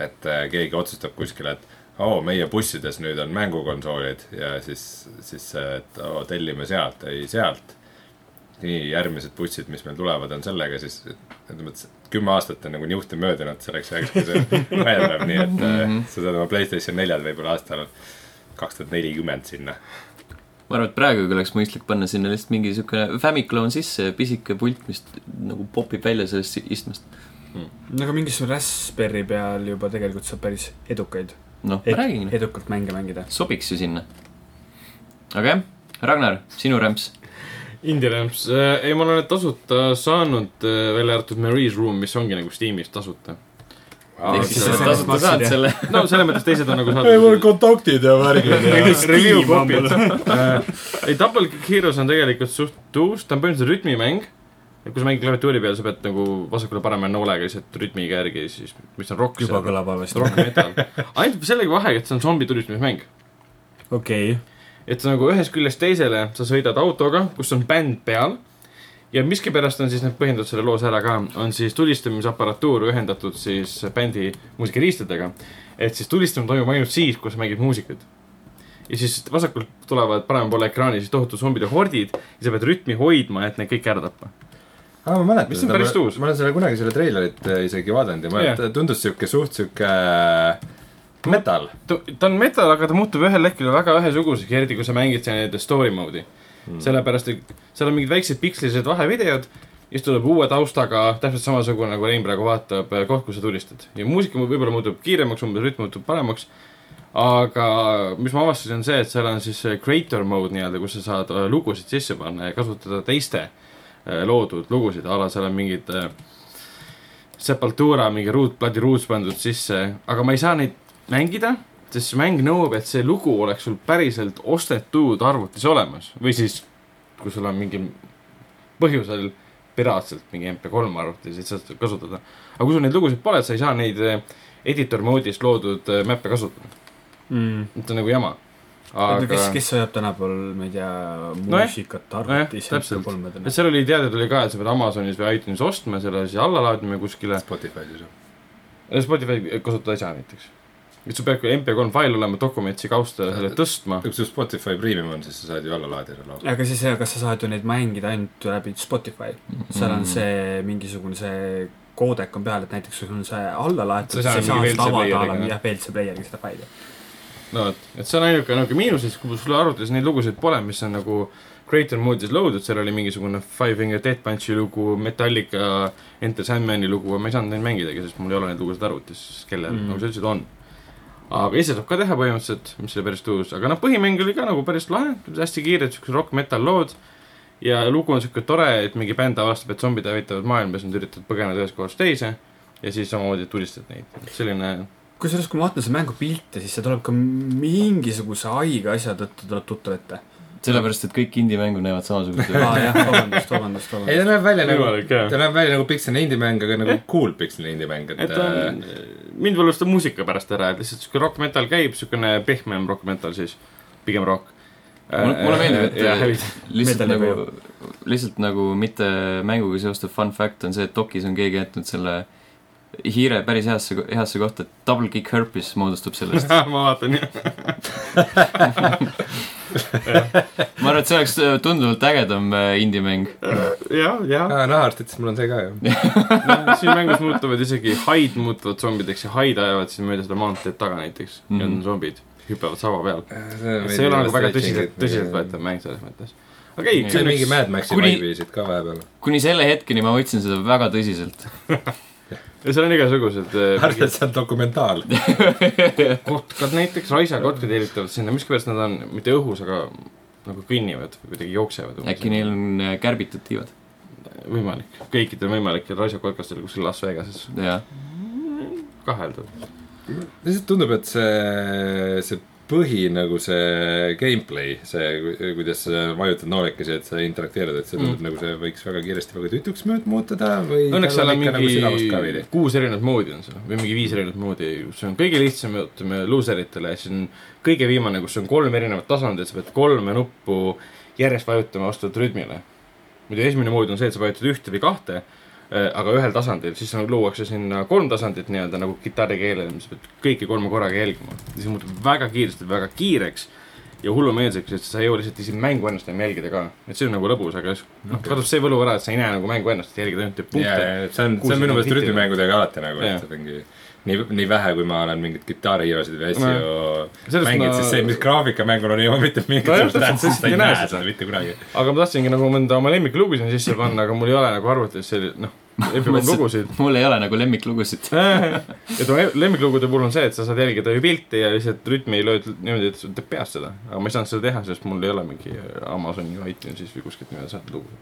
[SPEAKER 3] et äh, keegi otsustab kuskil , et oo oh, , meie bussides nüüd on äh, mängukonsoolid ja siis , siis , et oo oh, , tellime sealt , ei sealt . nii järgmised bussid , mis meil tulevad , on sellega , siis ütleme , et kümme aastat on nagu niuhti möödunud selleks ajaks , kui see välja läheb , nii et äh, sa saad oma Playstation neljal võib-olla aastal kaks tuhat nelikümmend sinna .
[SPEAKER 1] ma arvan , et praegu oleks mõistlik panna sinna lihtsalt mingi siukene Famiclone sisse ja pisike pult , mis nagu popib välja sellest istmest .
[SPEAKER 2] no aga mingisugune Raspberry peal juba tegelikult saab päris edukaid
[SPEAKER 1] noh , ma räägin
[SPEAKER 2] ed , , edukalt mänge mängida .
[SPEAKER 1] sobiks ju sinna . aga jah , Ragnar , sinu rämps .
[SPEAKER 4] Indie Ramps , ei ma olen need tasuta saanud , välja arvatud Marie's Room , mis ongi nagu Steamis tasuta .
[SPEAKER 1] ehk siis sa
[SPEAKER 2] see-
[SPEAKER 1] tasuta
[SPEAKER 2] see-
[SPEAKER 1] saad
[SPEAKER 2] see-
[SPEAKER 1] selle .
[SPEAKER 4] no selles mõttes teised on nagu saadud .
[SPEAKER 3] kontaktid ja värgid
[SPEAKER 4] review copied . Äh, ei , Double Kick Heroes on tegelikult suht uus , ta on põhimõtteliselt rütmimäng . kui sa mängid klaviatuuri peal , sa pead nagu vasakule-paremale noolega lihtsalt rütmiga järgi , siis mis on rokk .
[SPEAKER 2] juba kõlab halvasti .
[SPEAKER 4] rock metal . ainult sellega vahega , et see on zombi tulistamismäng .
[SPEAKER 2] okei ,
[SPEAKER 4] et sa nagu ühest küljest teisele , sa sõidad autoga , kus on bänd peal ja miskipärast on siis need põhjendatud selle loos ära ka , on siis tulistamisaparatuur ühendatud siis bändi muusikariistadega . et siis tulistamine toimub ainult siis , kui sa mängid muusikat . ja siis vasakult tulevad parema poole ekraani siis tohutud zombide hordid ja sa pead rütmi hoidma , et neid kõiki ära tappa .
[SPEAKER 3] aa , Ah, ma mäletan
[SPEAKER 4] Mis on päris uus.
[SPEAKER 3] ma olen selle kunagi selle treilerit äh, isegi vaadanud ja ma
[SPEAKER 4] Jah.
[SPEAKER 3] yeah. tundus siuke suht siuke äh, metal .
[SPEAKER 4] ta ta on metal , aga ta muutub ühel hetkel väga ühesuguseks , eriti kui sa mängid seal nii-öelda story mode'i mm. . sellepärast , et seal on mingid väiksed pikslised vahevideod , siis tuleb uue taustaga , täpselt samasugune nagu Rein praegu vaatab , koht , kus sa tulistad . ja muusika mu- võib-olla muutub kiiremaks , umbes rütm muutub paremaks . aga mis ma avastasin , on see , et seal on siis see creator mode nii-öelda , kus sa saad äh, lugusid sisse panna ja kasutada teiste äh, loodud lugusid , a la seal on mingid äh, Sepultura mingi ruutplaadi ruuts pandud sisse , aga ma ei saa neid mängida , sest see mäng nõuab , et see lugu oleks sul päriselt ostetud arvutis olemas või siis , kui sul on mingil põhjusel piraatselt mingi MP3 arvutis , et saad seda kasutada . aga kui sul neid lugusid pole , sa ei saa neid eh, editor mode'is loodud eh, mäppe kasutada , et on nagu jama .
[SPEAKER 2] aga
[SPEAKER 4] aga
[SPEAKER 2] Mm. kes , kes hoiab tänapäeval , ma ei tea ,
[SPEAKER 4] Nojah.
[SPEAKER 2] muusikat
[SPEAKER 4] Nojah,
[SPEAKER 2] arvutis
[SPEAKER 4] täpselt.
[SPEAKER 2] kolmedena
[SPEAKER 4] et seal oli teada tuli ka , et sa pead Amazonis või iTunes ostma selle siis alla laadima kuskile .
[SPEAKER 3] Spotify'is ju .
[SPEAKER 4] Spotify kasutada ei saa näiteks . et sul peab MP3 fail olema , dokumentsi kausta ja selle tõstma .
[SPEAKER 3] kui sul Spotify Premium on , siis sa saad ju alla laadida lausa .
[SPEAKER 2] aga siis , aga sa saad ju neid mängida ainult läbi Spotify , seal
[SPEAKER 4] Mm.
[SPEAKER 2] on see mingisugune see koodek on peal , et näiteks kui sul on see alla laetud ,
[SPEAKER 4] Sa
[SPEAKER 2] sa
[SPEAKER 4] saad
[SPEAKER 2] ei saa
[SPEAKER 4] mingi
[SPEAKER 2] seda
[SPEAKER 4] WLC
[SPEAKER 2] avada
[SPEAKER 4] playeriga. ,
[SPEAKER 2] jah , WLC playeriga seda faili .
[SPEAKER 4] no vot , et see on ainuke nagu miinus , et kui sul arvutis neid lugusid pole , mis on nagu Greater Moodis loadud , seal oli mingisugune Five Finger Death Punchi lugu , Metallica , Enter Sandmani lugu , ma ei saanud neid mängidagi , sest mul ei ole neid lugusid arvutis , kellel
[SPEAKER 2] Mm.
[SPEAKER 4] mm. , nagu sa ütlesid , on . aga ise saab ka teha põhimõtteliselt , mis oli päris tõus , aga noh , põhimäng oli ka nagu päris lahe , hästi kiired siuksed rock metal lood ja lugu on siuke tore , et mingi bänd avastab , et zombid hävitavad maailma , siis nad üritavad põgeneda ühest kohast teise ja siis samamoodi tulistad neid , selline
[SPEAKER 2] kusjuures , kui ma vaatan seda mängu pilte , siis see tuleb ka mingisuguse haige asja tõttu tuleb tuttav ette .
[SPEAKER 1] sellepärast , et kõik indie-mängud näevad samasugust
[SPEAKER 2] aa
[SPEAKER 1] välja .
[SPEAKER 2] jah , vabandust , vabandust ,
[SPEAKER 3] ei ,
[SPEAKER 2] vabandust .
[SPEAKER 3] ta näeb välja nagu ,
[SPEAKER 4] võimalik jah
[SPEAKER 3] ta näeb välja nagu pikseline indie mäng , aga nagu cool pikseline indie mäng ,
[SPEAKER 4] et
[SPEAKER 3] et äh,
[SPEAKER 4] ta
[SPEAKER 1] äh,
[SPEAKER 4] on , mind valus ta muusika pärast ära , et lihtsalt siuke rock metal käib , siukene pehmem rock metal siis , pigem rock . Äh,
[SPEAKER 1] Mulle- mulle meeldib, et-
[SPEAKER 4] et .
[SPEAKER 1] lihtsalt
[SPEAKER 2] Medali
[SPEAKER 1] nagu , lihtsalt nagu mitte mänguga seostuv fun fact on see , et dokis on keegi jätnud selle hiire päris heasse , heasse kohta , et double kick herpes moodustub sellest .
[SPEAKER 4] ma vaatan jah ,
[SPEAKER 1] ma arvan , et see oleks äh, tunduvalt ägedam äh, indie-mäng .
[SPEAKER 4] ja , ja
[SPEAKER 3] aa , nahaarstid , siis mul on see ka ju .
[SPEAKER 4] siin mängus muutuvad isegi haid muutuvad zombideks ja haid ajavad siis mööda seda maanteed taga näiteks mm. ja on
[SPEAKER 1] Mhm.
[SPEAKER 4] zombid , hüppavad sava peal .
[SPEAKER 3] Äh,
[SPEAKER 4] see ei ole nagu väga tõsiselt , tõsiseltvõetav mäng selles mõttes . okei
[SPEAKER 1] Nii.
[SPEAKER 4] okay, ,
[SPEAKER 3] see on mingi Mad Maxi
[SPEAKER 1] Kuni-
[SPEAKER 3] kuni... viisid ka vahepeal .
[SPEAKER 1] kuni selle hetkeni ma võtsin seda väga tõsiselt .
[SPEAKER 4] seal on igasugused eh,
[SPEAKER 3] arvad ,
[SPEAKER 4] mingid
[SPEAKER 3] et see on dokumentaal ?
[SPEAKER 4] kotkad näiteks , raisakotkad heelitavad sinna , miskipärast nad on mitte õhus , aga nagu kõnnivad või kuidagi jooksevad .
[SPEAKER 1] äkki neil on äh, kärbitud tiivad ?
[SPEAKER 4] võimalik , kõikidel võimalikel raisakotkastel kuskil Las Vegases
[SPEAKER 1] jah ,
[SPEAKER 4] kaheldav .
[SPEAKER 3] lihtsalt tundub , et see , see põhi nagu see gameplay , see , kuidas sa vajutad noolekesi , et sa interakteerid , et see tundub mm. nagu see võiks väga kiiresti väga tütuks mööda muutuda või .
[SPEAKER 4] Õnneks seal on
[SPEAKER 3] nagu
[SPEAKER 4] mingi
[SPEAKER 3] veidi .
[SPEAKER 4] kuus erinevat moodi on seal või mingi viis erinevat moodi , see on kõige lihtsam , ütleme , luuser itele , siis on kõige viimane , kus on kolm erinevat tasandit , sa pead kolme nuppu järjest vajutama vastavalt rütmile . muidu esimene mood on see , et sa vajutad ühte või kahte , aga ühel tasandil , siis nagu luuakse sinna kolm tasandit nii-öelda nagu kitarrikeelele , mis sa pead kõiki kolme korraga jälgima . siis muutub väga kiiresti väga kiireks ja hullumeelseks , et sa ei jõua lihtsalt isegi mängu ennast enam jälgida ka . et see on nagu lõbus , aga siis noh , kadub see võlu ära , et sa ei näe nagu mängu ennast , jälgid ainult neid
[SPEAKER 3] ja ,
[SPEAKER 4] punkte .
[SPEAKER 3] ja see on , see
[SPEAKER 4] Kuuskümmend
[SPEAKER 3] on minu meelest
[SPEAKER 4] hitti.
[SPEAKER 3] rütmimängudega alati nagu ,
[SPEAKER 4] Jaa.
[SPEAKER 3] et mingi nii , nii vähe , kui ma olen mingeid kitarrihiirosid või asju
[SPEAKER 4] Sellest
[SPEAKER 3] mänginud ,
[SPEAKER 4] ma-
[SPEAKER 3] siis see , mis graafikamängul on , ei ole mitte mingit
[SPEAKER 4] No jah,
[SPEAKER 3] suurt
[SPEAKER 4] täpselt,
[SPEAKER 3] tähtsust , sa ei
[SPEAKER 4] näe
[SPEAKER 3] näe
[SPEAKER 4] seda.
[SPEAKER 3] seda mitte kunagi .
[SPEAKER 4] aga ma tahtsingi nagu mõnda oma lemmiklugu sinna sisse panna , aga mul ei ole nagu arvutis selline , noh , lepime lugusid .
[SPEAKER 1] mul ei ole nagu lemmiklugusid .
[SPEAKER 4] et oma lemmiklugude puhul on see , et sa saad jälgida ju pilti ja lihtsalt rütmi lööd niimoodi , et sa teed peast seda . aga ma ei saanud seda teha , sest mul ei ole mingi Amazoni või iTunesis või kuskilt niimoodi saadud lugu .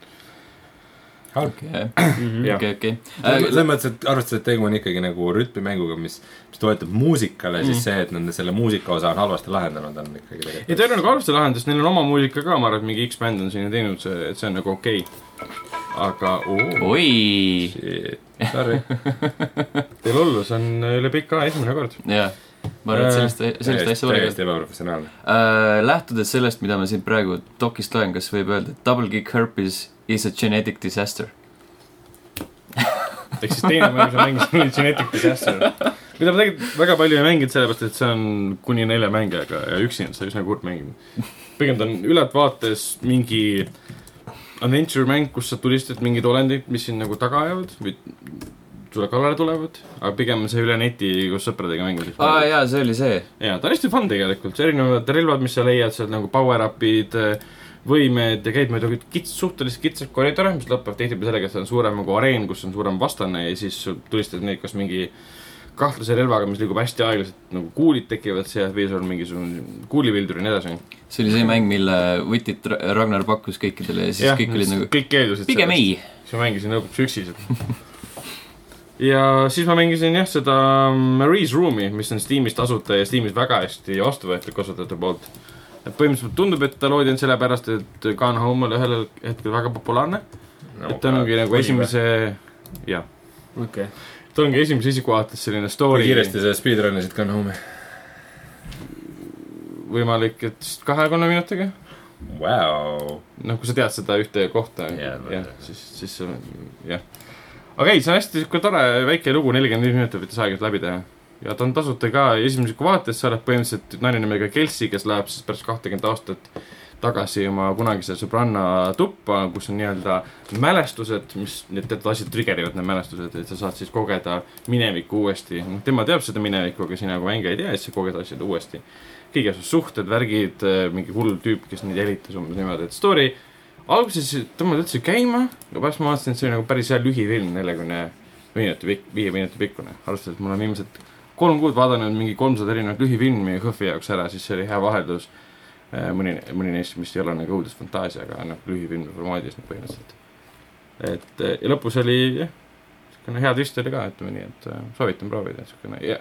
[SPEAKER 1] okei ,
[SPEAKER 4] jah ,
[SPEAKER 1] Mhm, okei .
[SPEAKER 4] Äh,
[SPEAKER 1] Äh,
[SPEAKER 3] selles mõttes , et arvestades , et tegu on ikkagi nagu rütmimänguga , mis , mis toetub muusikale , siis see , et nad selle muusika osa on halvasti lahendanud , on ikkagi
[SPEAKER 4] Mm. ei ta
[SPEAKER 3] tegelikult
[SPEAKER 4] ei ole nagu halvasti lahendus , neil on oma muusika ka , ma arvan , et mingi X-bänd on sinna teinud , see , et see on nagu okei okay. . aga oo,
[SPEAKER 1] oi ,
[SPEAKER 3] Sorry.
[SPEAKER 4] teil hullus on äh, üle pika aja esimene kord .
[SPEAKER 1] jah , ma arvan , et sellist , sellist
[SPEAKER 3] täiesti
[SPEAKER 1] asja pole
[SPEAKER 3] täiesti ebaprofessionaalne .
[SPEAKER 1] Äh, lähtudes sellest , mida ma siin praegu dokist loen , kas võib öelda , et double kick herpes is a genetic disaster ?
[SPEAKER 4] ehk siis teine mäng , sa mängisid nüüd Genetic Disaster , mida ma tegelikult väga palju ei mänginud , sellepärast et see on kuni nelja mängijaga ja üksi on see üsna kurb mängimine . pigem ta on ülaltvaates mingi adventure mäng , kus sa tulistad mingeid olendeid , mis sind nagu taga ajavad või sulle kallale tulevad , aga pigem see üle neti koos sõpradega mängida .
[SPEAKER 1] aa jaa , see oli see .
[SPEAKER 4] jaa , ta on hästi fun tegelikult , erinevad relvad , mis sa leiad sealt nagu power-up'id , võimed ja käid mööda kits- , suhteliselt kitsaid koridore , mis lõpeb tihtipeale sellega , et seal on suurem nagu areen , kus on suurem vastane ja siis sul tulistad neid kas mingi kahtlase relvaga , mis liigub hästi aeglaselt , nagu kuulid tekivad sealt või sul on mingisugune kuulivildur ja nii edasi .
[SPEAKER 1] see oli see mäng , mille Whitit Ra- Ragnar pakkus kõikidele ja siis kõik olid nagu
[SPEAKER 4] kõik keeldusid
[SPEAKER 1] pigem ei .
[SPEAKER 4] siis ma mängisin lõpuks üksi seda . ja siis ma mängisin jah , seda mm, Marie's Room'i , mis on Steamis tasuta ja Steamis väga hästi vastu võetud kasutajate poolt . et põhimõtteliselt tundub , et ta loodi ainult sellepärast , et Gone Home oli ühel hetkel väga populaarne . et ta ongi nagu . esimese , jah ,
[SPEAKER 2] okei .
[SPEAKER 4] ta ongi esimese isiku vaates selline
[SPEAKER 3] kui
[SPEAKER 4] story .
[SPEAKER 3] kiiresti sa speedrun isid Gone Home'i ?
[SPEAKER 4] võimalik , et kahe-kolme minutiga .
[SPEAKER 3] Vau .
[SPEAKER 4] noh , kui sa tead seda ühte kohta
[SPEAKER 3] Jaa,
[SPEAKER 4] yeah, ,
[SPEAKER 3] ma-
[SPEAKER 4] jah , siis , siis see on- jah . aga ei , see on hästi sihuke tore väike lugu , nelikümmend viis minutit võttis aega et läbi teha . ja ta on tasuta ka ja esimese kui vaates , sa oled põhimõtteliselt naine nimega Kelsi , kes läheb siis pärast kahtekümmet aastat tagasi oma kunagise sõbranna tuppa , kus on nii-öelda mälestused , mis need teatud asjad trigger ivad , need mälestused , et sa saad siis kogeda minevikku uuesti . noh , tema teab seda minevikku , aga sina kui mängija ei tea , siis sa koged asjad uuesti . kõige su suhted , värgid , mingi hull tüüp , kes neid jälitas umbes niimoodi , et story alguses tõmbad üldse käima , aga pärast ma vaatasin , et see oli nagu päris hea lühifilm , neljakümne minuti pikk , viie minuti pikkune . arvestades , et ma olen viimased kolm kuud vaadanud mingi kolmsada erinevat lühifilmi HÖFFi jaoks ära , siis see oli hea vaheldus . mõni , mõni neist , mis ei ole nagu õudusfantaasia , aga noh , lühifilmi formaadis nagu põhimõtteliselt . et eh, ja lõpus oli jah , niisugune hea twist oli ka , ütleme nii , et eh, soovitan proovida , niisugune ja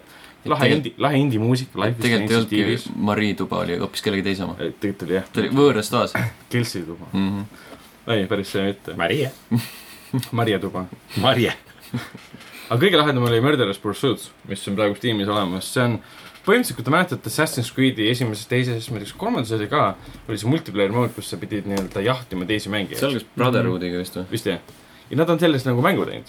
[SPEAKER 4] lahe
[SPEAKER 1] Tegel-
[SPEAKER 4] indie , lahe indie muusika .
[SPEAKER 1] tegelikult ei olnudki Marii tuba , oli hoopis kellegi teise oma .
[SPEAKER 4] tegelikult oli jah ,
[SPEAKER 1] ta oli võõras toas
[SPEAKER 4] Kelsi tuba ,
[SPEAKER 1] mm . -hmm.
[SPEAKER 4] ei päris see mitte ,
[SPEAKER 3] Marie .
[SPEAKER 4] Marje tuba .
[SPEAKER 3] Marie .
[SPEAKER 4] aga kõige lahedam oli Murderous Pursuits , mis on praegu Steamis olemas , see on põhimõtteliselt , kui te mäletate Assassin's Creed'i esimeses , teises , ma ei tea , kas kolmandas oli ka , oli see multiplayer mode , kus sa pidid nii-öelda jahtima teisi
[SPEAKER 1] see
[SPEAKER 4] mängijaid .
[SPEAKER 1] algas Brotherhoodiga vist või ?
[SPEAKER 4] vist jah . ja nad on sellest nagu mängu teinud .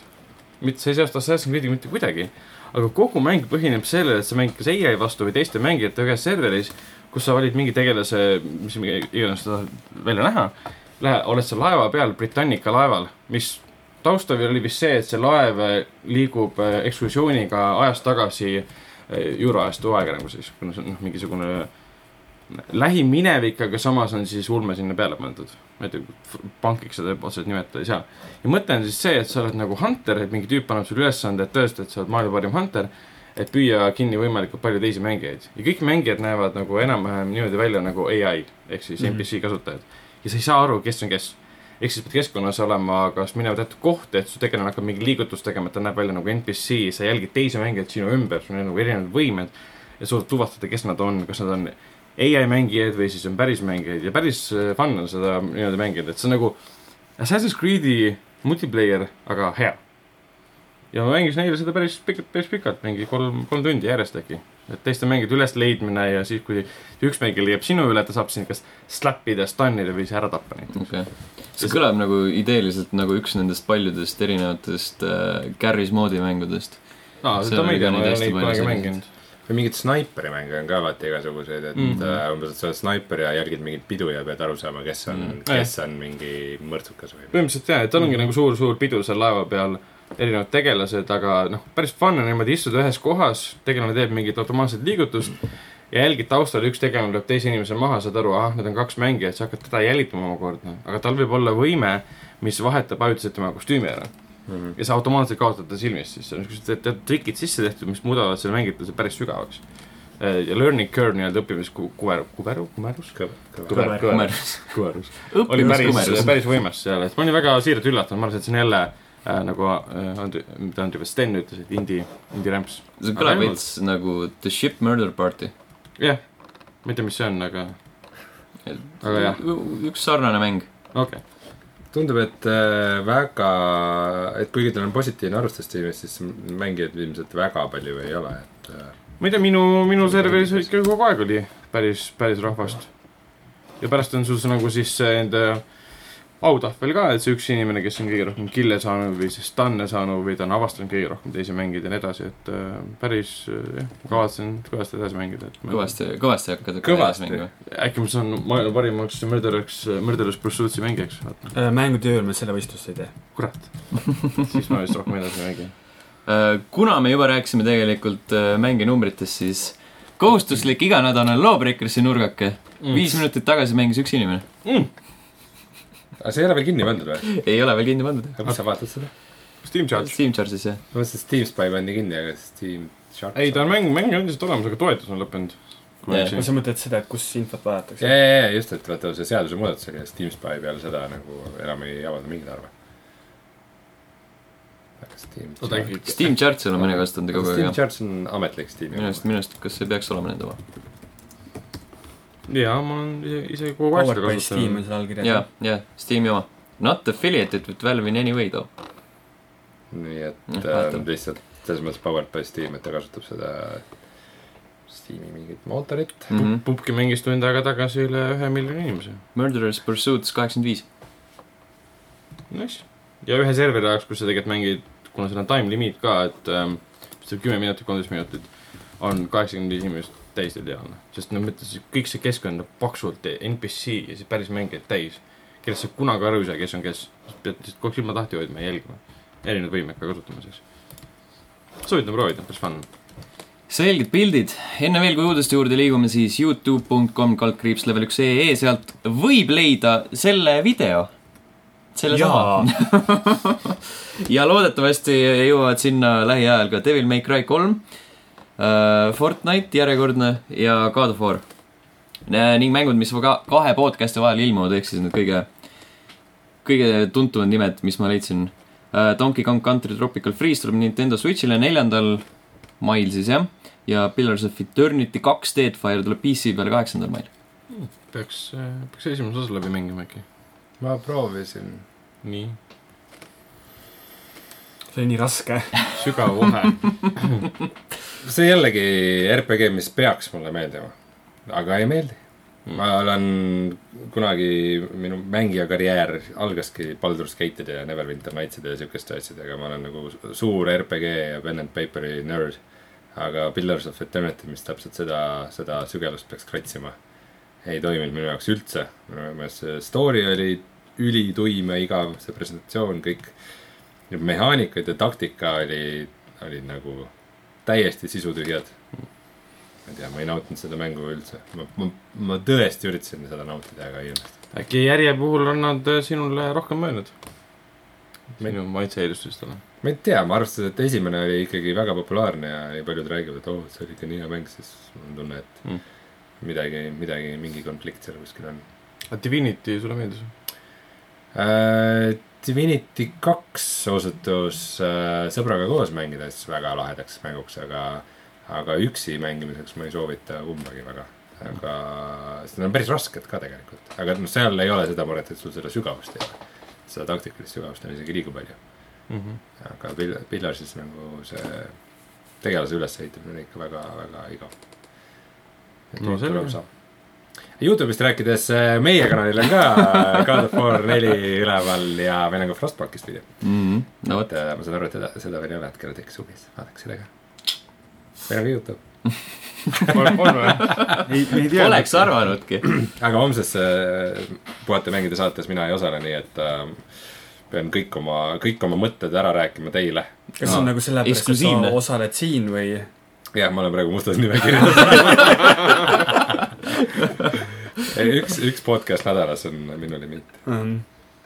[SPEAKER 4] mitte , see ei seosta Assassin's Creed'iga mitte kuidagi . aga kogu mäng põhineb sellele , et sa mängid kas ai vastu või teiste mängijate ühes serveris , kus sa valid mingi tegelase , mis iganes sa tahad välja näha . Lähe , oled sa laeva peal , Britannica laeval , mis taustav oli vist see , et see laev eh, liigub eh, ekskursiooniga ajas tagasi eh, euroajastu aega nagu siis , kuna see on noh , mingisugune lähiminevik , aga samas on siis ulme sinna peale pandud . ma ei tea , pankiks seda otseselt nimetada ei saa . ja mõte on siis see , et sa oled nagu hunter , et mingi tüüp annab sulle ülesande , et tõesta , et sa oled maailma parim hunter , et püüa kinni võimalikult palju teisi mängijaid . ja kõik mängijad näevad nagu enam-vähem niimoodi välja nagu ai ehk siis
[SPEAKER 2] Mhm.
[SPEAKER 4] NPC kasutajad . ja sa ei saa aru , kes on kes . ehk siis pead keskkonnas olema , kas minema teatud kohta , et su tegelane hakkab mingi liigutust tegema , et ta näeb välja nagu NPC , sa jälgid teisi mängijaid sinu ümber , sul on nagu erinevad võimed ja suudad tuvastada , kes nad on , kas nad on ai mängijaid või siis on päris mängijaid ja päris äh, fun on seda nii-öelda mängida , et see on nagu Assassin's Creed'i multiplayer , aga hea . ja ma mängisin eile seda päris pikalt , päris pikalt , mingi kolm , kolm tundi järjest äkki . et teiste mängijate ülesleidmine ja siis , kui üks mängija leiab sinu üle , ta saab sind kas slap ida , stunnida või siis ära tappa neid .
[SPEAKER 1] okei okay. . see kõlab nagu ideeliselt nagu üks nendest paljudest erinevatest äh, carries moodi mängudest .
[SPEAKER 4] aa ,
[SPEAKER 1] Seal
[SPEAKER 4] seda ma ei
[SPEAKER 1] oli ka
[SPEAKER 4] tea ,
[SPEAKER 1] neid
[SPEAKER 4] ma ei ole
[SPEAKER 1] hästi
[SPEAKER 4] neid
[SPEAKER 1] palju
[SPEAKER 4] kunagi
[SPEAKER 1] selliseid.
[SPEAKER 4] mänginud .
[SPEAKER 3] või mingeid snaiperimänge on ka alati igasuguseid , et mm
[SPEAKER 1] Mhm.
[SPEAKER 3] -hmm. umbes , et sa oled snaiper ja jälgid mingit pidu ja pead aru saama , kes on mm ,
[SPEAKER 1] Mhm.
[SPEAKER 3] -hmm. kes on mingi mõrtsukas või .
[SPEAKER 4] põhimõtteliselt jaa , et tal ongi nagu suur-suur pidu seal laeva peal , erinevad tegelased , aga noh , päris fun on niimoodi istuda ühes kohas , tegelane teeb mingit automaatset liigutust ja jälgid taustal , üks tegelane lööb teise inimese maha , saad aru , ahah , need on kaks mängijat , sa hakkad teda jälitama omakorda , aga tal võib olla võime , mis vahetab ajutiselt tema kostüümi ära .
[SPEAKER 3] Mhm.
[SPEAKER 4] ja sa automaatselt kaotad ta silmist , siis on niisugused teatud teatud trikid sisse tehtud , mis muudavad selle mängituse päris sügavaks . ja learning curve nii-öelda õppimiskuver , kuveru , kumerus ?
[SPEAKER 3] kõva .
[SPEAKER 4] kõver , kõver ,
[SPEAKER 1] kumerus .
[SPEAKER 4] kõverus . oli päris ,
[SPEAKER 1] õppimiskõmerus .
[SPEAKER 4] päris võimas seal , et ma olin väga siiralt üllatunud , ma arvasin , et see on jälle äh, nagu äh, Andri , mitte Andri , vaid Sten ütles , et indie , indie rämps .
[SPEAKER 1] see kõlab veits nagu The Ship Murder Party .
[SPEAKER 4] jah , ma ei tea , mis see on , aga Aga jah.
[SPEAKER 1] üks sarnane mäng .
[SPEAKER 4] okei okay. .
[SPEAKER 3] tundub , et äh, väga , et kuigi tal on positiivne arvustustiimis , siis mängijaid ilmselt väga palju ei ole , et äh,
[SPEAKER 4] ma ei tea , minu , minu serveris ikka kogu aeg oli päris , päris rahvast . ja pärast on sul see nagu siis see enda autahvel ka , et see üks inimene , kes on kõige rohkem kill'e saanud või siis stun'e saanud või ta on avastanud kõige rohkem teisi mängida ja nii edasi , et äh, päris äh, jah , kavatsen kõvasti edasi mängida , et ma-
[SPEAKER 1] kõvasti , kõvasti hakkad .
[SPEAKER 3] Kõvasti. .
[SPEAKER 4] äkki ma saan maailma parimaks murder'aks , murder'us pursuitsi mängijaks , vaata ,
[SPEAKER 2] Äh, mängutööl me selle võistlust ei tee .
[SPEAKER 4] kurat . noh, siis ma vist rohkem edasi ei mängi .
[SPEAKER 1] Äh, kuna me juba rääkisime tegelikult äh, mänginumbritest , siis kohustuslik iganädalane Lawbreakersi nurgake .
[SPEAKER 4] Mm.
[SPEAKER 2] Mm.
[SPEAKER 1] viis minutit tagasi mängis üks inimene .
[SPEAKER 3] aga see ei ole veel kinni pandud või ?
[SPEAKER 1] ei ole veel kinni pandud .
[SPEAKER 3] aga kus sa vaatad seda ?
[SPEAKER 4] Steam Charge .
[SPEAKER 1] Steam Charge'is jah .
[SPEAKER 3] ma mõtlesin , et Steam Spy pandi kinni , aga Steam Shark
[SPEAKER 4] ei , ta on mäng , mäng on endiselt olemas , aga toetus on lõppenud .
[SPEAKER 1] Jah.
[SPEAKER 2] no sa mõtled seda , kus infot vajatakse ?
[SPEAKER 3] ja , ja , ja just , et vaata see seadusemuudatus oli , et Steam Spy peale seda nagu enam ei avalda mingeid arve . aga Steam .
[SPEAKER 1] Steam Charge'il on mõni kasutanud kogu aeg
[SPEAKER 3] Steam
[SPEAKER 1] jah .
[SPEAKER 3] Charts on ametlik Steam .
[SPEAKER 1] minu arust , minu arust , kas see peaks olema nende oma ?
[SPEAKER 4] jaa , ma olen ise, ise kogu aeg seda
[SPEAKER 2] Powered by Steam on
[SPEAKER 4] kasutanud .
[SPEAKER 2] seal allkirjas .
[SPEAKER 1] jaa , jaa , Steam'i oma . Not affiliated with Valve in any way though .
[SPEAKER 3] nii et
[SPEAKER 1] Noh,
[SPEAKER 3] äh,
[SPEAKER 1] vaatame.
[SPEAKER 3] lihtsalt selles mõttes powered by Steam , et ta kasutab seda Steam'i mingit mootorit .
[SPEAKER 1] Mhm.
[SPEAKER 2] Mhm.
[SPEAKER 4] Pupki mängis tund aega tagasi üle ühe miljoni inimese .
[SPEAKER 1] Murderers Pursuits kaheksakümmend viis .
[SPEAKER 4] Nice . ja ühe serveri ajaks , kus sa tegelikult mängid , kuna seal on time limit ka , et ähm, vist kümme minutit , kolmteist minutit , on kaheksakümmend viis inimest täiesti ideaalne . sest no mõtle , kõik see keskkond on paksult NPC ja siis päris mängijaid täis , kellest sa kunagi aru ei saa , kes on kes . pead lihtsalt kogu aeg silma lahti hoidma ja jälgima . erinevaid võimeid ka kasutama siis . soovitan proovida , päris fun .
[SPEAKER 1] selged pildid , enne veel kui uudiste juurde liigume , siis Youtube.com kaldkriips level üks ee , sealt võib leida selle video . selle sama .
[SPEAKER 2] jaa ,
[SPEAKER 1] ja loodetavasti jõuavad sinna lähiajal ka Devil May Cry kolm , Fortnite järjekordne ja God of War . ning mängud , mis ka kahe podcast'i vahel ilmuvad , ehk siis need kõige , kõige tuntumad nimed , mis ma leidsin . Donkey Kong Country Tropical Freeze tuleb Nintendo Switch'ile neljandal mail siis jah , ja Pillars of Eternity kaks Deadfire tuleb PC peale kaheksandal mail .
[SPEAKER 4] peaks , peaks esimese osa läbi mängima äkki .
[SPEAKER 3] ma proovisin .
[SPEAKER 4] nii ,
[SPEAKER 2] see oli nii raske .
[SPEAKER 4] sügav vahe .
[SPEAKER 3] see jällegi RPG , mis peaks mulle meeldima , aga ei meeldi . ma olen kunagi , minu mängija karjäär algaski Baldur's Gate'ide ja Neverwinter Nights'ide ja siukeste asjadega , ma olen nagu suur RPG ja pen and paper'i nerd . aga Pillars of Eternity , mis täpselt seda , seda sügelust peaks kratsima , ei toiminud minu jaoks üldse . minu meelest see story oli ülituim ja igav , see presentatsioon , kõik need mehaanikad ja taktika oli , olid nagu täiesti sisutühjad . ma ei tea , ma ei nautinud seda mängu üldse , ma , ma , ma tõesti üritasin seda nautida , aga ei õnnestunud .
[SPEAKER 4] äkki järje puhul on nad äh, sinule rohkem mõelnud ?
[SPEAKER 3] Me-
[SPEAKER 4] minu maitse-eelistustele .
[SPEAKER 3] ma ei tea , ma arvestades , et esimene oli ikkagi väga populaarne ja nii paljud räägivad , et oo , see oli ikka nii hea mäng , siis mul on tunne , et
[SPEAKER 4] Mm.
[SPEAKER 3] mm. midagi , midagi , mingi konflikt seal kuskil on
[SPEAKER 4] aga Ah, Divinity sulle meeldis ?
[SPEAKER 3] äh, . Divinity kaks osutus äh, sõbraga koos mängides väga lahedaks mänguks , aga , aga üksi mängimiseks ma ei soovita kumbagi väga . aga seda on päris rasked ka tegelikult , aga noh , seal ei ole seda muret , et sul seda sügavust ei ole . seda taktikalist sügavust on isegi liiga palju ,
[SPEAKER 4] mm . -hmm.
[SPEAKER 3] aga Pill- , Pillarsis nagu see tegelase ülesehitamine on ikka väga , väga igav .
[SPEAKER 4] No selge. .
[SPEAKER 3] Youtube'ist rääkides , meie kanalil on ka äh, God of War neli üleval ja meil on ka Frostbankist video .
[SPEAKER 1] no vot ,
[SPEAKER 3] et äh, ma saan aru , et seda , seda veel ei ole , et kell tekkis uudis , vaadake seda ka . meil on ka Youtube ,
[SPEAKER 4] on või ?
[SPEAKER 5] ei , me ei tea .
[SPEAKER 1] Poleks arvanudki .
[SPEAKER 3] aga homses äh, puhata mängida saates mina ei osale , nii et äh, pean kõik oma , kõik oma mõtted ära rääkima teile .
[SPEAKER 2] kas see on nagu sellepärast , et
[SPEAKER 1] eksklusiivne.
[SPEAKER 2] sa osaled siin või ?
[SPEAKER 3] jah , ma olen praegu mustas nimekirjas . üks , üks podcast nädalas on minu limiit .
[SPEAKER 2] ähm,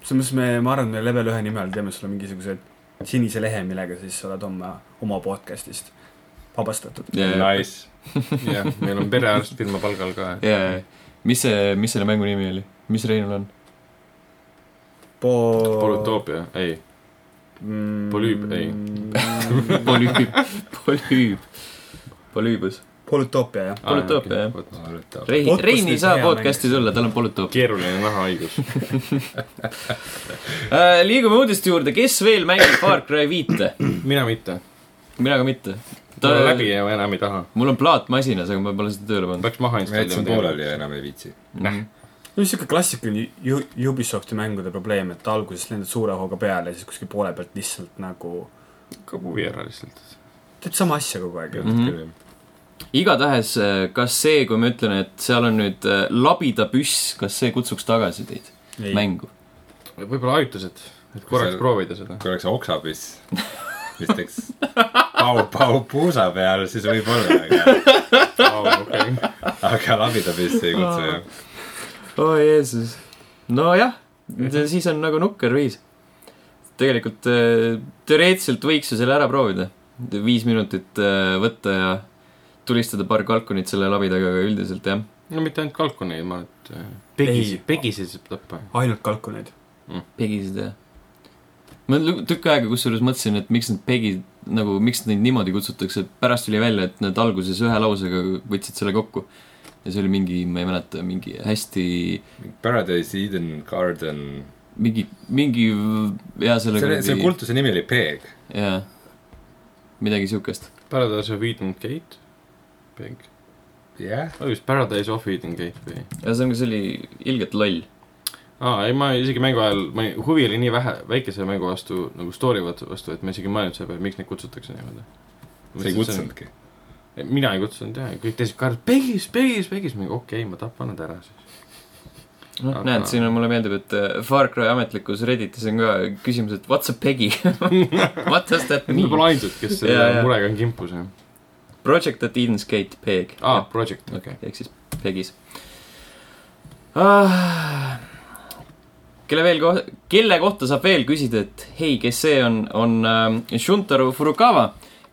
[SPEAKER 2] selles mõttes me , ma arvan , et me level ühe nime all teeme sulle mingisugused sinise lehe , millega siis sa oled oma , oma podcast'ist vabastatud .
[SPEAKER 3] Nice .
[SPEAKER 4] jah , meil on perearst firma palgal ka .
[SPEAKER 1] jaa , mis see , mis selle mängu nimi oli , mis Reinul on ?
[SPEAKER 2] Po- .
[SPEAKER 4] Polütoopia , ei ,
[SPEAKER 2] mm,
[SPEAKER 4] polüüb- ei. .
[SPEAKER 1] polüüb , polüüb , polüübus ,
[SPEAKER 2] Polütoopia , jah .
[SPEAKER 1] polütoopia jah . Rein ,
[SPEAKER 2] Podcast
[SPEAKER 1] Rein ei
[SPEAKER 2] nüüd
[SPEAKER 1] saa
[SPEAKER 2] hea
[SPEAKER 1] podcast'i tulla , tal on polütoopia .
[SPEAKER 4] keeruline nahahaigus .
[SPEAKER 1] Äh, liigume uudiste juurde , kes veel mängib Far Cry viite ?
[SPEAKER 4] mina mitte .
[SPEAKER 1] mina ka mitte .
[SPEAKER 4] ta on läbi ja ma enam ei taha .
[SPEAKER 1] mul on plaat masinas , aga ma pole seda tööle pannud .
[SPEAKER 4] peaks maha
[SPEAKER 3] ma jätsin pooleli ja . enam ei viitsi .
[SPEAKER 2] no siuke klassikaline Ju- Ubisofti mängude probleem , et alguses lendad suure hooga peale ja siis kuskil poole pealt lihtsalt nagu
[SPEAKER 4] ka puvi ära lihtsalt .
[SPEAKER 2] teed sama asja kogu aeg mm .
[SPEAKER 1] Mhm. igatahes , kas see , kui ma ütlen , et seal on nüüd äh, labidapüss , kas see kutsuks tagasi teid
[SPEAKER 2] Ei.
[SPEAKER 1] mängu ?
[SPEAKER 4] võib-olla ajutised , et korraks
[SPEAKER 3] See-
[SPEAKER 4] proovida seda .
[SPEAKER 3] kui oleks oksapiss , mis teeks pau , pau puusa peal , siis võib-olla , aga , aga labidapiss ei kutsu jah .
[SPEAKER 1] oo oh, Jeesus , nojah , siis on nagu nukker viis . tegelikult äh, teoreetiliselt võiks ju selle ära proovida , viis minutit äh, võtta ja tulistada paar kalkunit selle labidaga , aga üldiselt jah .
[SPEAKER 4] no mitte ainult kalkuneid , ma arvan , et
[SPEAKER 2] Ei.
[SPEAKER 4] pegisid , pegisid saab tappa .
[SPEAKER 2] ainult kalkuneid .
[SPEAKER 1] pegisid jah . ma lü- tükk aega kusjuures mõtlesin , et miks need pegid nagu , miks neid niimoodi kutsutakse , pärast tuli välja , et nad alguses ühe lausega võtsid selle kokku . ja see oli mingi , ma ei mäleta , mingi hästi ,
[SPEAKER 3] Paradise Eden Garden .
[SPEAKER 1] mingi , mingi jah , sellega
[SPEAKER 3] selle , selle
[SPEAKER 1] oli-
[SPEAKER 3] kultuse nimi oli Peeg .
[SPEAKER 1] jaa , midagi siukest .
[SPEAKER 4] Paradise of Eden Gate , peg ,
[SPEAKER 3] jah .
[SPEAKER 4] oli vist Paradise of Eden Gate või ?
[SPEAKER 1] ühesõnaga , see oli ilgelt loll .
[SPEAKER 4] aa , ei ma isegi mängu ajal , ma ei , huvi oli nii vähe , väikese mängu vastu nagu story vastu , vastu , et ma isegi ei mõelnud selle peale , miks neid kutsutakse niimoodi .
[SPEAKER 3] sa ei . kutsunudki .
[SPEAKER 4] mina ei kutsunud jah , kõik teised ka , pegis , pegis , pegis , mingi okei okay, , ma tapan nad ära siis .
[SPEAKER 1] noh ,
[SPEAKER 4] Aga-
[SPEAKER 1] näed , siin on , mulle meeldib , et äh, Far Cry ametlikus Redditis on ka küsimus , et what's a pegi ? What does that
[SPEAKER 4] Need
[SPEAKER 1] mean ?
[SPEAKER 4] pole ainsad , kes selle
[SPEAKER 1] Jaa, jaa.
[SPEAKER 4] murega on kimpus jah .
[SPEAKER 1] Project at Eden's Gate , peg .
[SPEAKER 4] aa , Project , okei okay. .
[SPEAKER 1] ehk siis Pegis ah, . kelle veel ko- , kelle kohta saab veel küsida , et hei , kes see on , on äh, Shuntaru Furukawa ,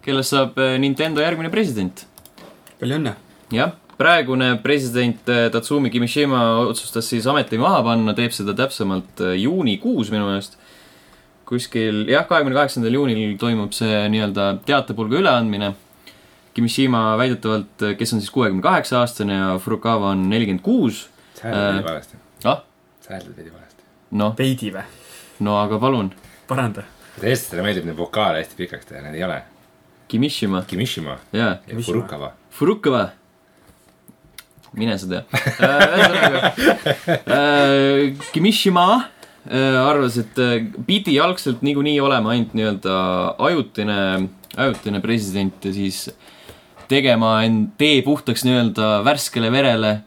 [SPEAKER 1] kellest saab äh, Nintendo järgmine president .
[SPEAKER 2] palju õnne .
[SPEAKER 1] jah , praegune president äh, Tatsumi Kimishima otsustas siis ameti maha panna , teeb seda täpsemalt äh, juunikuus minu meelest . kuskil jah , kahekümne kaheksandal juunil toimub see nii-öelda teatepulga üleandmine . Kimishima väidetavalt , kes on siis kuuekümne kaheksa aastane ja Furukawa on nelikümmend kuus .
[SPEAKER 3] sa hääled
[SPEAKER 1] Äh.
[SPEAKER 3] veidi valesti .
[SPEAKER 1] ah ,
[SPEAKER 3] sa hääled veidi valesti .
[SPEAKER 1] noh ,
[SPEAKER 2] veidi või ?
[SPEAKER 1] no aga palun ,
[SPEAKER 2] paranda .
[SPEAKER 3] eestlastele meeldib neid vokaale hästi pikaks teha , neid ei ole .
[SPEAKER 1] Kimishima ,
[SPEAKER 3] Kimishima
[SPEAKER 1] jaa ,
[SPEAKER 3] ja
[SPEAKER 2] Kimishima.
[SPEAKER 3] Furukava .
[SPEAKER 1] Furukawa . mine sa tea . ühesõnaga , Kimishima äh, arvas , et äh, pidi algselt niikuinii olema ainult nii-öelda ajutine , ajutine president ja siis tegema end tee puhtaks nii-öelda värskele verele ,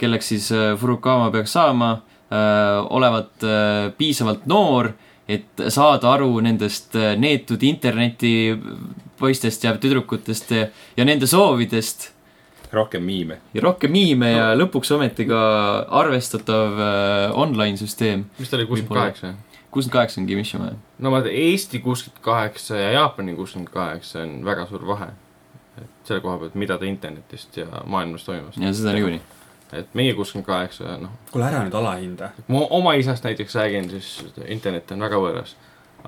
[SPEAKER 1] kelleks siis äh, Furukawa peaks saama , olevat äh, piisavalt noor , et saada aru nendest äh, neetud internetipoistest ja tüdrukutest ja ja nende soovidest
[SPEAKER 3] rohkem miime .
[SPEAKER 1] ja rohkem miime ja lõpuks ometi ka arvestatav äh, online süsteem .
[SPEAKER 4] mis ta oli , kuuskümmend
[SPEAKER 1] Võib-olla.
[SPEAKER 4] kaheksa ?
[SPEAKER 1] kuuskümmend kaheksa on Kimishimaja .
[SPEAKER 4] no vaata , Eesti kuuskümmend kaheksa ja Jaapani kuuskümmend kaheksa on väga suur vahe . et selle koha pealt , mida ta internetist ja maailmas toimus .
[SPEAKER 1] ja seda niikuinii .
[SPEAKER 4] et meie kuuskümmend kaheksa , noh ,
[SPEAKER 2] kuule , ära nüüd alahinda .
[SPEAKER 4] ma oma isast näiteks räägin , siis internet on väga võõras .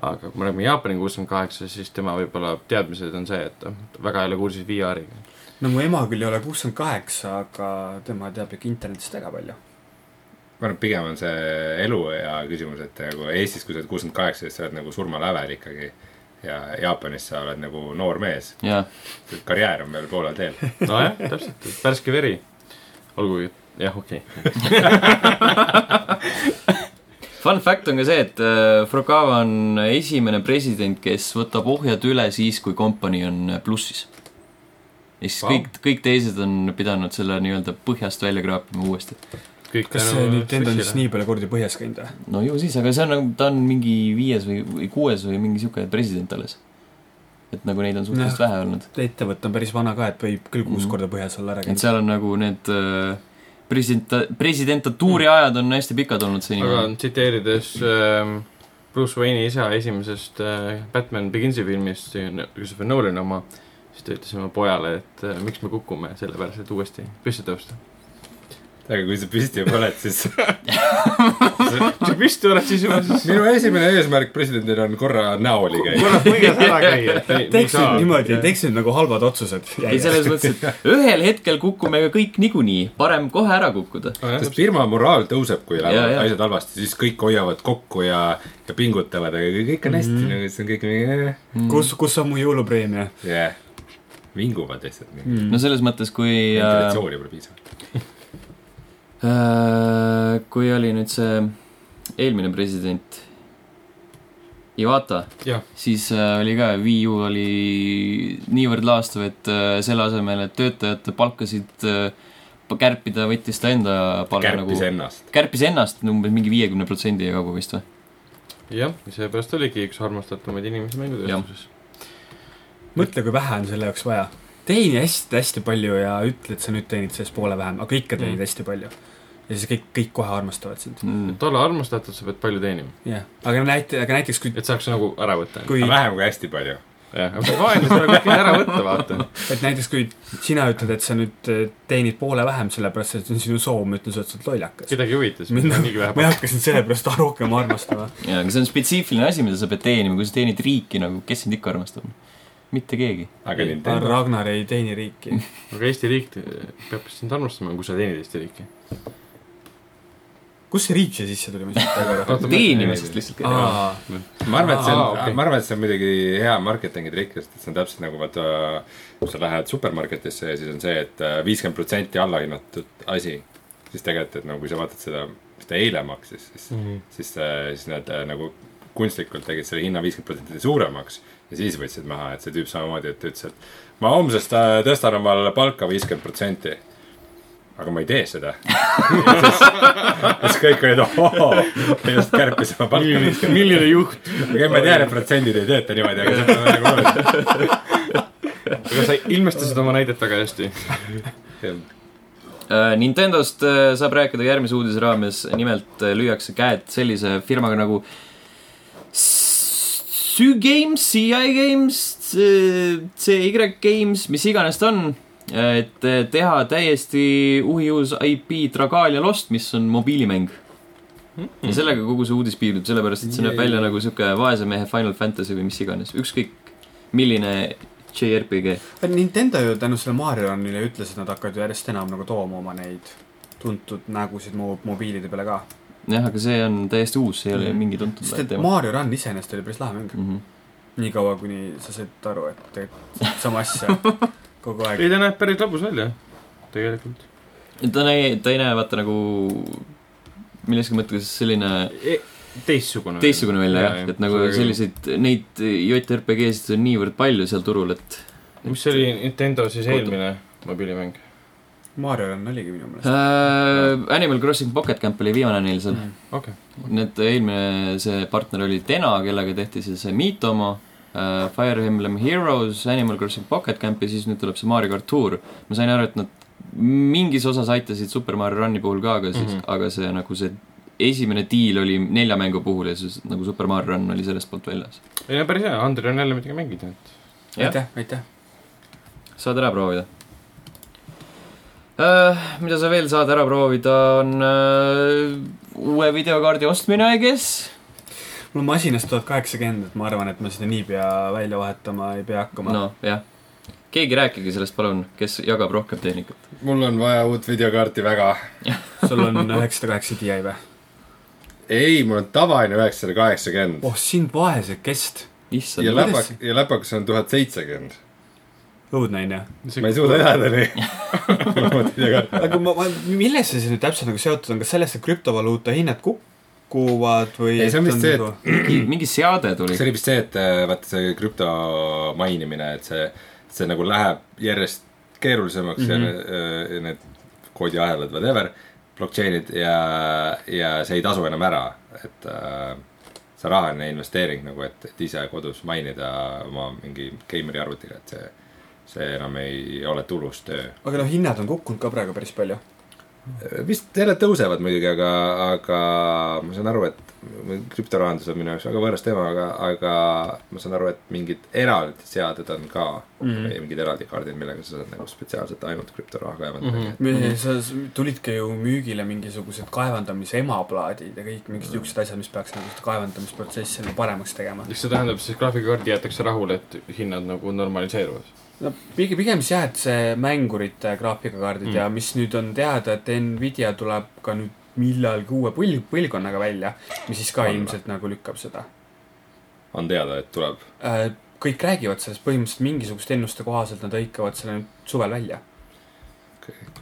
[SPEAKER 4] aga kui me räägime Jaapani kuuskümmend kaheksa , siis tema võib-olla teadmised on see , et noh, ta väga ei ole kursis VR-iga .
[SPEAKER 2] no mu ema küll ei ole kuuskümmend kaheksa , aga tema teab ikka internetist väga palju .
[SPEAKER 3] ma arvan , et pigem on see eluea küsimus , et nagu Eestis , kui sa oled kuuskümmend kaheksa , siis sa oled nagu surmalävel ikkagi . ja Jaapanis sa oled nagu noor mees .
[SPEAKER 1] jaa ,
[SPEAKER 3] karjäär on veel poolel teel .
[SPEAKER 4] nojah , täpselt , värske veri . olgugi , jah , okei okay. .
[SPEAKER 1] fun fact on ka see , et äh, Furukawa on esimene president , kes võtab ohjad üle siis , kui kompanii on plussis . ja siis
[SPEAKER 4] Vau.
[SPEAKER 1] kõik , kõik teised on pidanud selle nii-öelda põhjast välja kraapima uuesti .
[SPEAKER 4] kõik
[SPEAKER 2] kas see Nintendo on siis nii palju kordi põhjas käinud või ?
[SPEAKER 1] no ju siis , aga see on nagu , ta on mingi viies või , või kuues või mingi sihuke president alles . et nagu neid on suhteliselt vähe olnud .
[SPEAKER 2] ettevõte on päris vana ka , et võib küll kuus
[SPEAKER 1] Mhm.
[SPEAKER 2] korda põhjas olla ära
[SPEAKER 1] et
[SPEAKER 2] käinud .
[SPEAKER 1] seal on nagu need äh, president , presidentatuuri ajad on hästi pikad olnud
[SPEAKER 4] aga
[SPEAKER 1] seni .
[SPEAKER 4] tsiteerides ähm, Bruce Wayne'i isa esimesest äh, Batman Beginsi filmist , Christopher Nolan'i oma , siis ta ütles oma pojale , et äh, miks me kukume , sellepärast et uuesti püsti tõusta .
[SPEAKER 3] aga kui sa püsti juba oled , siis
[SPEAKER 4] kui sa püsti oled , siis juba siis
[SPEAKER 3] minu esimene eesmärk presidendil on korra näoli käia .
[SPEAKER 4] korra põhjas ära käia , et ei , ei
[SPEAKER 2] teeks
[SPEAKER 4] saa
[SPEAKER 2] nüüd . niimoodi , teeks nüüd nagu halvad otsused .
[SPEAKER 1] ei , selles mõttes , et ühel hetkel kukume ka kõik niikuinii , parem kohe ära kukkuda .
[SPEAKER 3] sest firma moraal tõuseb , kui
[SPEAKER 1] Jaa,
[SPEAKER 3] lähevad
[SPEAKER 1] jaa.
[SPEAKER 3] asjad halvasti , siis kõik hoiavad kokku ja , ja pingutavad , aga kõik on hästi , nagu see on kõik mingi ,
[SPEAKER 2] kus , kus on mu jõulupreemia ?
[SPEAKER 3] jah . vinguvad lihtsalt nii .
[SPEAKER 1] no selles mõttes , kui äh,
[SPEAKER 3] ventilatsiooni pole piisavalt .
[SPEAKER 1] äh, kui oli nüüd see eelmine president Iwata ,
[SPEAKER 4] jah ,
[SPEAKER 1] siis äh, oli ka , Wii U oli niivõrd laastav , et äh, selle asemel , et töötajate palkasid äh, kärpida , võttis ta enda palga
[SPEAKER 3] kärpis
[SPEAKER 1] nagu ,
[SPEAKER 3] ennast .
[SPEAKER 1] kärpis ennast umbes mingi viiekümne protsendi kaugu vist või ?
[SPEAKER 4] jah , seepärast oligi üks armastatumaid inimesi mängutööstuses .
[SPEAKER 2] mõtle , kui vähe on selle jaoks vaja . teeni hästi-hästi palju ja ütle , et sa nüüd teenid sellest poole vähem , aga ikka teenid
[SPEAKER 4] Mm.
[SPEAKER 2] mm. hästi palju . ja siis kõik , kõik kohe armastavad sind .
[SPEAKER 1] Mm.
[SPEAKER 4] et olla armastatud , sa pead palju teenima ,
[SPEAKER 2] jah , aga näite , aga näiteks kui ,
[SPEAKER 4] et saaks nagu ära võtta .
[SPEAKER 2] kui ,
[SPEAKER 3] vähem kui hästi palju .
[SPEAKER 4] jah , aga vaene seda kuskilt ära võtta , vaata .
[SPEAKER 2] et näiteks kui sina ütled , et sa nüüd eh, teenid poole vähem , sellepärast et see on sinu soov , ma ütlen , sa oled lollakas .
[SPEAKER 4] kedagi huvitas ,
[SPEAKER 2] Mind-
[SPEAKER 4] niigi
[SPEAKER 2] ma
[SPEAKER 4] vähe
[SPEAKER 2] ei . hakka sind sellepärast rohkem armastama .
[SPEAKER 1] jaa , aga see on spetsiifiline asi , mida sa pead teenima , kui sa teenid riiki nagu , kes sind ikka armastab ? mitte keegi .
[SPEAKER 3] aga Nintendo ,
[SPEAKER 2] Ragnar ei teeni riiki .
[SPEAKER 4] aga Eesti riik te- peab sind armastama , kui sa teenid Eesti riiki .
[SPEAKER 2] kust see riik siia sisse tuli , ma ei saa aru .
[SPEAKER 1] teenimisest lihtsalt .
[SPEAKER 2] aa ,
[SPEAKER 3] ma arvan , et see
[SPEAKER 4] Aa, okei.
[SPEAKER 3] on , ma arvan , et see on muidugi hea marketingi trikk , sest et see on täpselt nagu vaata , kui sa lähed supermarketisse ja siis on see et , et viiskümmend protsenti allahinnatud asi . siis tegelikult , et no kui sa vaatad seda , mis ta eile maksis , siis mm ,
[SPEAKER 4] Mhm.
[SPEAKER 3] -hmm. siis , siis nad äh, nagu kunstlikult tegid selle hinna viiskümmend protsenti suuremaks ja siis võtsid maha , et see tüüp samamoodi , et ütles , et ma homsest äh, tõstan omal palka viiskümmend protsenti aga ma ei tee seda . siis kõik olid , ohoo , just kärpis oma palka viiskümmend .
[SPEAKER 4] milline juht ?
[SPEAKER 3] okei , ma tean , et protsendid ei tööta niimoodi , aga see pole nagu oluline .
[SPEAKER 4] aga sa ilmestasid oma näidet väga hästi .
[SPEAKER 1] Äh, Nintendost äh, saab rääkida järgmise uudise raames , nimelt äh, lüüakse käed sellise firmaga nagu S- Sügames , CI Games , CY Games , mis iganes ta on , et äh, teha täiesti uhiuus IP Dragalia Lost , mis on mobiilimäng .
[SPEAKER 2] Hmm.
[SPEAKER 1] ja sellega kogu see uudis piirdub , sellepärast et see näeb
[SPEAKER 3] Yay.
[SPEAKER 1] välja nagu sihuke vaese mehe Final Fantasy või mis iganes , ükskõik milline JRPG .
[SPEAKER 2] Nintendo ju tänu selle Mario Runile ütles , et nad hakkavad ju järjest enam nagu tooma oma neid tuntud nägusid mu mobiilide peale ka .
[SPEAKER 1] jah , aga see on täiesti uus , see ei ole
[SPEAKER 2] Mhm.
[SPEAKER 1] mingi tuntud
[SPEAKER 2] sest et Mario Run iseenesest oli päris lahe mäng .
[SPEAKER 1] Mhm.
[SPEAKER 2] niikaua , kuni sa said aru , et teed sama asja kogu aeg .
[SPEAKER 4] ei , ta näeb päris lõbus välja , tegelikult .
[SPEAKER 1] ta näi- , ta ei näe vaata nagu milleski mõttes selline
[SPEAKER 4] E, teistsugune .
[SPEAKER 1] teistsugune välja jah , et nagu . selliseid , neid JRPG-sid on niivõrd palju seal turul , et
[SPEAKER 4] mis oli Nintendo siis
[SPEAKER 1] Kuulda.
[SPEAKER 4] eelmine mobiilimäng ?
[SPEAKER 2] Mario Run oligi minu meelest . Mm.
[SPEAKER 1] äh, Animal Crossing Pocket Camp oli viimane neil seal .
[SPEAKER 4] okei .
[SPEAKER 1] Need eelmine , see partner oli Tena , kellega tehti siis see Meet Omo äh, , Fire Emblem Heroes , Animal Crossing Pocket Camp ja siis nüüd tuleb see Mario kart Tour . ma sain aru , et nad mingis osas aitasid Super Mario Run'i puhul ka , aga siis mm ,
[SPEAKER 4] Mhm.
[SPEAKER 1] -hmm. aga see nagu see esimene diil oli nelja mängu puhul ja siis nagu Super Mario Run oli sellest poolt väljas .
[SPEAKER 4] ei no päris hea , Andrei on jälle midagi mängida , et .
[SPEAKER 1] jah.
[SPEAKER 2] aitäh , aitäh .
[SPEAKER 1] saad ära proovida äh, . mida sa veel saad ära proovida , on äh, uue videokaardi ostmine , I guess .
[SPEAKER 2] mul on masinas tuhat kaheksakümmend , et ma arvan , et ma seda niipea välja vahetama ei pea hakkama
[SPEAKER 1] no jah , keegi rääkige sellest , palun , kes jagab rohkem tehnikat .
[SPEAKER 3] mul on vaja uut videokaarti väga .
[SPEAKER 2] sul on üheksasada kaheksa DI või ?
[SPEAKER 3] ei , mul on tavaline üheksasada kaheksakümmend
[SPEAKER 2] oh , sind vaesekest ,
[SPEAKER 1] issand
[SPEAKER 3] ja
[SPEAKER 1] yeah. ,
[SPEAKER 2] kuidas-
[SPEAKER 3] läpak , ja läpakas on tuhat seitsekümmend .
[SPEAKER 2] õudnaine .
[SPEAKER 3] ma ei suuda elada nii uut videokaarti .
[SPEAKER 2] aga ma, ma , millest see siis nüüd täpselt nagu seotud on , kas sellest , et krüptovaluuta hinnad kukuvad või ? nagu-
[SPEAKER 3] Ei, see on vist see, et-
[SPEAKER 1] mingi , mingi seade tuli
[SPEAKER 3] see . oli vist see , et äh, vaata see krüpto mainimine , et see , see nagu läheb järjest keerulisemaks mm
[SPEAKER 2] Mhm.
[SPEAKER 3] -hmm. ja need koodiahelad , whatever , blockchain'id ja , ja see ei tasu enam ära , et äh, see rahaline investeering nagu , et , et ise kodus mainida oma mingi gamer'i arvutiga , et see , see enam ei ole tulus töö .
[SPEAKER 2] aga noh , hinnad on kukkunud ka praegu päris palju .
[SPEAKER 3] vist jälle tõusevad muidugi , aga , aga ma saan aru , et krüptorahandus on minu jaoks väga võõras teema , aga , aga ma saan aru , et mingid eraldi seaded on ka mm. , mingid eraldi kaardid , millega sa saad nagu spetsiaalselt ainult krüptoraha kaevandada mm . -hmm.
[SPEAKER 2] me , sa , tulid ka ju müügile mingisugused kaevandamise emaplaadid ja kõik
[SPEAKER 3] Mhm.
[SPEAKER 2] mingid niisugused asjad , mis peaks nagu seda kaevandamisprotsessi nagu paremaks tegema .
[SPEAKER 4] kas see tähendab siis graafikakaardi jäetakse rahule , et hinnad nagu normaliseeruvad ?
[SPEAKER 2] no pigem , pigem siis jah , et see mängurite graafikakaardid mm. ja
[SPEAKER 3] Mhm.
[SPEAKER 2] mis nüüd on teada , et Nvidia tuleb ka nüüd millalgi uue põl- , põlvkonnaga välja , mis siis ka
[SPEAKER 3] Alla.
[SPEAKER 2] Alla. ilmselt nagu lükkab seda .
[SPEAKER 3] on teada , et tuleb .
[SPEAKER 2] Äh, kõik räägivad sellest , põhimõtteliselt mingisuguste ennuste kohaselt nad hõikavad selle nüüd suvel välja .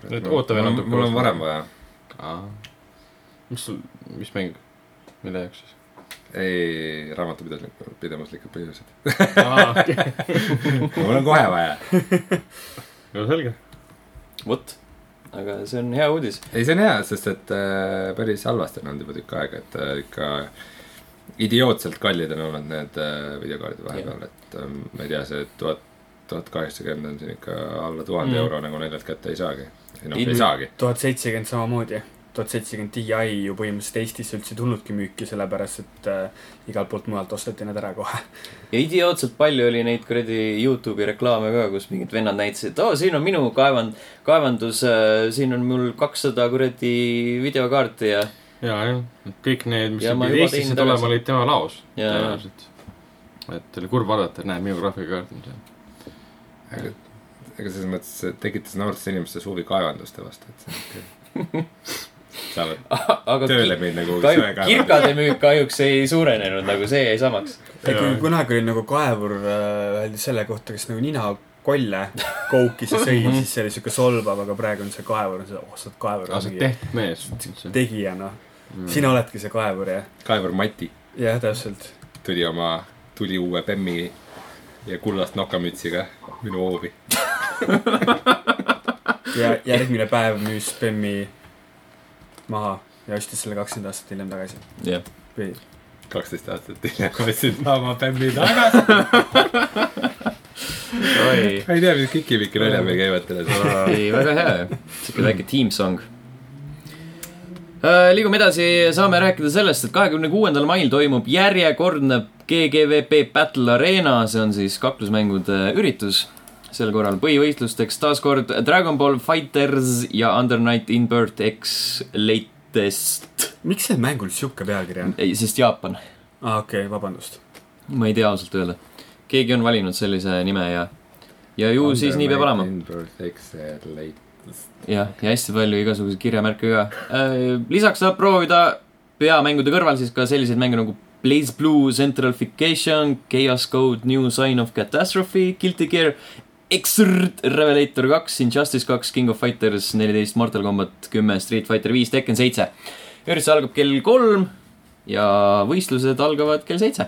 [SPEAKER 4] Nüüd ootame natuke
[SPEAKER 3] mul on
[SPEAKER 4] vastu.
[SPEAKER 3] varem vaja .
[SPEAKER 4] mis sul , mis mäng , mille jaoks siis ?
[SPEAKER 3] ei , raamatupidamislikud , pidamislikud põhjused .
[SPEAKER 4] no
[SPEAKER 3] mul on kohe vaja .
[SPEAKER 4] selge .
[SPEAKER 1] vot , aga see on hea uudis .
[SPEAKER 3] ei , see on hea , sest et äh, päris halvasti on olnud juba tükk aega , et äh, ikka idiootselt kallid on olnud need äh, videokaardid vahepeal , et äh, ma ei tea , see tuhat , tuhat kaheksakümmend on siin ikka alla tuhande
[SPEAKER 1] Mm.
[SPEAKER 3] mm. euro nagu naljalt kätte ei saagi . ei noh ,
[SPEAKER 1] Ilm-
[SPEAKER 3] ei saagi .
[SPEAKER 2] tuhat seitsekümmend samamoodi , tuhat seitsekümmend Ti ju põhimõtteliselt Eestisse üldse ei tulnudki müüki , sellepärast et äh, igalt poolt mujalt osteti nad ära kohe .
[SPEAKER 1] ja idiootselt palju oli neid kuradi Youtube'i reklaame ka , kus mingid vennad näitasid , et oo , siin on minu kaevand , kaevandus , siin on mul kakssada kuradi videokaarti ja ,
[SPEAKER 4] ja , jah , kõik need , mis
[SPEAKER 1] Ja ma
[SPEAKER 4] pidid
[SPEAKER 1] juba
[SPEAKER 4] Eestisse
[SPEAKER 1] tõin
[SPEAKER 4] tulema ,
[SPEAKER 1] tagasi.
[SPEAKER 4] olid tema laos
[SPEAKER 1] Jaa.
[SPEAKER 4] tõenäoliselt . et oli kurb vaadata , näe , minu graafikakaart on seal .
[SPEAKER 3] aga aga selles mõttes see tekitas noortes inimestes huvi kaevanduste vastu , et see on ikka . saavad
[SPEAKER 1] aga
[SPEAKER 3] tööle
[SPEAKER 1] ki-
[SPEAKER 3] minna kuhugi
[SPEAKER 1] kahju ,
[SPEAKER 3] söekaevandama .
[SPEAKER 1] kirgade müük kahjuks ei suurenenud , nagu see jäi samaks .
[SPEAKER 2] ei , kui
[SPEAKER 4] Jaa.
[SPEAKER 2] kunagi oli nagu kaevur , öeldi selle kohta , kes nagu ninakolle koukis ja sõi , siis see oli siuke solvav , aga praegu on see kaevur , oh sa oled kaevur
[SPEAKER 4] aa , sa oled . tehtud Mm. mees .
[SPEAKER 2] tegija noh , sina oledki see kaevur jah ,
[SPEAKER 3] kaevur Mati
[SPEAKER 2] jah täpselt .
[SPEAKER 3] tuli oma , tuli uue bemmi ja kullast nokamütsiga minu hoovi .
[SPEAKER 2] ja järgmine päev müüs Bemmi maha ja ostis selle kakskümmend aastat hiljem tagasi .
[SPEAKER 1] jah ,
[SPEAKER 2] või
[SPEAKER 3] kaksteist aastat hiljem võtsin ma oma bemmi tagasi .
[SPEAKER 1] oi ,
[SPEAKER 3] ma ei tea , mis kikipikki nalja meil käivad selles .
[SPEAKER 1] ei väga hea , siuke väike team song . liigume edasi , saame rääkida sellest , et kahekümne kuuendal mail toimub järjekordne GGVP Battle Arena , see on siis kaklusmängude üritus . sel korral põhivõistlusteks taas kord Dragon Ball Fighters ja Undernight in Birth X Latest ,
[SPEAKER 2] miks sellel mängul siuke pealkiri on ?
[SPEAKER 1] ei , sest Jaapan ,
[SPEAKER 2] aa , Ah, okei okay, , vabandust .
[SPEAKER 1] ma ei tea ausalt öelda . keegi on valinud sellise nime ja , ja ju siis nii peab olema . jah , ja hästi palju igasuguseid kirjamärke ka . lisaks saab proovida peamängude kõrval siis ka selliseid mänge nagu Blaze Blue , Centralification , Chaos Code , New Sign of Catastrophe , Guilty Gear , Exert , Revelator kaks , Injustice kaks , King of Fighters neliteist , Mortal Combat kümme , Street Fighter viis , Tekken seitse . üritus algab kell kolm ja võistlused algavad kell seitse .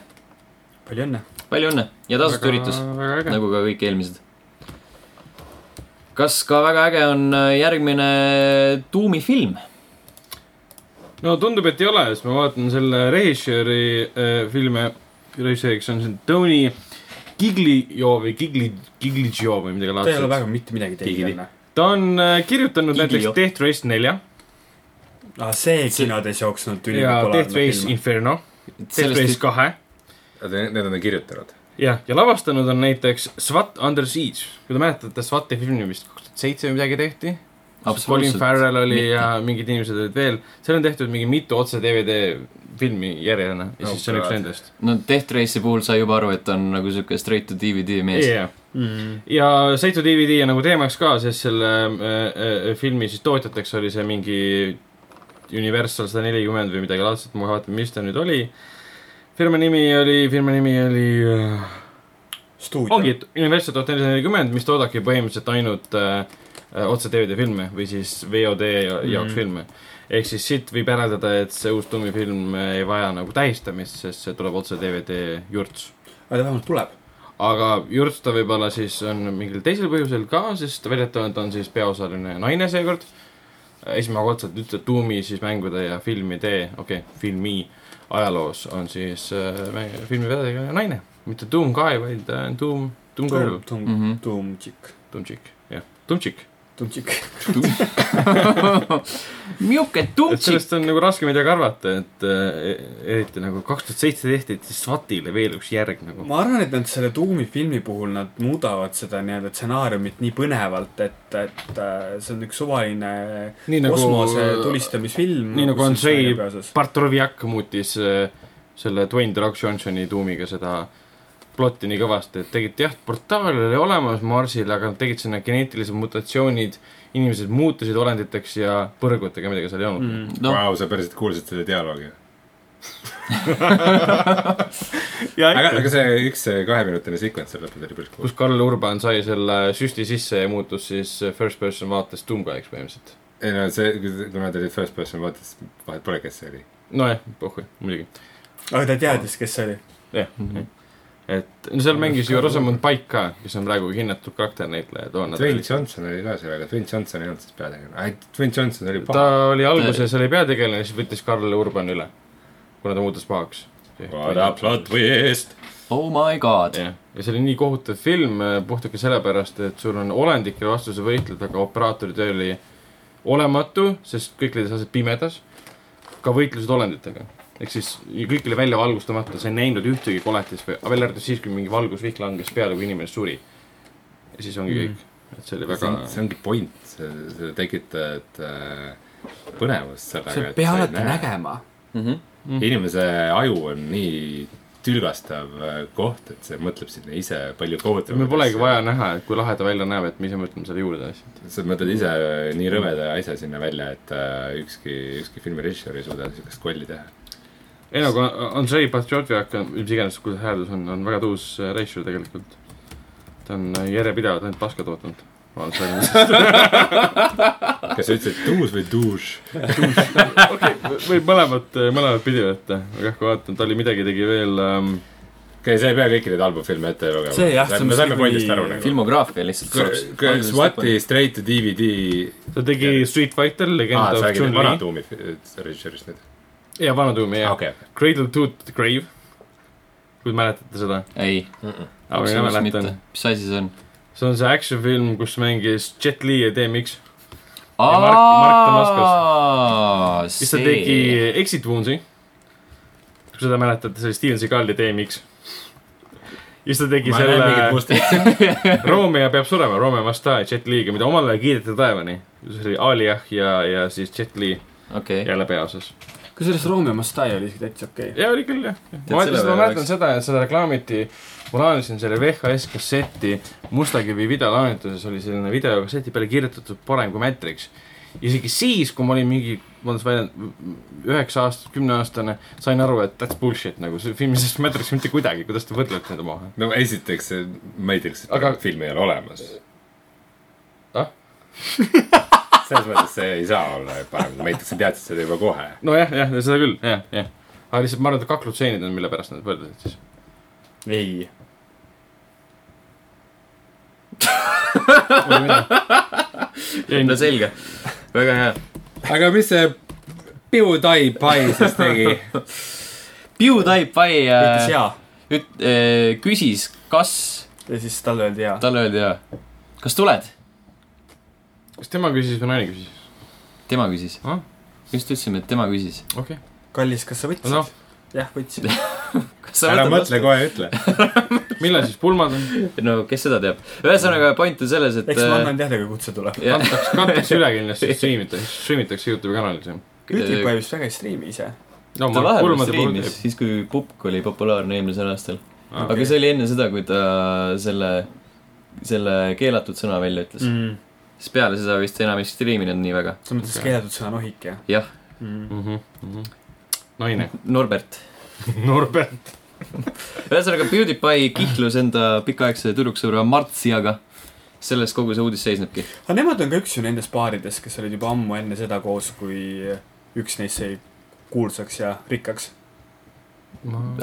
[SPEAKER 2] palju õnne .
[SPEAKER 1] palju õnne ja tasuta üritus .
[SPEAKER 4] väga äge .
[SPEAKER 1] nagu ka kõik eelmised . kas ka väga äge on äh, järgmine Tuumi film ? Nagu-
[SPEAKER 4] no tundub , et ei ole , sest ma vaatan selle režissööri äh, filme , režissööriks on siin Tony Giglio või Gigli , Giglio või
[SPEAKER 2] ta
[SPEAKER 4] midagi
[SPEAKER 2] ei ole
[SPEAKER 4] laadset .
[SPEAKER 2] väga mitte midagi
[SPEAKER 4] Keegi
[SPEAKER 2] teinud
[SPEAKER 4] ei
[SPEAKER 2] enne .
[SPEAKER 4] ta on äh, kirjutanud
[SPEAKER 1] Giglio.
[SPEAKER 4] näiteks Death Race nelja
[SPEAKER 2] aa , Ah, see kinodes jooksnud
[SPEAKER 4] ja Death
[SPEAKER 2] ülipopulaarne
[SPEAKER 4] Race
[SPEAKER 2] film .
[SPEAKER 4] Inferno , Death Race
[SPEAKER 1] sellest ,
[SPEAKER 4] kahe
[SPEAKER 3] Need on kirjutanud .
[SPEAKER 4] jah , ja lavastanud on näiteks SWAT Under Siege , kui te mäletate SWAT'i filmi vist kaks tuhat seitse või midagi tehti . Colin
[SPEAKER 1] Absoluutselt
[SPEAKER 4] Farrell oli
[SPEAKER 1] mitte.
[SPEAKER 4] mitte. ja mingid inimesed olid veel , seal on tehtud mingi mitu otse DVD filmi järjena ja
[SPEAKER 3] Oh
[SPEAKER 4] siis see on üks
[SPEAKER 3] God.
[SPEAKER 4] nendest .
[SPEAKER 1] no Death Race'i puhul sai juba aru , et on nagu siuke straight to DVD mees yeah. .
[SPEAKER 4] Yeah.
[SPEAKER 2] Mm.
[SPEAKER 4] Mm. ja Seitu DVD on nagu teemaks ka , sest selle äh, äh, filmi siis tootjateks oli see mingi Universal sada nelikümmend või midagi laadset , ma vaatan , mis ta nüüd oli . firma nimi oli , firma nimi oli äh, , ongi
[SPEAKER 2] stuudio .
[SPEAKER 4] Universal tuhat nelisada nelikümmend , mis toodabki põhimõtteliselt ainult äh, äh, otse DVD filme või siis VOD ja-
[SPEAKER 2] Mhm.
[SPEAKER 4] jaoks mm. filme . ehk siis siit võib järeldada , et see uus tummifilm ei vaja nagu tähistamist , sest see tuleb otse DVD jurts .
[SPEAKER 2] aga ta vähemalt tuleb .
[SPEAKER 4] aga Jürts ta võib-olla siis on mingil teisel põhjusel ka , sest väidetavalt on siis peaosaline naine seekord . esmakordselt üldse tuumi siis mängude ja filmide , okei okay, , filmi ajaloos on siis äh, mäng- filmivedaja naine , mitte Doom Guy , vaid äh, Doom , Doom Girl ,
[SPEAKER 2] tuum ,
[SPEAKER 1] Mhm.
[SPEAKER 2] tuum , tšikk ,
[SPEAKER 4] Doom Chick , jah , Doom Chick .
[SPEAKER 2] tuum , tšikk .
[SPEAKER 1] niisugune
[SPEAKER 4] et
[SPEAKER 1] tumpsik .
[SPEAKER 4] sellest on nagu raske midagi arvata , et äh, eriti nagu kaks tuhat seitse tehti siis SWATile veel üks järg nagu .
[SPEAKER 2] ma arvan , et nad selle tuumi filmi puhul , nad muudavad seda nii-öelda stsenaariumit nii põnevalt , et , et äh, see on üks suvaline
[SPEAKER 4] nii
[SPEAKER 2] nagu... kosmose
[SPEAKER 4] nagu
[SPEAKER 2] tulistamisfilm .
[SPEAKER 4] nii nagu on see- Bartroviak muutis äh, selle Dwayne The Rock Johnsoni tuumiga seda plotti nii kõvasti , et tegid jah , portaal oli olemas Marsil , aga nad tegid sinna geneetilised mutatsioonid , inimesed muutusid olenditeks ja põrgutega midagi seal ei olnud mm. .
[SPEAKER 3] no. .
[SPEAKER 1] noh ,
[SPEAKER 3] Vau , sa päriselt kuulsid selle dialoogi .
[SPEAKER 4] ja
[SPEAKER 3] aga ,
[SPEAKER 4] ikka ,
[SPEAKER 3] aga see üks see kaheminutine sekvents seal lõpus oli päris cool .
[SPEAKER 4] kus Karl Urban sai selle süsti sisse ja muutus siis äh, first person vaates tuumkajaks põhimõtteliselt .
[SPEAKER 3] ei no see , kuna ta oli first person , vaatas , vahet pole , kes see oli .
[SPEAKER 4] nojah , pohhu , muidugi ,
[SPEAKER 2] aga ta teadis , kes see oli .
[SPEAKER 4] jah mm . -hmm. et no seal mängis ju Rosamund Paik ka , kes on praegu hinnatud karakternäitleja toona .
[SPEAKER 3] Dwayne Johnson oli ka seal , aga Dwayne Johnson ei olnud siis peategelane . Dwayne Johnson oli
[SPEAKER 4] ta
[SPEAKER 3] paha .
[SPEAKER 4] oli alguses oli peategelane , siis võttis Karl Urban üle , kuna ta muutus pahaks .
[SPEAKER 3] What a plot twist .
[SPEAKER 1] oh my god .
[SPEAKER 4] jah , ja see oli nii kohutav film eh, puhtalt ka sellepärast , et sul on olendike vastu sa võitled , aga operaatori töö oli olematu , sest kõik olid asjad pimedas . ka võitlused olenditega , ehk siis ja kõik oli välja valgustamata , sa ei näinud ühtegi koletist või , välja arvatud siis , kui mingi valgusvihk langes peale , kui inimene suri . ja siis ongi
[SPEAKER 1] Mm.
[SPEAKER 4] kõik , et see oli
[SPEAKER 3] see
[SPEAKER 4] väga
[SPEAKER 3] on , see ongi point , see , see tekitad äh, põnevust
[SPEAKER 2] sa
[SPEAKER 3] sellega .
[SPEAKER 2] pead alati . nägema .
[SPEAKER 1] Mhm.
[SPEAKER 3] inimese aju on nii tülgastav äh, koht , et see mõtleb sinna ise palju kohutavamalt .
[SPEAKER 4] meil polegi vaja . näha , et kui lahe ta välja näeb , et me ise mõtleme selle juurde asjad .
[SPEAKER 3] sa mõtled ise nii rõveda asja sinna välja , et äh, ükski , ükski filmirežissöör ei suuda niisugust kolli teha .
[SPEAKER 4] ei no , aga Andrei Patriotvjak , mis iganes , kuidas hääldus on , on väga tuus äh, režissöör tegelikult . ta on äh, järjepidevalt ainult paska tootnud .
[SPEAKER 3] kas sa ütlesid tuus või duš ?
[SPEAKER 4] võib mõlemat , mõlemat pidi võtta , aga jah , kui vaatan , ta oli midagi tegi veel ähm, ,
[SPEAKER 3] okei , sa ei pea kõiki neid halbu filme ette lugema .
[SPEAKER 2] See jah, see on
[SPEAKER 3] me saime
[SPEAKER 2] muidugi-
[SPEAKER 3] pointist aru nagu .
[SPEAKER 1] filmograafia lihtsalt .
[SPEAKER 3] SWAT-i straight to DVD .
[SPEAKER 4] ta tegi Street Fighter ,
[SPEAKER 1] Ah,
[SPEAKER 3] aa ,
[SPEAKER 4] Legend
[SPEAKER 3] sa
[SPEAKER 4] of
[SPEAKER 3] räägid nüüd
[SPEAKER 4] Chun-Li .
[SPEAKER 3] Vanatuumi režissöörist nüüd ?
[SPEAKER 4] ja Vana Tuumi ,
[SPEAKER 1] Ah,
[SPEAKER 4] jah .
[SPEAKER 3] okei .
[SPEAKER 4] Cradle to the Grave . kui mäletate seda .
[SPEAKER 1] ei ,
[SPEAKER 4] aga mina
[SPEAKER 1] absoluutselt mitte
[SPEAKER 4] mäletan ..
[SPEAKER 1] mis asi see on ?
[SPEAKER 4] see on see action-film , kus mängis Jet Li ja DMX . Ja Mark- Mark
[SPEAKER 1] aa ,
[SPEAKER 4] siis ta tegi
[SPEAKER 1] see .
[SPEAKER 4] Exit Wounds'i . kui seda mäletate , see oli Steven Seagali DMX . ja siis ta tegi
[SPEAKER 3] ma ei näe mingit
[SPEAKER 4] selle
[SPEAKER 3] mustrit .
[SPEAKER 4] Romeo peab surema , Romeo must die , Jet Li'ga , mida omal ajal kiideti taevani . see oli Aliah ja , ja siis Jet Li
[SPEAKER 1] okei ,
[SPEAKER 4] jälle peaosas .
[SPEAKER 2] kusjuures Romeo Mastai oli isegi täitsa okei okay. .
[SPEAKER 4] ja oli küll jah .
[SPEAKER 1] Tead,
[SPEAKER 4] ma
[SPEAKER 1] selle
[SPEAKER 4] mäletan , ma
[SPEAKER 1] peale
[SPEAKER 4] mäletan
[SPEAKER 1] läks.
[SPEAKER 4] seda , et seda reklaamiti , ma laenasin selle VHS kasseti Mustakivi videolaenutuses oli selline videokasseti peale kirjutatud parem kui Matrix . isegi siis , kui ma olin mingi , ma olen siis väljend- , üheksa aastat , kümneaastane , sain aru , et that's bullshit nagu see film ei sest Matrix mitte kuidagi , kuidas te võrdlete neid omavahel .
[SPEAKER 3] no nagu esiteks , ma ei teaks , et
[SPEAKER 4] Aga-
[SPEAKER 3] aga... film ei ole olemas
[SPEAKER 4] Ah? .
[SPEAKER 3] selles mõttes see ei saa olla parem , ma ei tea , sa teadsid seda juba kohe .
[SPEAKER 4] nojah , jah , seda küll , jah , jah . aga lihtsalt ma arvan , et kaklutseenid on , mille pärast nad võrdlesid siis .
[SPEAKER 2] ei .
[SPEAKER 4] ei
[SPEAKER 1] no , selge , väga hea .
[SPEAKER 3] aga mis see PewDiePie siis tegi ?
[SPEAKER 1] PewDiePie
[SPEAKER 2] ütles
[SPEAKER 1] äh,
[SPEAKER 2] jaa
[SPEAKER 1] üt- , äh, küsis , kas ,
[SPEAKER 2] ja siis talle öeldi jaa .
[SPEAKER 1] talle öeldi jaa , kas tuled ?
[SPEAKER 4] kas tema küsis või naine küsis ?
[SPEAKER 1] tema küsis
[SPEAKER 4] Ah? .
[SPEAKER 1] just ütlesime , et tema küsis .
[SPEAKER 4] okei okay. ,
[SPEAKER 2] kallis , kas sa võtsid
[SPEAKER 4] noh ,
[SPEAKER 2] jah , võtsin .
[SPEAKER 1] kas sa
[SPEAKER 3] ära
[SPEAKER 1] võtad
[SPEAKER 3] mõtle , kohe ütle .
[SPEAKER 4] millal siis pulmad on ?
[SPEAKER 1] vastu ? no kes seda teab . ühesõnaga point on selles , et
[SPEAKER 2] eks ma
[SPEAKER 1] äh,
[SPEAKER 2] annan teada , kui kutse tuleb .
[SPEAKER 1] jah,
[SPEAKER 4] kantakse , kantakse üle kindlasti , striimitakse , striimitakse Youtube'i kanalis jah .
[SPEAKER 1] äh,
[SPEAKER 2] Kütlik vajus väga ei striimi ise .
[SPEAKER 4] no
[SPEAKER 1] ta
[SPEAKER 4] ma
[SPEAKER 1] vahepeal
[SPEAKER 4] pulmade puhul
[SPEAKER 1] striimis , siis kui Pupk oli populaarne eelmisel aastal .
[SPEAKER 4] Ah,
[SPEAKER 1] aga see oli enne seda , kui ta selle , selle keelatud sõna välja
[SPEAKER 2] Mm.
[SPEAKER 1] ütles .
[SPEAKER 2] selles
[SPEAKER 1] siis peale seda vist enam ei striiminud nii väga .
[SPEAKER 2] mõttes
[SPEAKER 4] Okei.
[SPEAKER 2] keelatud sõna nohik , jah
[SPEAKER 1] jah ,
[SPEAKER 2] mm. .
[SPEAKER 4] mm . -hmm. naine .
[SPEAKER 1] Norbert .
[SPEAKER 4] Norbert .
[SPEAKER 1] ühesõnaga , PewDiePie kihlus enda pikaaegse tüdruksõbra Martsiaga . selles kogu see uudis seisnebki .
[SPEAKER 2] aga nemad on ka üks ju nendest paaridest , kes olid juba ammu enne seda koos , kui üks neist sai kuulsaks ja rikkaks .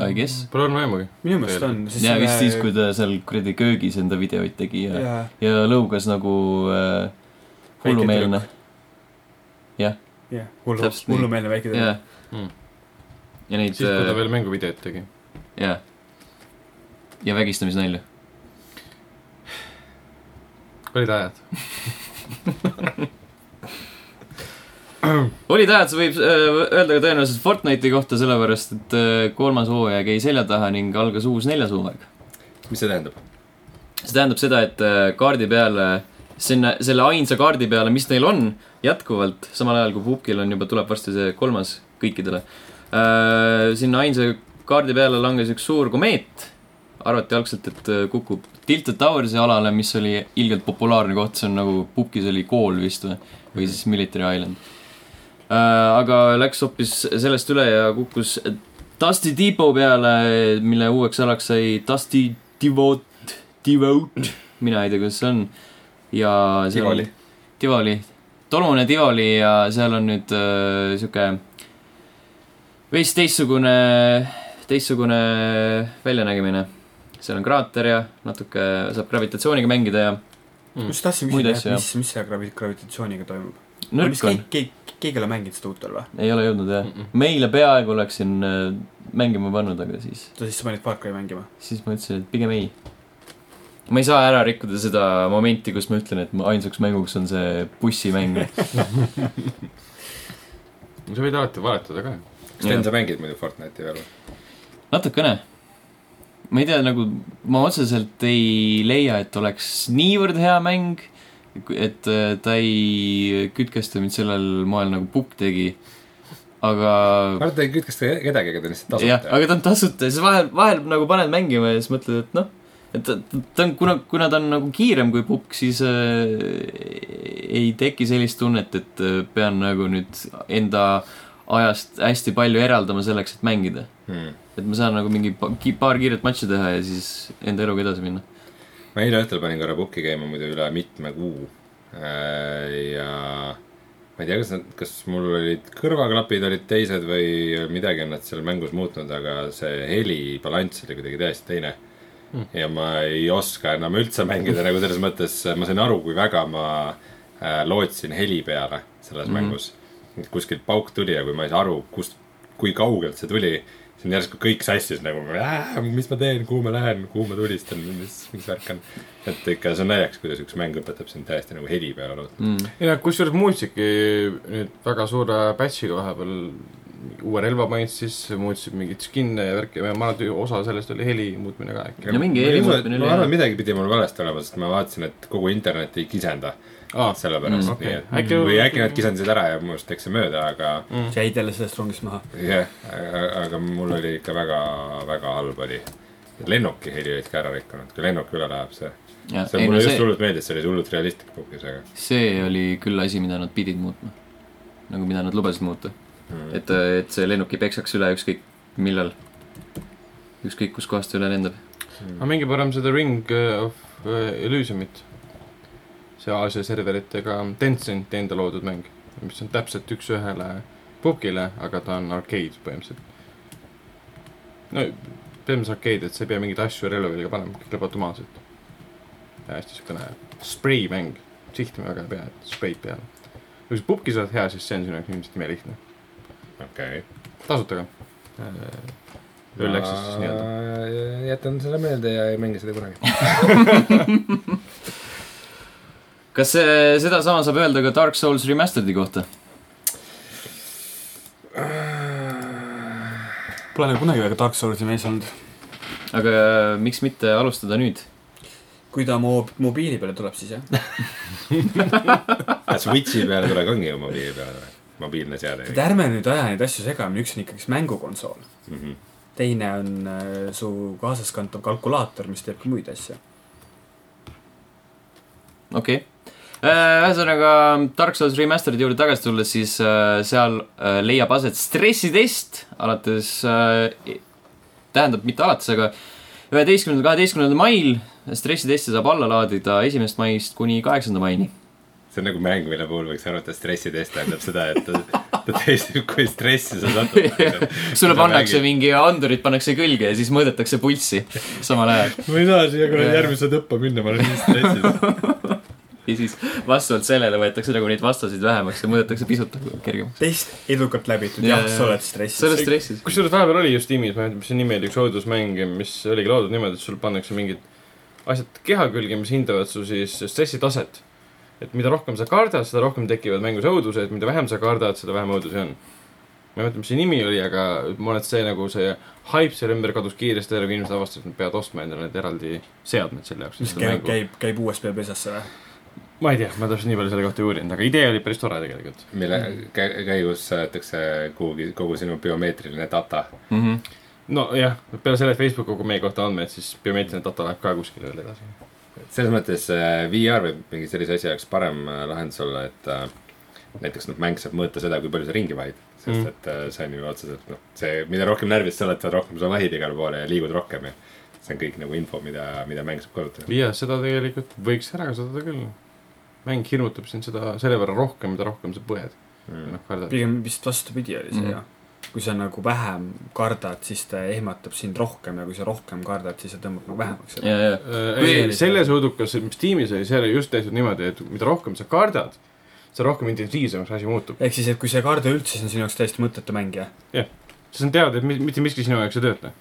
[SPEAKER 1] I guess.
[SPEAKER 4] Pole olnud aimugi .
[SPEAKER 2] minu meelest on .
[SPEAKER 1] ja vist siis , kui ta seal kuradi köögis enda videoid tegi ja ,
[SPEAKER 2] jaa ,
[SPEAKER 1] ja lõugas nagu äh, hullumeelne .
[SPEAKER 2] jah , hullu ,
[SPEAKER 1] Täpselt nii.
[SPEAKER 2] hullumeelne väike
[SPEAKER 1] ja
[SPEAKER 2] tüdruk .,
[SPEAKER 1] ja neid äh,
[SPEAKER 4] Hmm. siis , kui ta , veel mänguvideot tegi .
[SPEAKER 1] ja , ja vägistamisnalju .
[SPEAKER 4] olid ajad .
[SPEAKER 1] olid ajad , sa võib öö, öelda ka tõenäoliselt Fortnite'i kohta , sellepärast et öö, kolmas hooaeg jäi selja taha ning algas uus neljas hooaeg .
[SPEAKER 3] mis see tähendab ?
[SPEAKER 1] see tähendab seda , et öö, kaardi peale , sinna , selle ainsa kaardi peale , mis neil on jätkuvalt , samal ajal kui Pupkil on juba , tuleb varsti see kolmas kõikidele . sinna ainsa kaardi peale langes üks suur komeet , arvati algselt , et öö, kukub Tilted Towersi alale , mis oli ilgelt populaarne koht , see on nagu Pupkis oli kool vist või , või siis Military Island . aga läks hoopis sellest üle ja kukkus Dusty Depot peale , mille uueks alaks sai Dusty Devot , Devot , mina ei tea , kuidas see on . ja seal
[SPEAKER 3] Tivoli. .
[SPEAKER 1] Tivoli , tolmune Tivoli ja seal on nüüd äh, sihuke veits teistsugune , teistsugune väljanägemine . seal on kraater ja natuke saab gravitatsiooniga mängida ja
[SPEAKER 2] just tahtsin
[SPEAKER 1] Muid
[SPEAKER 2] küsida ,
[SPEAKER 1] asju, jah.
[SPEAKER 2] mis , mis selle gravi- gravitatsiooniga toimub ?
[SPEAKER 1] nõrk on ..
[SPEAKER 2] keegi , keegi ei ole mänginud seda uut veel või ?
[SPEAKER 1] ei ole jõudnud jah .
[SPEAKER 4] Mhm.
[SPEAKER 1] meile peaaegu oleksin äh, mängima pannud , aga siis
[SPEAKER 2] sa siis panid Far Cry mängima ?
[SPEAKER 1] siis ma ütlesin , et pigem ei . ma ei saa ära rikkuda seda momenti , kus ma ütlen , et mu ainsaks mänguks on see bussimäng .
[SPEAKER 4] sa võid alati valetada ka .
[SPEAKER 3] Sten , sa mängid muidu Fortnite'i veel või ?
[SPEAKER 1] natukene . ma ei tea , nagu ma otseselt ei leia , et oleks niivõrd hea mäng , et äh, ta ei kütkesta mind sellel moel nagu Pukk tegi . aga
[SPEAKER 3] ma arvan , et ta ei kütkesta kedagi , aga ta on lihtsalt
[SPEAKER 1] jah ,
[SPEAKER 3] tasuta .
[SPEAKER 1] aga ta on tasuta ja siis vahel , vahel nagu paned mängima ja siis mõtled , et noh , et ta, ta- ta on , kuna , kuna ta on nagu kiirem kui pukk , siis äh, ei teki sellist tunnet , et äh, pean nagu nüüd enda ajast hästi palju eraldama selleks , et mängida .
[SPEAKER 3] Hmm.
[SPEAKER 1] et ma saan nagu mingi pa- ki- paar kiiret matši teha ja siis enda eluga edasi minna .
[SPEAKER 3] ma eile õhtul panin korra pukki käima muidu üle mitme kuu . ja ma ei tea , kas nad , kas mul olid kõrvaklapid olid teised või midagi on nad seal mängus muutnud , aga see helibalanss oli kuidagi täiesti teine . ja ma ei oska enam üldse mängida nagu selles mõttes , ma sain aru , kui väga ma äh, lootsin heli peale selles mm -hmm. mängus . et kuskilt pauk tuli ja kui ma ei saa aru , kust , kui kaugelt see tuli , siis on järsku kõik sassis nagu , mis ma teen , kuhu ma lähen , kuhu ma tulistan , mis , mis värk on . et ikka see on naljakas , kuidas üks mäng õpetab sind täiesti nagu heli peale lootma mm. .
[SPEAKER 4] ei no kusjuures muutsidki nüüd väga suure patch'iga vahepeal uue relva panid sisse , muutsid mingeid skin'e ja värki , ma arvan , et osa sellest oli heli muutmine ka äkki .
[SPEAKER 1] Ja mingi heli muutmine oli
[SPEAKER 3] ma arvan ,
[SPEAKER 1] hea.
[SPEAKER 3] midagi pidi mul valesti olema , sest ma vaatasin , et kogu internet ei kisenda
[SPEAKER 1] Ah.
[SPEAKER 4] aa ,
[SPEAKER 3] sellepärast
[SPEAKER 4] Mm,
[SPEAKER 3] mm, , okay.
[SPEAKER 4] okei.
[SPEAKER 3] nii et
[SPEAKER 4] Äkki- Mhm.
[SPEAKER 3] või äkki nad kisendasid ära ja minu arust läks see mööda , aga
[SPEAKER 2] sa jäid jälle sellest rongist maha .
[SPEAKER 3] jah , aga mul oli ikka väga , väga halb oli . lennuki heli olid ka ära rikkunud , kui lennuk üle läheb , see , see mulle just
[SPEAKER 1] Äh, see,
[SPEAKER 3] hullult meeldis , see oli hullult realistlik puhkus , aga
[SPEAKER 1] see oli küll asi , mida nad pidid muutma . nagu mida nad lubasid muuta .
[SPEAKER 3] mm. .
[SPEAKER 1] et , et see lennuk ei peksaks üle ükskõik millal . ükskõik kuskohast ta üle lendab .
[SPEAKER 3] mm,
[SPEAKER 4] aga minge parem seda Ring of äh, Elysiumit . see Aasia serveritega Tencenti enda loodud mäng , mis on täpselt üks-ühele pukile , aga ta on arcade põhimõtteliselt . no põhimõtteliselt arcade , et sa ei pea mingeid asju relvadega panema , kõik läheb automaatselt . ja hästi siukene spreimäng , sihtima väga ei pea , et spreid peale . kui sa pukki saad hea , siis see on sinu jaoks ilmselt imelihtne ,
[SPEAKER 3] okei okay. .
[SPEAKER 4] tasuta ka .
[SPEAKER 3] Äh,
[SPEAKER 4] Early access'is nii-öelda .
[SPEAKER 3] nii-öelda . Äh, jätan selle meelde ja ei mängi seda kunagi .
[SPEAKER 1] kas see , sedasama saab öelda ka Dark Souls Remastered'i kohta ?
[SPEAKER 2] Pole nagu kunagi väga Dark Soulsi mees olnud .
[SPEAKER 1] aga äh, miks mitte alustada nüüd ?
[SPEAKER 2] kui ta mu mobiili peale tuleb , siis jah .
[SPEAKER 3] Ah, Switchi peale tuleb , ongi ju mobiili peale või ? mobiilne seade .
[SPEAKER 2] et ärme nüüd aja neid asju segamini , üks on ikkagi mängukonsool ,
[SPEAKER 3] Mhm.
[SPEAKER 2] teine on äh, su kaasaskantav kalkulaator , mis teeb ka muid asju .
[SPEAKER 1] okei okay. . ühesõnaga Dark Souls Remastered'i juurde tagasi tulles , siis äh, seal äh, leiab aset stressitest alates , tähendab mitte alates , aga üheteistkümnendal , kaheteistkümnendal mail stressitesti saab alla laadida esimesest maist kuni kaheksanda maini .
[SPEAKER 3] see on nagu mäng , mille puhul võiks arvata , et stressitest tähendab seda , et ta testib , kui stressi sa satud .
[SPEAKER 1] sulle pannakse . mingi andurid pannakse külge ja siis mõõdetakse pulssi samal ajal .
[SPEAKER 3] ma ei saa siia kuradi
[SPEAKER 1] Jaa.
[SPEAKER 3] järgmise tõppa minna , ma olen nii stressis .
[SPEAKER 1] ja siis vastavalt sellele võetakse nagu neid vastaseid vähemaks ja mõõdetakse pisut kergemaks .
[SPEAKER 2] test edukalt läbitud ,
[SPEAKER 1] Jaa,
[SPEAKER 2] jah ,
[SPEAKER 1] jaa.
[SPEAKER 2] sa oled stressis .
[SPEAKER 1] sa oled stressis .
[SPEAKER 4] kusjuures vahepeal oli just tiimis , ma ei mäleta , mis see nimi oli , üks õudusmäng , mis oligi loodud niimoodi , et sul pannakse mingid asjad keha külge , mis hindavad su siis stressitaset . et mida rohkem sa kardad , seda rohkem tekivad mängus õudused , mida vähem sa kardad , seda vähem õudusi on . ma ei mäleta , mis see nimi oli , aga ma arvan , et see nagu see haip selle ümber kadus kiiresti ära , kui inimesed avastasid , et nad peavad ostma endale need eraldi seadmed selle jaoks .
[SPEAKER 2] mis käib , käib , käib USB pesasse või ?
[SPEAKER 4] ma ei tea , ma täpselt nii palju selle kohta ei uurinud , aga idee oli päris tore tegelikult .
[SPEAKER 3] mille kä- käigus saadetakse kuhugi kogu sinu biomeetriline data .
[SPEAKER 1] Mhm.
[SPEAKER 4] nojah , peale selle , et Facebook kogub meie kohta andmeid , siis biomeetriline data läheb ka kuskile veel edasi .
[SPEAKER 3] selles mõttes äh, VR võib mingi sellise asja jaoks parem äh, lahendus olla , et äh, näiteks noh , mäng saab mõõta seda , kui palju sa ringi vahid . sest
[SPEAKER 4] Mm.
[SPEAKER 3] mm. et äh, see on ju otseselt noh , see , mida rohkem närvis sa oled , seda rohkem sa vahid igale poole ja liigud rohkem ja see on kõik nagu info , mida , mida mäng saab kasutada .
[SPEAKER 4] ja seda tegelikult võiks ära kasutada küll . mäng hirmutab sind seda selle võrra rohkem , mida rohkem sa põed .
[SPEAKER 3] Mm.
[SPEAKER 4] noh , kardad .
[SPEAKER 2] pigem vist vastupidi oli see
[SPEAKER 1] Mhm.
[SPEAKER 2] mm. jah . kui sa nagu vähem kardad , siis ta ehmatab sind rohkem ja kui sa rohkem kardad , siis ta tõmbab nagu vähemaks .
[SPEAKER 1] ja , ja ,
[SPEAKER 4] Äh, ei , selles õudukas , mis tiimis oli , seal oli just tehtud niimoodi , et mida rohkem sa kardad , seda rohkem intensiivsemaks asi muutub .
[SPEAKER 2] ehk siis , et kui sa ei karda üldse , siis on sinu jaoks täiesti mõttetu mäng jah .
[SPEAKER 4] sest nad teavad , et mi- mitte miski sinu jaoks ei tööta .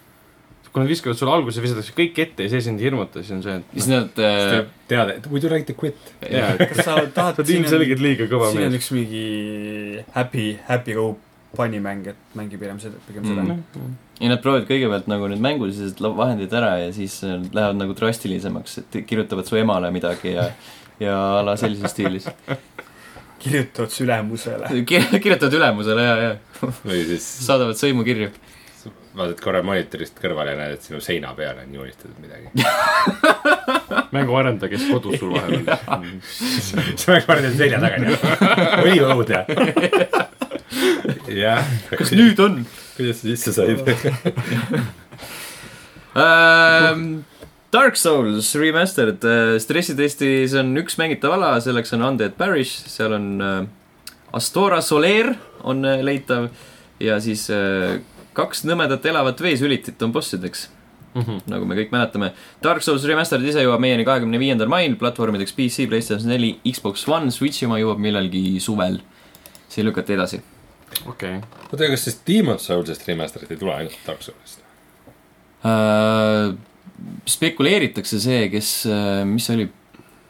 [SPEAKER 4] kui nad viskavad sulle alguses , visatakse kõik ette ja see sind ei hirmuta , siis on see , et noh,
[SPEAKER 1] siis nad äh, .
[SPEAKER 3] teada , et would you like to quit ?
[SPEAKER 4] jaa , et
[SPEAKER 2] kas sa tahad
[SPEAKER 4] sa oled ilmselgelt liiga kõva
[SPEAKER 2] siin on
[SPEAKER 4] mees .
[SPEAKER 2] üks mingi happy , happy go funny mäng , et mängi pigem seda , pigem seda
[SPEAKER 1] Mhm.
[SPEAKER 2] mm. .
[SPEAKER 1] ja nad proovivad kõigepealt nagu need mängulised la- vahendid ära ja siis äh, lähevad nagu drastilisemaks , et kirjutavad su emale midagi ja , ja a la sellises stiilis .
[SPEAKER 2] kirjutad sülemusele .
[SPEAKER 1] kirjutavad ülemusele ja , ja
[SPEAKER 3] või siis
[SPEAKER 1] saadavad sõimukirju .
[SPEAKER 3] vaatad korra monitorist kõrvale ja näed , et sinu seina peale on joonistatud midagi .
[SPEAKER 4] mänguarendaja , Noh, kes kodus sul vahepeal on .
[SPEAKER 3] sa pead korra teise selja taga . oli õudne . jah .
[SPEAKER 1] kas ? nüüd on ?
[SPEAKER 3] kuidas sa sisse said ?
[SPEAKER 1] Ähm, Dark Souls Remastered , stressitestis on üks mängitav ala , selleks on Undead Parish , seal on äh, Astora Soler on äh, leitav ja siis äh, kaks nõmedat elavat veesülitit on bossideks ,
[SPEAKER 4] Mhm.
[SPEAKER 1] nagu me kõik mäletame . Dark Souls Remastered ise jõuab meieni kahekümne viiendal mail platvormideks PC , Playstation neli , Xbox One , Switchi oma jõuab millalgi suvel . see lükati edasi .
[SPEAKER 4] okei ,
[SPEAKER 3] oota , kas siis Demon's Souls'ist remaster'it ei tule ainult Dark Souls'ist ?
[SPEAKER 1] Äh, spekuleeritakse see , kes , mis see oli ,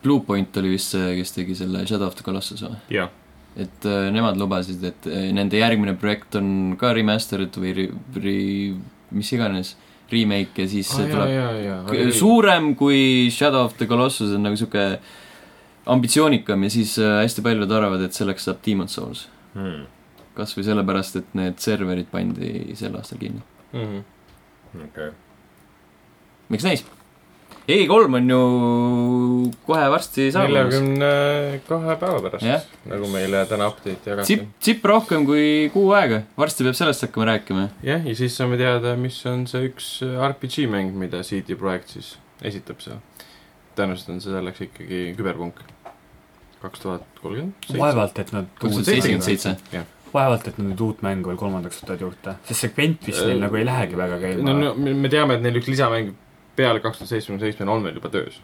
[SPEAKER 1] Bluepoint oli vist see , kes tegi selle Shadow of the Colossus või ?
[SPEAKER 4] jah .
[SPEAKER 1] et äh, nemad lubasid , et äh, nende järgmine projekt on ka remastered või re, re, mis iganes , remake ja siis see tuleb K- . suurem kui Shadow of the Colossus on nagu sihuke ambitsioonikam ja siis äh, hästi paljud arvavad , et selleks saab Demon's Souls .
[SPEAKER 3] Hmm.
[SPEAKER 1] kas või sellepärast , et need serverid pandi sel aastal kinni .
[SPEAKER 4] Mhm.
[SPEAKER 3] Okay.
[SPEAKER 1] miks näis ? E3 on ju kohe varsti saabumas .
[SPEAKER 4] neljakümne kahe päeva pärast
[SPEAKER 1] Jah.
[SPEAKER 4] yeah. , nagu meile täna update jagati .
[SPEAKER 1] tsipp , tsipp rohkem kui kuu aega , varsti peab sellest hakkama rääkima .
[SPEAKER 4] jah , ja siis saame teada , mis on see üks RPG mäng , mida CD Projekt siis esitab seal . tõenäoliselt on see selleks ikkagi küberpunk kaks tuhat kolmkümmend seitse .
[SPEAKER 2] vaevalt , et nad
[SPEAKER 1] kaks tuhat seitsekümmend seitse .
[SPEAKER 2] vaevalt , et nad nüüd uut mängu veel kolmandaks võtavad juurde , sest see kvent vist neil
[SPEAKER 4] Äh,
[SPEAKER 2] nagu ei lähegi väga käima
[SPEAKER 4] no , no me me teame , et neil üks lisamäng peale kaks tuhat seitsmekümne seitsmel on veel juba töös .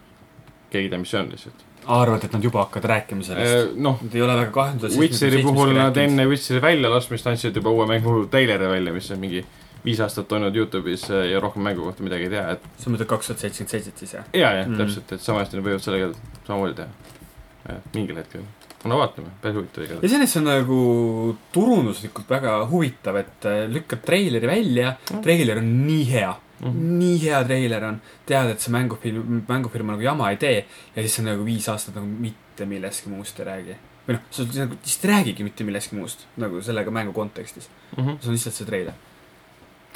[SPEAKER 4] keegi ei tea , mis see on lihtsalt .
[SPEAKER 2] arvad , et nad juba hakkavad rääkima sellest ?
[SPEAKER 4] noh ,
[SPEAKER 2] Nad ei ole väga kahe tuhande
[SPEAKER 4] Witcheri puhul nad . enne Witcheri väljalaskmist andsid juba uue mängu treileri välja , mis on mingi viis aastat olnud Youtube'is eh, ja rohkem mängu kohta midagi ei tea , et
[SPEAKER 2] sa mõtled kaks tuhat seitsekümmend seitset siis jah ?
[SPEAKER 4] ja , ja mm.
[SPEAKER 2] Mm.
[SPEAKER 4] täpselt , et sama hästi nad võivad sellega samamoodi teha . mingil hetkel , no vaatame , päris huvitav igatahes .
[SPEAKER 2] iseenesest see on nagu turunduslikult väga huvitav , et äh, lükkad treileri välja ,
[SPEAKER 4] Mm.
[SPEAKER 2] treiler on nii hea mm ,
[SPEAKER 4] Mhm,
[SPEAKER 2] -hmm. nii hea treiler on , tead , et see mängufilm , mängufirma nagu jama ei tee ja siis on nagu viis aastat nagu mitte millestki muust ei räägi . või noh , sa nagu lihtsalt ei räägigi mitte millestki muust nagu sellega mängu kontekstis ,
[SPEAKER 4] Mm -hmm.
[SPEAKER 2] see on lihtsalt see treiler .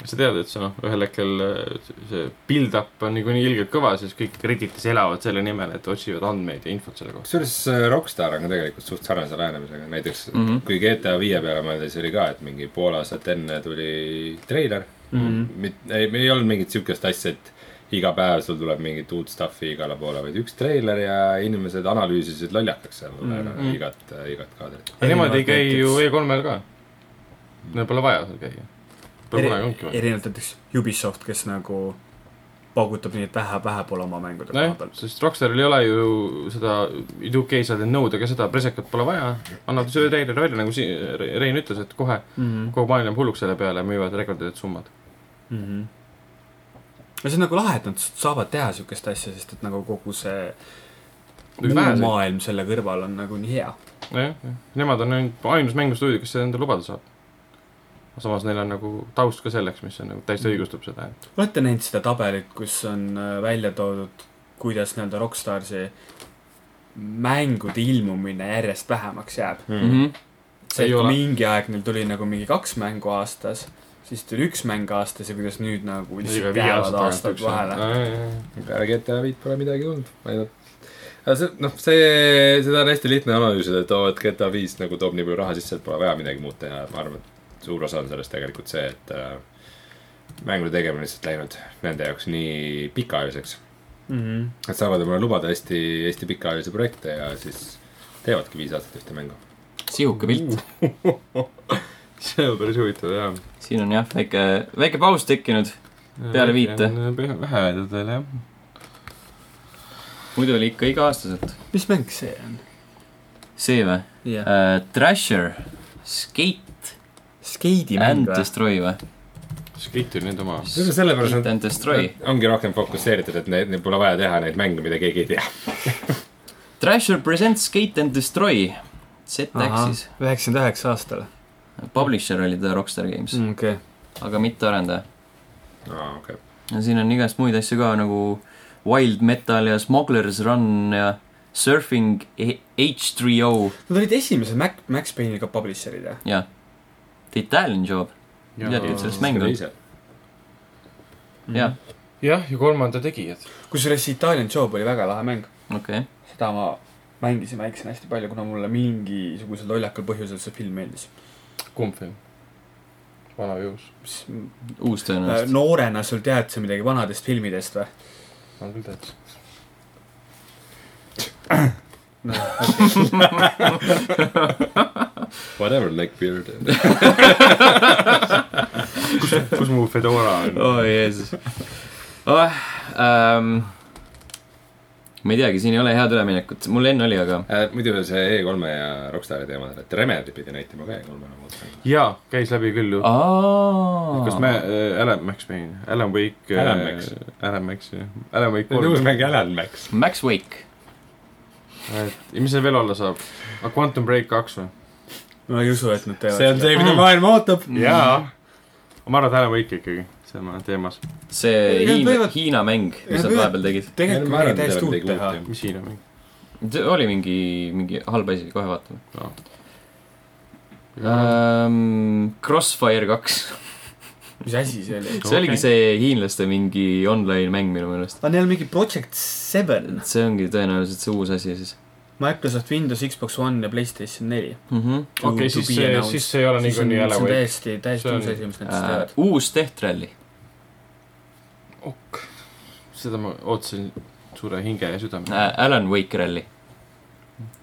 [SPEAKER 4] sa tead , et see noh , ühel hetkel äh, see build-up on niikuinii ilgelt kõva , siis kõik Redditis elavad selle nimel , et otsivad andmeid ja infot selle kohta .
[SPEAKER 3] kusjuures äh, Rockstar on ka tegelikult suht sarnase lähenemisega , näiteks mm
[SPEAKER 1] Mhm.
[SPEAKER 3] -hmm. kui GTA viie peale mõelda , siis oli ka , et mingi pool aastat enne tuli treiler mm . -hmm. ei , ei olnud mingit siukest asja , et iga päev sul tuleb mingit uut stuff'i igale poole , vaid üks treiler ja inimesed analüüsisid lollakaks seal mm
[SPEAKER 2] Mhm.
[SPEAKER 3] -hmm. igat , igat kaadrit .
[SPEAKER 4] aga nemad ei
[SPEAKER 2] Erinevalt
[SPEAKER 4] käi ju
[SPEAKER 2] näiteks-
[SPEAKER 4] E3-l ka . Neil pole vaja seal käia . Pole kunagi olnudki vaja .
[SPEAKER 2] erinevalt näiteks Ubisoft , kes nagu paugutab nii , et vähe , vähe pole oma mängude koha
[SPEAKER 4] nojah
[SPEAKER 2] peal ,.
[SPEAKER 4] sest Rockstaril ei ole ju seda , UK ei saa teinud nõuda ka seda , presekat pole vaja , annab selle teile välja , nagu siin Rein ütles , et kohe ,
[SPEAKER 2] Mhm.
[SPEAKER 4] kogu maailm läheb hulluks selle peale , müüvad rekordilised summad .
[SPEAKER 2] ja Mhm. see on nagu lahe , et nad saavad teha siukest asja , sest et nagu kogu see
[SPEAKER 4] Või
[SPEAKER 2] muu
[SPEAKER 4] väheseid.
[SPEAKER 2] maailm selle kõrval on nagu nii hea .
[SPEAKER 4] nojah , nemad on ainult ainus mängustuudio , kes seda endale lubada saab . samas neil on nagu taust ka selleks , mis on nagu
[SPEAKER 1] Mm.
[SPEAKER 4] täiesti õigustab seda , et
[SPEAKER 2] olete näinud seda tabelit , kus on äh, välja toodud , kuidas nii-öelda Rockstarsi mängude ilmumine järjest vähemaks jääb ?
[SPEAKER 3] mm .
[SPEAKER 1] -hmm.
[SPEAKER 2] see
[SPEAKER 4] Ei
[SPEAKER 2] et
[SPEAKER 4] ole.
[SPEAKER 2] mingi aeg neil tuli nagu mingi kaks mängu aastas , siis tuli üks mäng aastas ja kuidas nüüd nagu lihtsalt jäävad aastad vahele .
[SPEAKER 3] peale GTA viit pole midagi olnud , ainult . aga see , noh , see , seda on hästi lihtne analüüsida , et oo , et GTA viis nagu toob nii palju raha sisse , et pole vaja midagi muud teha , ma arvan , et suur osa on sellest tegelikult see , et äh, mängude tegemine on lihtsalt läinud nende jaoks nii pikaajaliseks .
[SPEAKER 2] Mhm.
[SPEAKER 3] Nad saavad omale lubada hästi , hästi pikaajalisi projekte ja siis teevadki viis aastat ühte mängu .
[SPEAKER 1] sihuke pilt .
[SPEAKER 4] see on päris huvitav jah .
[SPEAKER 1] siin on jah , väike , väike paus tekkinud . Peale viite. .
[SPEAKER 4] vähe öeldud veel jah .
[SPEAKER 1] muidu oli ikka iga-aastaselt .
[SPEAKER 2] mis mäng see on ?
[SPEAKER 1] see või
[SPEAKER 2] jah ,
[SPEAKER 1] uh, ? Thrasher , Skate
[SPEAKER 2] skeidimäng
[SPEAKER 1] and
[SPEAKER 2] või ?
[SPEAKER 1] Destroy või ?
[SPEAKER 4] Skate oli nüüd oma .
[SPEAKER 3] võib-olla sellepärast
[SPEAKER 1] Skate
[SPEAKER 3] nad
[SPEAKER 1] and Destroy .
[SPEAKER 3] ongi rohkem fokusseeritud , et neid , neil pole vaja teha neid mänge , mida keegi ei tea .
[SPEAKER 1] Thrasher presents Skate and Destroy . ZX-is .
[SPEAKER 2] üheksakümmend üheksa aastal .
[SPEAKER 1] Publisher oli ta Rockstar Games mm. ,
[SPEAKER 2] okei .
[SPEAKER 1] aga mitte arendaja .
[SPEAKER 3] aa , okei .
[SPEAKER 1] no siin on igast muid asju ka nagu Wild Metal ja Smugglers Run ja Surfing E- H3O
[SPEAKER 2] Nad olid esimese Mac , Max Payne'iga publisher'id jah ?
[SPEAKER 1] ja The Italian Job . Midagi sellest mäng on. .
[SPEAKER 2] Mhm.
[SPEAKER 1] jah ,
[SPEAKER 4] jah , ja kolmanda tegijad .
[SPEAKER 2] kusjuures see Italian Job oli väga lahe mäng .
[SPEAKER 1] okei .
[SPEAKER 2] seda ma mängisin väiksena hästi palju , kuna mulle mingisugusel lollakal põhjusel see film meeldis .
[SPEAKER 4] kumb film ? vana või uus ?
[SPEAKER 2] mis
[SPEAKER 1] uus
[SPEAKER 2] äh,
[SPEAKER 1] tõenäoliselt .
[SPEAKER 2] noorena sul tead sa midagi vanadest filmidest või ?
[SPEAKER 4] ma küll täitsa .
[SPEAKER 3] Whatever , like beard .
[SPEAKER 4] kus mu Fedora on ?
[SPEAKER 1] oh Jeesus oh, . Ähm, ma ei teagi , siin ei ole head üleminekut , mul enne oli , aga
[SPEAKER 3] Äh, muidu see E3-e ja Rockstari teema , et Remedi pidi näitama ka E3-e nagu otsa .
[SPEAKER 4] jaa , käis läbi küll ju .
[SPEAKER 1] Aa.
[SPEAKER 4] kas me , Alan Max Payne , Alan Wake .
[SPEAKER 3] Alan Max. .
[SPEAKER 4] Alan Max jah , Alan Wake
[SPEAKER 1] Nagu
[SPEAKER 3] nüüd uus
[SPEAKER 4] kolm .
[SPEAKER 3] mäng Alan Max .
[SPEAKER 1] Max Wake ,
[SPEAKER 4] et ja mis seal veel olla saab ? Quantum Break kaks või ?
[SPEAKER 2] ma ei usu , et nad teevad Mm.
[SPEAKER 3] see on see , mida maailm ootab .
[SPEAKER 4] jaa . ma arvan , et Alan Wake ikkagi , see on teemas .
[SPEAKER 1] see
[SPEAKER 2] Ei, nad
[SPEAKER 1] Hiina ,
[SPEAKER 2] võivad-
[SPEAKER 1] Hiina mäng , mis
[SPEAKER 2] nad
[SPEAKER 1] nad
[SPEAKER 2] võivad-
[SPEAKER 1] vahepeal tegid .
[SPEAKER 2] tegelikult midagi täiesti uut teha .
[SPEAKER 3] teha .
[SPEAKER 4] mis Hiina mäng ?
[SPEAKER 1] see oli mingi , mingi halb asi , kohe vaatame
[SPEAKER 4] Jaa.
[SPEAKER 1] um, . Crossfire kaks ,
[SPEAKER 2] mis asi see oli ?
[SPEAKER 1] see oligi
[SPEAKER 4] Okei.
[SPEAKER 1] see hiinlaste mingi online mäng minu meelest .
[SPEAKER 2] aga neil on mingi Project Seven .
[SPEAKER 1] see ongi tõenäoliselt see uus asi siis
[SPEAKER 2] Microsoft Windows , Xbox One ja Playstation neli .
[SPEAKER 1] mm . -hmm.
[SPEAKER 4] okei , siis see , siis see ei ole
[SPEAKER 2] siis on ,
[SPEAKER 4] niikuinii
[SPEAKER 2] see
[SPEAKER 4] Alan
[SPEAKER 2] on
[SPEAKER 4] Wake .
[SPEAKER 2] täiesti , täiesti
[SPEAKER 4] See on-
[SPEAKER 2] uus asi , mis nad siis
[SPEAKER 1] Uh,
[SPEAKER 2] teevad .
[SPEAKER 1] uus Death Rally ,
[SPEAKER 4] ok , seda ma ootasin suure hinge ja südamega
[SPEAKER 1] uh, . Alan Wake Rally ,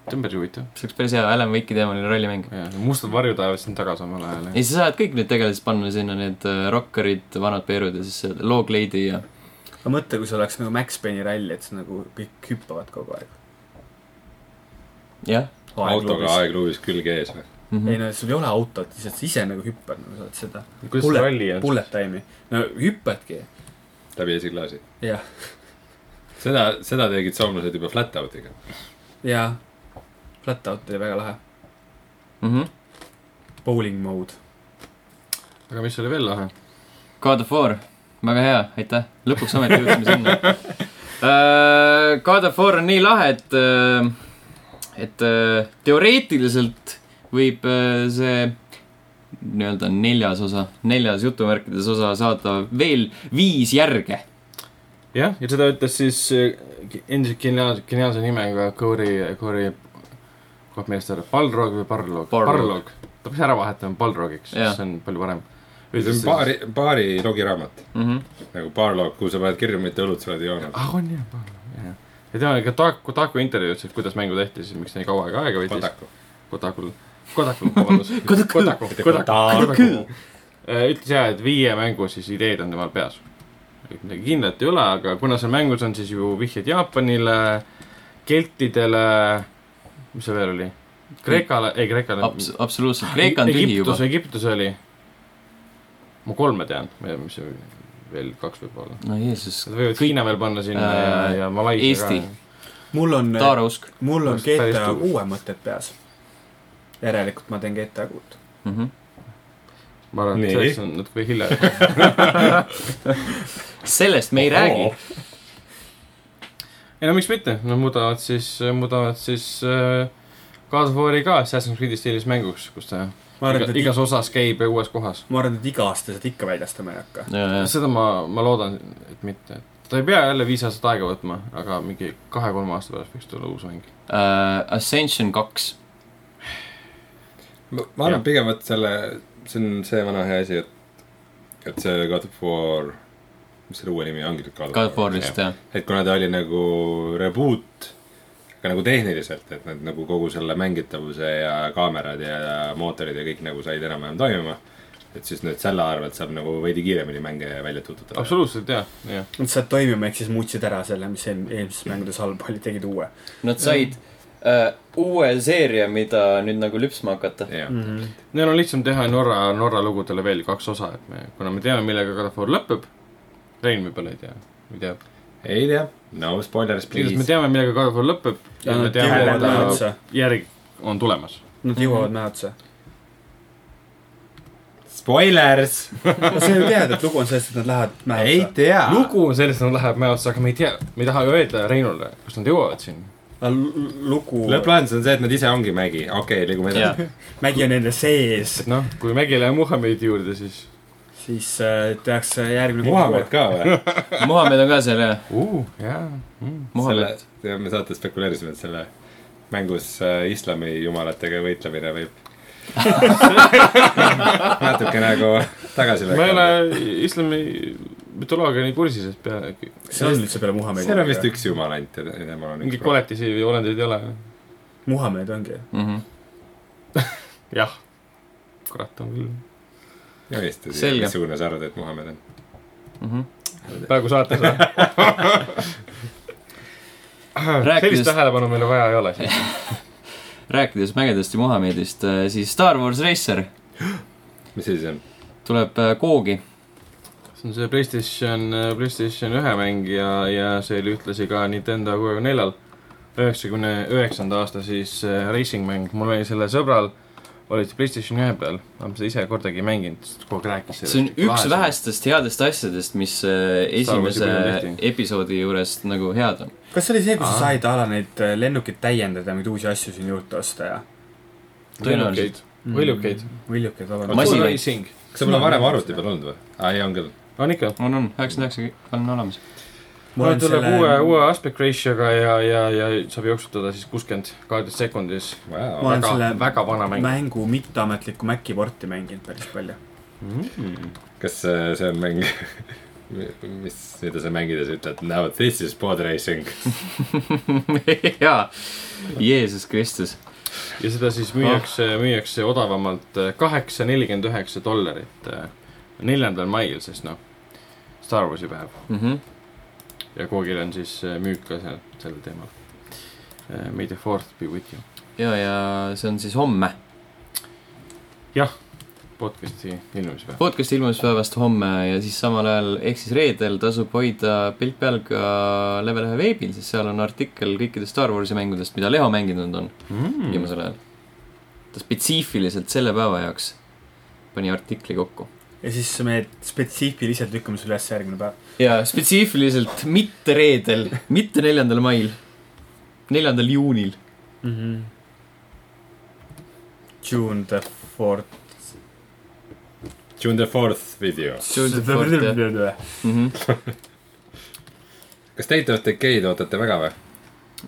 [SPEAKER 4] see on päris huvitav .
[SPEAKER 1] see oleks päris hea Alan Wake'i teemaline rallimäng .
[SPEAKER 4] mustad varjud ajavad sind taga samal ajal .
[SPEAKER 1] ei , sa saad kõik need tegelased panna sinna , need äh, rokkarid , vanad peerud ja siis see loogleidi ja
[SPEAKER 2] aga mõtle , kui see oleks nagu Max Payne'i ralli , et sa nagu kõik hüppavad kogu aeg .
[SPEAKER 1] jah
[SPEAKER 3] autoga . aegluubis külge ees noh, või ?
[SPEAKER 1] mm
[SPEAKER 2] ei
[SPEAKER 1] -hmm. .
[SPEAKER 2] no sul ei ole autot , lihtsalt sa ise nagu hüppad , nagu saad seda
[SPEAKER 4] kuidas see
[SPEAKER 2] Bullet-
[SPEAKER 4] ralli on ?
[SPEAKER 2] bullet time'i . no hüppadki ,
[SPEAKER 3] läbi esiklaasi .
[SPEAKER 2] jah ,
[SPEAKER 3] seda , seda tegid soomlased juba flat out'iga .
[SPEAKER 2] ja flat out oli väga lahe .
[SPEAKER 1] Mm -hmm.
[SPEAKER 2] Bowling mode .
[SPEAKER 4] aga mis oli veel lahe ?
[SPEAKER 1] God of War , väga hea , aitäh , lõpuks ometi jõudsime sinna uh, . God of War on nii lahe , et uh, , et uh, teoreetiliselt võib uh, see nii-öelda neljas osa , neljas jutumärkides osa saada veel viis järge .
[SPEAKER 4] jah , ja seda ütles siis äh, endiselt geniaalse , geniaalse nimega Cory , Cory , kohe meelest ära , Balrog või Barlog ?
[SPEAKER 1] Barlog.
[SPEAKER 4] Barlog . ta peaks ära vahetama Balrogiks ,
[SPEAKER 1] Jah.
[SPEAKER 4] see on palju parem .
[SPEAKER 3] see on paari , paari logiraamat
[SPEAKER 1] Mm -hmm.
[SPEAKER 3] nagu paar log , kuhu sa paned kirja , mitte õlut sa oled joonud .
[SPEAKER 4] ah , on jah , Barlog , jah . ja tema oli ka Taku , Taku intervjuus , et kuidas mängu tehti , siis miks nii kaua aega aega võttis .
[SPEAKER 3] Kotaku .
[SPEAKER 4] Kotakul . Kodaku , vabandust .
[SPEAKER 1] Kodaku.
[SPEAKER 4] Kodaku , Kodaku .
[SPEAKER 1] Kodaku.
[SPEAKER 4] ütles jaa , et viie mängu siis ideed on temal peas . et midagi kindlat ei ole , aga kuna seal mängus on siis ju vihjed Jaapanile , keltidele , mis seal veel oli ? Kreekale , ei Kreekale .
[SPEAKER 1] Abs- , absoluutselt , Kreeka on tühi juba
[SPEAKER 4] Egiptus ,. Egiptus oli . ma kolme tean , mis see veel kaks võib-olla .
[SPEAKER 1] no Jeesus ,
[SPEAKER 4] Nad võivad Hiina veel panna sinna
[SPEAKER 1] Äh,
[SPEAKER 4] ja , ja Malaisia
[SPEAKER 1] Eesti.
[SPEAKER 4] ka .
[SPEAKER 2] mul on ,
[SPEAKER 1] taarusk
[SPEAKER 2] mul on
[SPEAKER 4] Päris
[SPEAKER 2] GTA
[SPEAKER 4] tuus.
[SPEAKER 2] kuue mõtted peas . järelikult ma teen GTA kuut .
[SPEAKER 1] mm . -hmm.
[SPEAKER 4] ma arvan ,
[SPEAKER 3] Nii.
[SPEAKER 4] et selleks on natuke hilja .
[SPEAKER 1] sellest me ei räägi .
[SPEAKER 4] ei no miks mitte , nad muudavad siis , muudavad siis äh, Cars of War'i ka Assassin's Creed'i stiilis mänguks , kus ta
[SPEAKER 2] ma arvan ,
[SPEAKER 4] iga,
[SPEAKER 2] et ,
[SPEAKER 4] igas osas käib ja uues kohas .
[SPEAKER 2] ma arvan , et iga aasta seda ikka väljastama ei hakka .
[SPEAKER 1] Äh,
[SPEAKER 4] seda ma , ma loodan , et mitte . ta ei pea jälle viis aastat aega võtma , aga mingi kahe-kolme aasta pärast võiks tulla uus mäng .
[SPEAKER 1] äh, Ascension kaks ,
[SPEAKER 3] ma ma arvan pigem , et selle , see on see vana hea asi , et , et see God of War , mis selle uue nimi ongi ?
[SPEAKER 1] God of War vist . jah .
[SPEAKER 3] et kuna ta oli nagu reboot , aga nagu tehniliselt , et nad nagu kogu selle mängitavuse ja kaamerad ja mootorid ja kõik nagu said enam-vähem toimima , et siis nüüd selle arvelt saab nagu veidi kiiremini mänge välja tututada .
[SPEAKER 4] absoluutselt jah , jah .
[SPEAKER 2] Nad said toimima , ehk siis muutsid ära selle , mis eelm- eelmistes mängudes halb oli , tegid uue .
[SPEAKER 1] Nad said äh, uue seeria , mida nüüd nagu lüpsma hakata .
[SPEAKER 3] jah ,
[SPEAKER 2] Mhm.
[SPEAKER 4] Neil on lihtsam teha Norra , Norra lugudele veel kaks osa , et me , kuna me teame , millega God of War lõpeb , Rein võib-olla ei tea , või teab .
[SPEAKER 3] ei tea , no spoilers
[SPEAKER 4] igatahes me
[SPEAKER 3] please .
[SPEAKER 4] teame , millega God of War lõpeb ja, ja me teame ,
[SPEAKER 1] jõuavad
[SPEAKER 4] et
[SPEAKER 1] lähevad
[SPEAKER 4] ta
[SPEAKER 2] otsa .
[SPEAKER 4] järg on tulemas .
[SPEAKER 2] Nad jõuavad mäe otsa .
[SPEAKER 3] Spoilers !
[SPEAKER 2] no sa ju tead , et lugu on selles , et nad lähevad mäe
[SPEAKER 3] ei
[SPEAKER 2] otsa .
[SPEAKER 3] tea .
[SPEAKER 4] lugu on selles , et nad lähevad mäe otsa , aga me ei tea , me ei taha ju öelda Reinule , kus nad jõuavad sinna .
[SPEAKER 2] aga l- lugu ,
[SPEAKER 3] lõpplahendus on see , et nad ise ongi mägi , okei okay, , liigume edasi .
[SPEAKER 2] mägi on nende sees ,
[SPEAKER 4] et noh , kui Mägi läheb Muhamedi juurde , siis
[SPEAKER 2] siis äh, tehakse järgmine
[SPEAKER 3] Muhamed . ka või ?
[SPEAKER 1] Muhamed on ka seal jah ,
[SPEAKER 4] uh, , jaa mm. .
[SPEAKER 3] selle
[SPEAKER 1] Muhamed .,
[SPEAKER 3] me saates spekuleerisime , et selle mängus äh, islami jumalatega võitlemine võib natuke nagu tagasi
[SPEAKER 4] ma ei
[SPEAKER 3] lükata .
[SPEAKER 4] ole islami mütoloogia nii kursis , et pea ,
[SPEAKER 2] see on üldse peale Muhamedi .
[SPEAKER 3] seal on vist . üks jumal ainult ja temal on
[SPEAKER 4] mingeid
[SPEAKER 3] üks .
[SPEAKER 4] koletisi või olendeid ei ole .
[SPEAKER 2] Muhamed ongi .
[SPEAKER 1] Mhm.
[SPEAKER 4] jah , kurat on küll .
[SPEAKER 3] ja vist ,
[SPEAKER 1] Selge.
[SPEAKER 3] missugune sa arvad , et Muhamed on ?
[SPEAKER 1] Mhm.
[SPEAKER 4] praegu saates või ?
[SPEAKER 1] Rääkides-
[SPEAKER 4] sellist tähelepanu meile vaja ei ole siis .
[SPEAKER 1] rääkides mägedest ja Muhamedist , siis Star Wars Racer
[SPEAKER 3] mis asi see on ?
[SPEAKER 1] tuleb äh, koogi .
[SPEAKER 4] see on see Playstation , Playstation ühe mäng ja , ja see oli ühtlasi ka Nintendo kuuekümne neljal . üheksakümne üheksanda aasta siis äh, racing mäng , mul oli selle sõbral , oli see Playstation ühe peal , ma seda ise kordagi ei mänginud , sest kogu aeg rääkis
[SPEAKER 1] see on üks . vähestest headest asjadest , mis äh,
[SPEAKER 4] Star Warsi
[SPEAKER 1] esimese
[SPEAKER 4] põhjal tehti.
[SPEAKER 1] episoodi juures nagu head on .
[SPEAKER 2] kas see oli see , kus sa
[SPEAKER 4] Aa.
[SPEAKER 2] said a la neid äh, lennukeid täiendada , mingeid uusi asju siin juurde osta ja ?
[SPEAKER 1] tõenäoliselt .
[SPEAKER 4] Mm. Võljukeid. .
[SPEAKER 2] võljukeid ,
[SPEAKER 1] Masin-
[SPEAKER 2] vabandust .
[SPEAKER 1] Masinaid.
[SPEAKER 4] racing .
[SPEAKER 3] kas sa pole varem arvuti peal olnud või ? aa , ei , on küll .
[SPEAKER 4] on ikka .
[SPEAKER 1] on , on , üheksakümmend üheksa on olemas .
[SPEAKER 4] mul tuleb uue , uue aspect ratio'ga ja , ja , ja saab jooksutada siis kuuskümmend , kaheteist sekundis .
[SPEAKER 2] Ma olen
[SPEAKER 4] väga
[SPEAKER 2] selle- ,
[SPEAKER 4] väga vana mäng .
[SPEAKER 2] mängu mitteametlikku Maci porti mänginud päris palju .
[SPEAKER 1] Mhm.
[SPEAKER 4] Hmm.
[SPEAKER 3] kas äh, see on mäng , mis , mida sa mängides ütled , now this is pod racing .
[SPEAKER 1] jaa , Jeesus Kristus .
[SPEAKER 4] ja seda siis müüakse oh. , müüakse odavamalt äh, kaheksa , nelikümmend üheksa dollarit äh, neljandal mail , sest noh , Star Warsi päev
[SPEAKER 1] Mhm.
[SPEAKER 4] ja koogil on siis äh, müük ka seal sellel teemal . May the fourth be with you .
[SPEAKER 1] ja , ja see on siis homme .
[SPEAKER 4] podcast'i ilmumise päev .
[SPEAKER 1] podcast ilmus päevast homme ja siis samal ajal , ehk siis reedel tasub hoida pilt peal ka level ühe veebil , sest seal on artikkel kõikidest Star Warsi mängudest , mida Leho mänginud on viimasel ajal . ta spetsiifiliselt selle päeva jaoks pani artikli kokku .
[SPEAKER 2] ja siis me spetsiifiliselt lükkame selle üles järgmine päev .
[SPEAKER 1] ja spetsiifiliselt mitte reedel , mitte neljandal mail , neljandal juunil .
[SPEAKER 2] June the fourth .
[SPEAKER 3] June the fourth video .
[SPEAKER 1] June the fourth, Mm -hmm.
[SPEAKER 3] kas State of Decay'd ootate väga või ?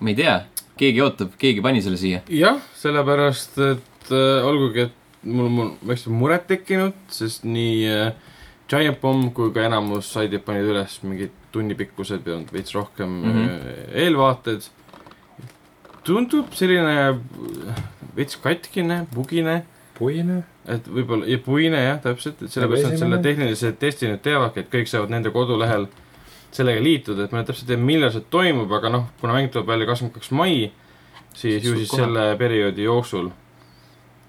[SPEAKER 1] ma ei tea , keegi ootab , keegi pani selle siia .
[SPEAKER 4] jah , sellepärast , et äh, olgugi , et mul on väikse muret tekkinud , sest nii äh, Giant Bomb kui ka enamus saidid panid üles äh, mingid tunnipikkused või on veits rohkem mm
[SPEAKER 1] Mhm.
[SPEAKER 4] -hmm. eelvaated . tundub selline äh, veits katkine , bugine ,
[SPEAKER 3] puine .
[SPEAKER 4] et võib-olla , ja puine jah , täpselt , et sellepärast nad selle
[SPEAKER 3] Esimene.
[SPEAKER 4] tehnilise testi nüüd teevadki , et kõik saavad nende kodulehel sellega liituda , et ma nüüd täpselt ei tea , millal see toimub , aga noh , kuna mäng tuleb välja kakskümmend kaks mai , siis
[SPEAKER 1] Siis
[SPEAKER 4] ju
[SPEAKER 1] sul
[SPEAKER 4] siis
[SPEAKER 1] kohe-
[SPEAKER 4] selle perioodi jooksul ,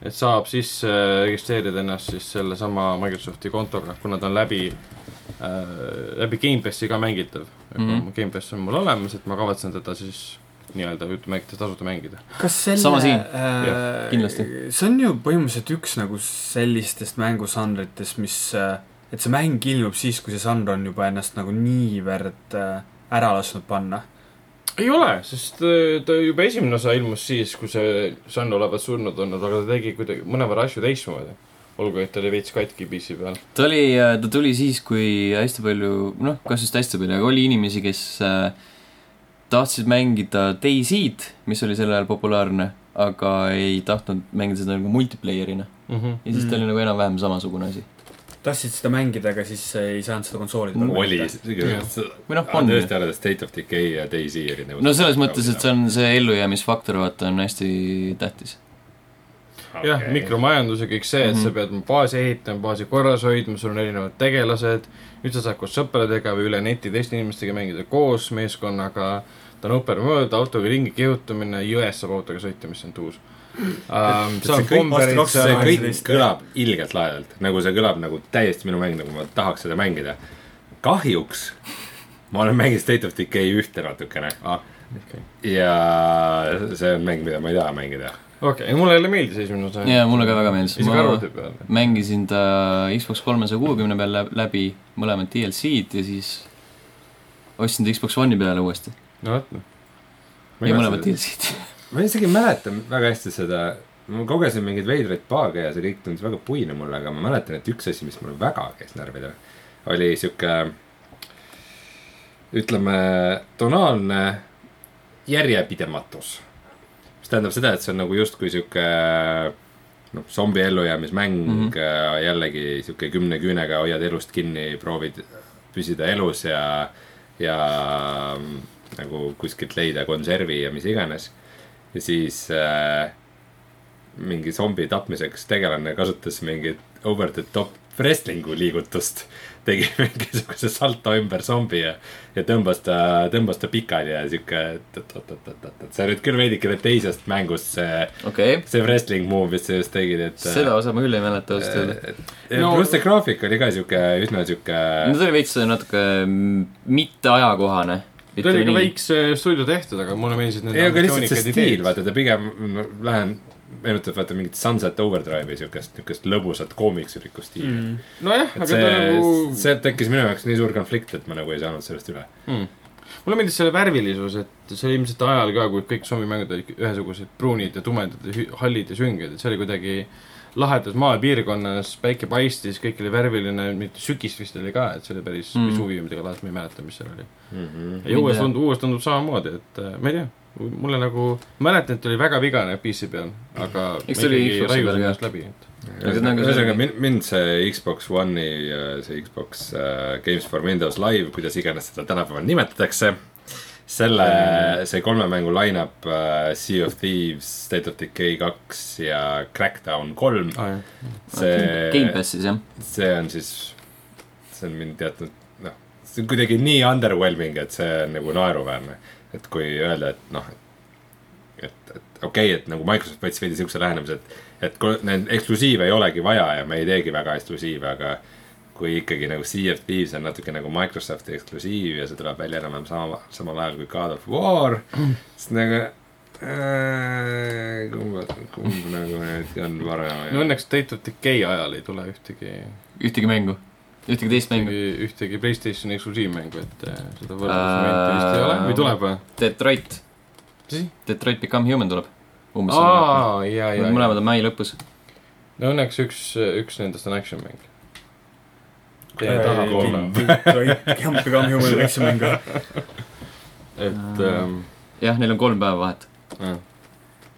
[SPEAKER 4] et saab siis äh, registreerida ennast siis sellesama Microsofti kontoga , kuna ta on läbi äh, , läbi Gamepassi ka mängitav mm .
[SPEAKER 1] Mhm.
[SPEAKER 4] -hmm. Gamepass on mul olemas , et ma kavatsen teda siis nii-öelda jutumärkides tasuta mängida .
[SPEAKER 2] kas selle
[SPEAKER 1] Sama siin.
[SPEAKER 2] äh,
[SPEAKER 1] kindlasti.
[SPEAKER 2] see on ju põhimõtteliselt üks nagu sellistest mängusanritest , mis , et see mäng ilmub siis , kui see žanr on juba ennast nagu niivõrd äh, ära lasknud panna .
[SPEAKER 4] ei ole , sest äh, ta juba esimene osa ilmus siis , kui see Sun olevat surnud olnud , aga ta tegi kuidagi mõnevõrra asju teistmoodi . olgu , et ta oli veits katki PC peal .
[SPEAKER 1] ta oli , ta tuli siis , kui hästi palju , noh , kas just hästi palju , aga oli inimesi , kes äh, tahtsid mängida DayZ-d , mis oli sel ajal populaarne , aga ei tahtnud mängida seda nagu multiplayer'ina . ja siis ta
[SPEAKER 2] Mhm.
[SPEAKER 1] oli nagu enam-vähem samasugune asi .
[SPEAKER 2] tahtsid seda mängida , aga siis äh, ei saanud seda konsooli peal
[SPEAKER 3] oli
[SPEAKER 2] mängida. ,
[SPEAKER 1] või noh ,
[SPEAKER 3] on
[SPEAKER 1] on .
[SPEAKER 3] tõesti alles State of Decay ja Daisy nagu erinevus .
[SPEAKER 1] no selles mõttes , et see on see ellujäämisfaktor , vaata , on hästi tähtis .
[SPEAKER 3] nagu,
[SPEAKER 4] jah okay. , mikromajandus ja kõik see , et mm -hmm. sa
[SPEAKER 1] Mhm.
[SPEAKER 4] pead oma baasi ehitama , baasi korras hoidma , sul on erinevad tegelased , nüüd sa saad koos sõpradega või üle neti teiste inimestega mängida koos meeskonnaga , ta on open world , autoga ringi kihutamine , jões saab autoga sõita , mis on tuus um, . seal on
[SPEAKER 3] see kõik-
[SPEAKER 4] komberid ,
[SPEAKER 2] vastu
[SPEAKER 4] seal
[SPEAKER 3] see
[SPEAKER 4] on
[SPEAKER 3] kõik
[SPEAKER 2] Seitseteist.
[SPEAKER 3] kõlab ilgelt lahedalt , nagu see kõlab nagu täiesti minu mäng , nagu ma tahaks seda mängida . kahjuks ma olen mänginud State of Decay ühte natukene
[SPEAKER 4] Ah, okei.
[SPEAKER 3] ja see on mäng , mida ma ei taha mängida .
[SPEAKER 4] okei , mulle jälle meeldis esimene osa .
[SPEAKER 1] jaa , mulle ka väga meeldis .
[SPEAKER 4] isegi arvuti peal .
[SPEAKER 1] mängisin ta Xbox kolmesaja kuuekümne peal lä- läbi mõlemad DLC-d ja siis ostsin ta Xbox One'i peale uuesti .
[SPEAKER 4] no vot , noh.
[SPEAKER 1] ja mõlemad DLC-d .
[SPEAKER 3] ma isegi ei mäleta väga hästi seda , ma kogesin mingeid veidraid paage ja see kõik tundus väga puine mulle , aga ma mäletan , et üks asi , mis mul väga käis närvidele , oli sihuke ütleme , tonaalne järjepidematus . mis tähendab seda , et see on nagu justkui sihuke noh , zombi ellujäämismäng mm ,
[SPEAKER 1] Mhm.
[SPEAKER 3] -hmm. jällegi sihuke kümne küünega hoiad elust kinni , proovid püsida elus ja , ja mm, nagu kuskilt leida konservi ja mis iganes . ja siis äh, mingi zombi tapmiseks tegelane kasutas mingit over the top wrestling'u liigutust . tegi mingisuguse salto ümber zombi ja , ja tõmbas ta , tõmbas ta pikali ja sihuke , et , et , et , et , et , et , et see nüüd küll veidikene teisest mängust see ,
[SPEAKER 1] okei okay. ,
[SPEAKER 3] see wrestling move , mis sa just tegid , et .
[SPEAKER 4] äh,
[SPEAKER 1] seda osa ma küll ei mäleta ausalt öelda .
[SPEAKER 3] no, . pluss see graafik oli ka sihuke , üsna sihuke .
[SPEAKER 1] no ta oli veits äh, natuke mm, mitte ajakohane .
[SPEAKER 4] ta oli ka . väikse stuudio tehtud , aga mulle meeldisid need
[SPEAKER 3] ei , aga lihtsalt see stiil , vaata ta pigem , ma lähen , meenutab vaata mingit Sunset Overdrive'i siukest , niukest lõbusat koomiksulikku stiili mm. .
[SPEAKER 4] nojah ,
[SPEAKER 3] et
[SPEAKER 4] aga ta
[SPEAKER 3] see
[SPEAKER 4] nagu ,
[SPEAKER 3] see tekkis minu jaoks nii suur konflikt , et ma nagu ei saanud sellest üle .
[SPEAKER 4] Hmm. mulle meeldis selle värvilisus , et see oli ilmselt ajal ka , kui kõik zombimängud olid ühesugused pruunid ja tumedad ja hü- hallid ja sünged , et see oli kuidagi lahedas maapiirkonnas , päike paistis , kõik oli värviline , mingit sügist vist oli ka , et see oli päris
[SPEAKER 1] Mm.
[SPEAKER 3] Hmm.
[SPEAKER 4] mm. suvi või midagi laadset , ma ei mäleta , mis seal oli .
[SPEAKER 1] Ei
[SPEAKER 4] ja uues
[SPEAKER 1] tea.
[SPEAKER 4] tundub , uues tundub samamoodi , et äh, ma ei tea , mulle nagu , mäletan , et ta oli väga vigane PC peal , aga
[SPEAKER 1] Eks ta oli Xboxi peal ka.
[SPEAKER 4] läbi , et
[SPEAKER 1] nagu see-
[SPEAKER 3] ühesõnaga , mind , mind see Xbox One'i ja see Xbox äh, Games for Windows Live , kuidas iganes seda tänapäeval nimetatakse . selle ,
[SPEAKER 1] Mm.
[SPEAKER 3] see kolme mängu line-up äh, Sea of Thieves , State of Decay kaks ja Crackdown kolm .
[SPEAKER 4] ah, .
[SPEAKER 3] see ,
[SPEAKER 1] Gamepassis jah .
[SPEAKER 3] see on siis , see on mind teatud , noh , see on kuidagi nii underwhelming , et see on nagu naeruväärne . et kui öelda , et noh , et , et okei okay, , et nagu Microsoft võttis veidi siukse lähenemise , et , et kui neid eksklusiive ei olegi vaja ja me ei teegi väga eksklusiive , aga kui ikkagi nagu Sea of Thieves on natuke nagu Microsofti eksklusiiv ja see tuleb välja enam-vähem sama , samal ajal kui God of War , siis nagu äh, kumb , kumb nagu nüüd on parem .
[SPEAKER 4] no õnneks State of Decay ajal ei tule ühtegi ,
[SPEAKER 1] ühtegi mängu , ühtegi teist mängu .
[SPEAKER 4] ühtegi , ühtegi Playstationi eksklusiivmängu , et äh, seda võrdlusmomenti vist
[SPEAKER 1] Äh,
[SPEAKER 4] ei ole või tuleb või ?
[SPEAKER 1] Detroit ,
[SPEAKER 4] mis asi ?
[SPEAKER 1] Detroit Become Human tuleb . umbes .
[SPEAKER 4] aa , ja ,
[SPEAKER 1] Nad
[SPEAKER 4] ja ,
[SPEAKER 1] mõlemad on mai lõpus .
[SPEAKER 4] no õnneks üks , üks nendest on action mäng .
[SPEAKER 3] Ei, taha kuulda.
[SPEAKER 2] kämpi ka on jumala väiksem mäng .
[SPEAKER 4] et ähm,
[SPEAKER 1] Äh, jah , neil on kolm päeva vahet .
[SPEAKER 4] Äh, jah.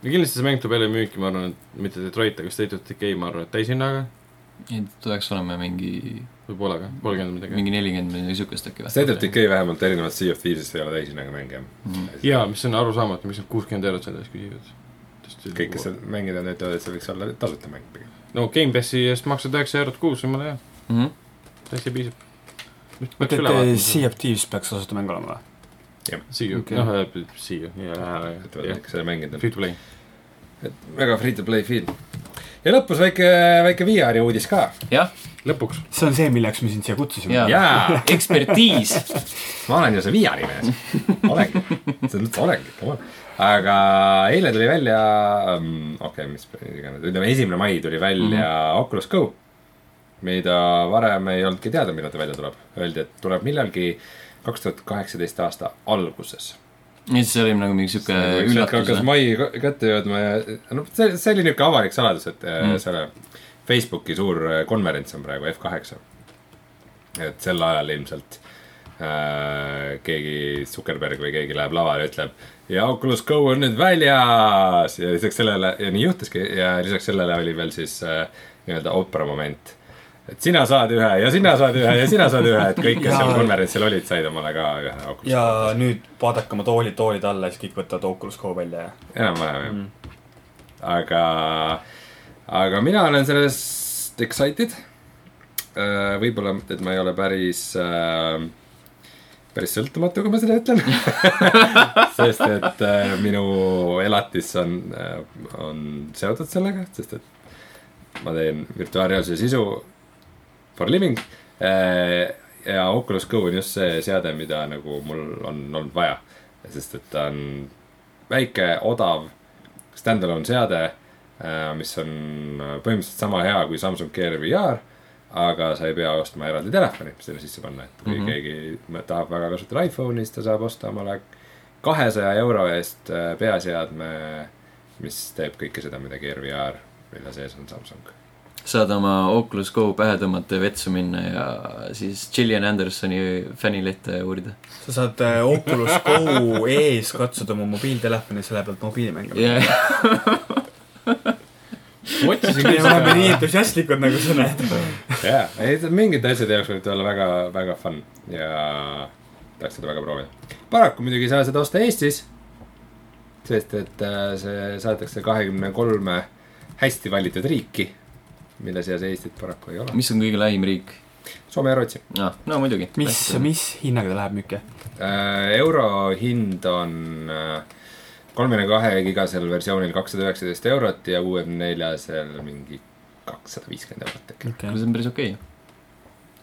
[SPEAKER 4] ja kindlasti see mäng tuleb jälle müüki , ma arvan , et mitte Detroit , aga State of Decay , ma arvan , et täishinnaga .
[SPEAKER 1] ei , tuleks olema mingi ,
[SPEAKER 4] võib-olla ka , kolmkümmend midagi .
[SPEAKER 1] mingi nelikümmend või midagi siukest äkki või ?
[SPEAKER 3] State of Decay vähemalt erinevalt Sea of Thieves'ist ei ole täishinnaga mänge .
[SPEAKER 1] Mhm.
[SPEAKER 4] jaa , mis on arusaamatu , miks nad kuuskümmend eurot selle eest küsivad .
[SPEAKER 3] kõik , kes seal mängivad , need ütlevad , et see võiks olla tasuta mäng pigem .
[SPEAKER 4] no Gamepassi eest maksad üheksa eurot kuus , jumala hea ,
[SPEAKER 1] mhmh ,
[SPEAKER 4] täitsa piisab . nüüd
[SPEAKER 2] mõtled ,
[SPEAKER 4] peaks üle
[SPEAKER 2] et
[SPEAKER 4] vaatama .
[SPEAKER 2] Sea of Thieves peaks tasuta mäng olema või ?
[SPEAKER 4] siia ,
[SPEAKER 2] okei.
[SPEAKER 4] noh , siia , jaa ,
[SPEAKER 3] ütlevad ,
[SPEAKER 4] jah ,
[SPEAKER 3] et kes seda mänginud on .
[SPEAKER 4] free to play .
[SPEAKER 3] väga free to play feel . ja lõpus väike , väike VR-i uudis ka .
[SPEAKER 1] jah ,
[SPEAKER 4] lõpuks ,
[SPEAKER 2] see on see , milleks me sind siia kutsusime .
[SPEAKER 1] Jaa.
[SPEAKER 3] jaa ,
[SPEAKER 1] ekspertiis .
[SPEAKER 3] ma olen ju see VR-i mees . olengi , selles mõttes olengi , come on . aga eile tuli välja , okei , mis iganes , ütleme esimene mai tuli välja
[SPEAKER 4] Mhm.
[SPEAKER 3] mm -hmm. Oculus Go . mida varem ei olnudki teada , millal ta välja tuleb . Öeldi , et tuleb millalgi kaks tuhat kaheksateist aasta alguses
[SPEAKER 1] ja siis see oli nagu mingi siuke
[SPEAKER 3] Eks sealt
[SPEAKER 1] üllatus
[SPEAKER 3] hakkas . mai ka- kätte jõudma ja no see , see oli niuke avalik saladus , et mm. selle Facebooki suur äh, konverents on praegu F8 . et sel ajal ilmselt äh, keegi , Zuckerberg või keegi läheb lavale ja ütleb ja Oculus Go on nüüd väljas ja lisaks sellele ja nii juhtuski ja lisaks sellele oli veel siis äh, nii-öelda opera moment et sina saad ühe ja sina saad ühe ja sina saad ühe , et kõik , kes seal
[SPEAKER 2] Jaa.
[SPEAKER 3] konverentsil olid , said omale ka ühe Oculus
[SPEAKER 2] ja nüüd vaadake oma toolid , toolid alla ja siis kõik võtavad Oculus Go välja ja .
[SPEAKER 3] enam-vähem jah mm. . aga , aga mina olen sellest excited . võib-olla , et ma ei ole päris , päris sõltumatu , kui ma seda ütlen . sest et äh, minu elatis on , on seotud sellega , sest et ma teen virtuaalreaalsuse sisu for living . ja Oculus Go on just see seade , mida nagu mul on olnud vaja , sest et ta on väike , odav stand-alone seade , mis on põhimõtteliselt sama hea kui Samsung Gear VR , aga sa ei pea ostma eraldi telefoni , mis sinna sisse panna , et kui mm
[SPEAKER 1] Mhm.
[SPEAKER 3] -hmm. keegi mõ- tahab väga kasutada iPhone'i , siis ta saab osta omale kahesaja euro eest äh, peaseadme , mis teeb kõike seda , mida Gear VR , mille sees on Samsung .
[SPEAKER 1] saad oma Oculus Go pähe tõmmata ja vetsu minna ja siis Gillian Andersoni fännilehte uurida .
[SPEAKER 2] sa saad äh, Oculus Go ees katsuda oma mobiiltelefoni , selle pealt mobiilimänge
[SPEAKER 1] ja ,
[SPEAKER 4] otsisin
[SPEAKER 2] me
[SPEAKER 4] küll
[SPEAKER 2] oleme nii
[SPEAKER 4] seda ,
[SPEAKER 2] entusiastlikud , nagu sa näed .
[SPEAKER 3] jaa , ei ta- mingite asjade jaoks võib ta olla väga , väga fun ja tahaks seda väga proovida . paraku muidugi ei saa seda osta Eestis . sest et äh, see saadetakse kahekümne kolme hästi valitud riiki , mille seas Eestit paraku ei ole .
[SPEAKER 1] mis on kõige laim riik ?
[SPEAKER 3] Soome ja Rootsi
[SPEAKER 1] ah, . no muidugi .
[SPEAKER 2] mis , mis hinnaga ta läheb , Mikke ?
[SPEAKER 3] äh, . euro hind on äh, kolmekümne kahe gigasel versioonil kakssada üheksateist eurot ja kuuekümne neljasel mingi kakssada viiskümmend eurot äkki .
[SPEAKER 1] see on päris okei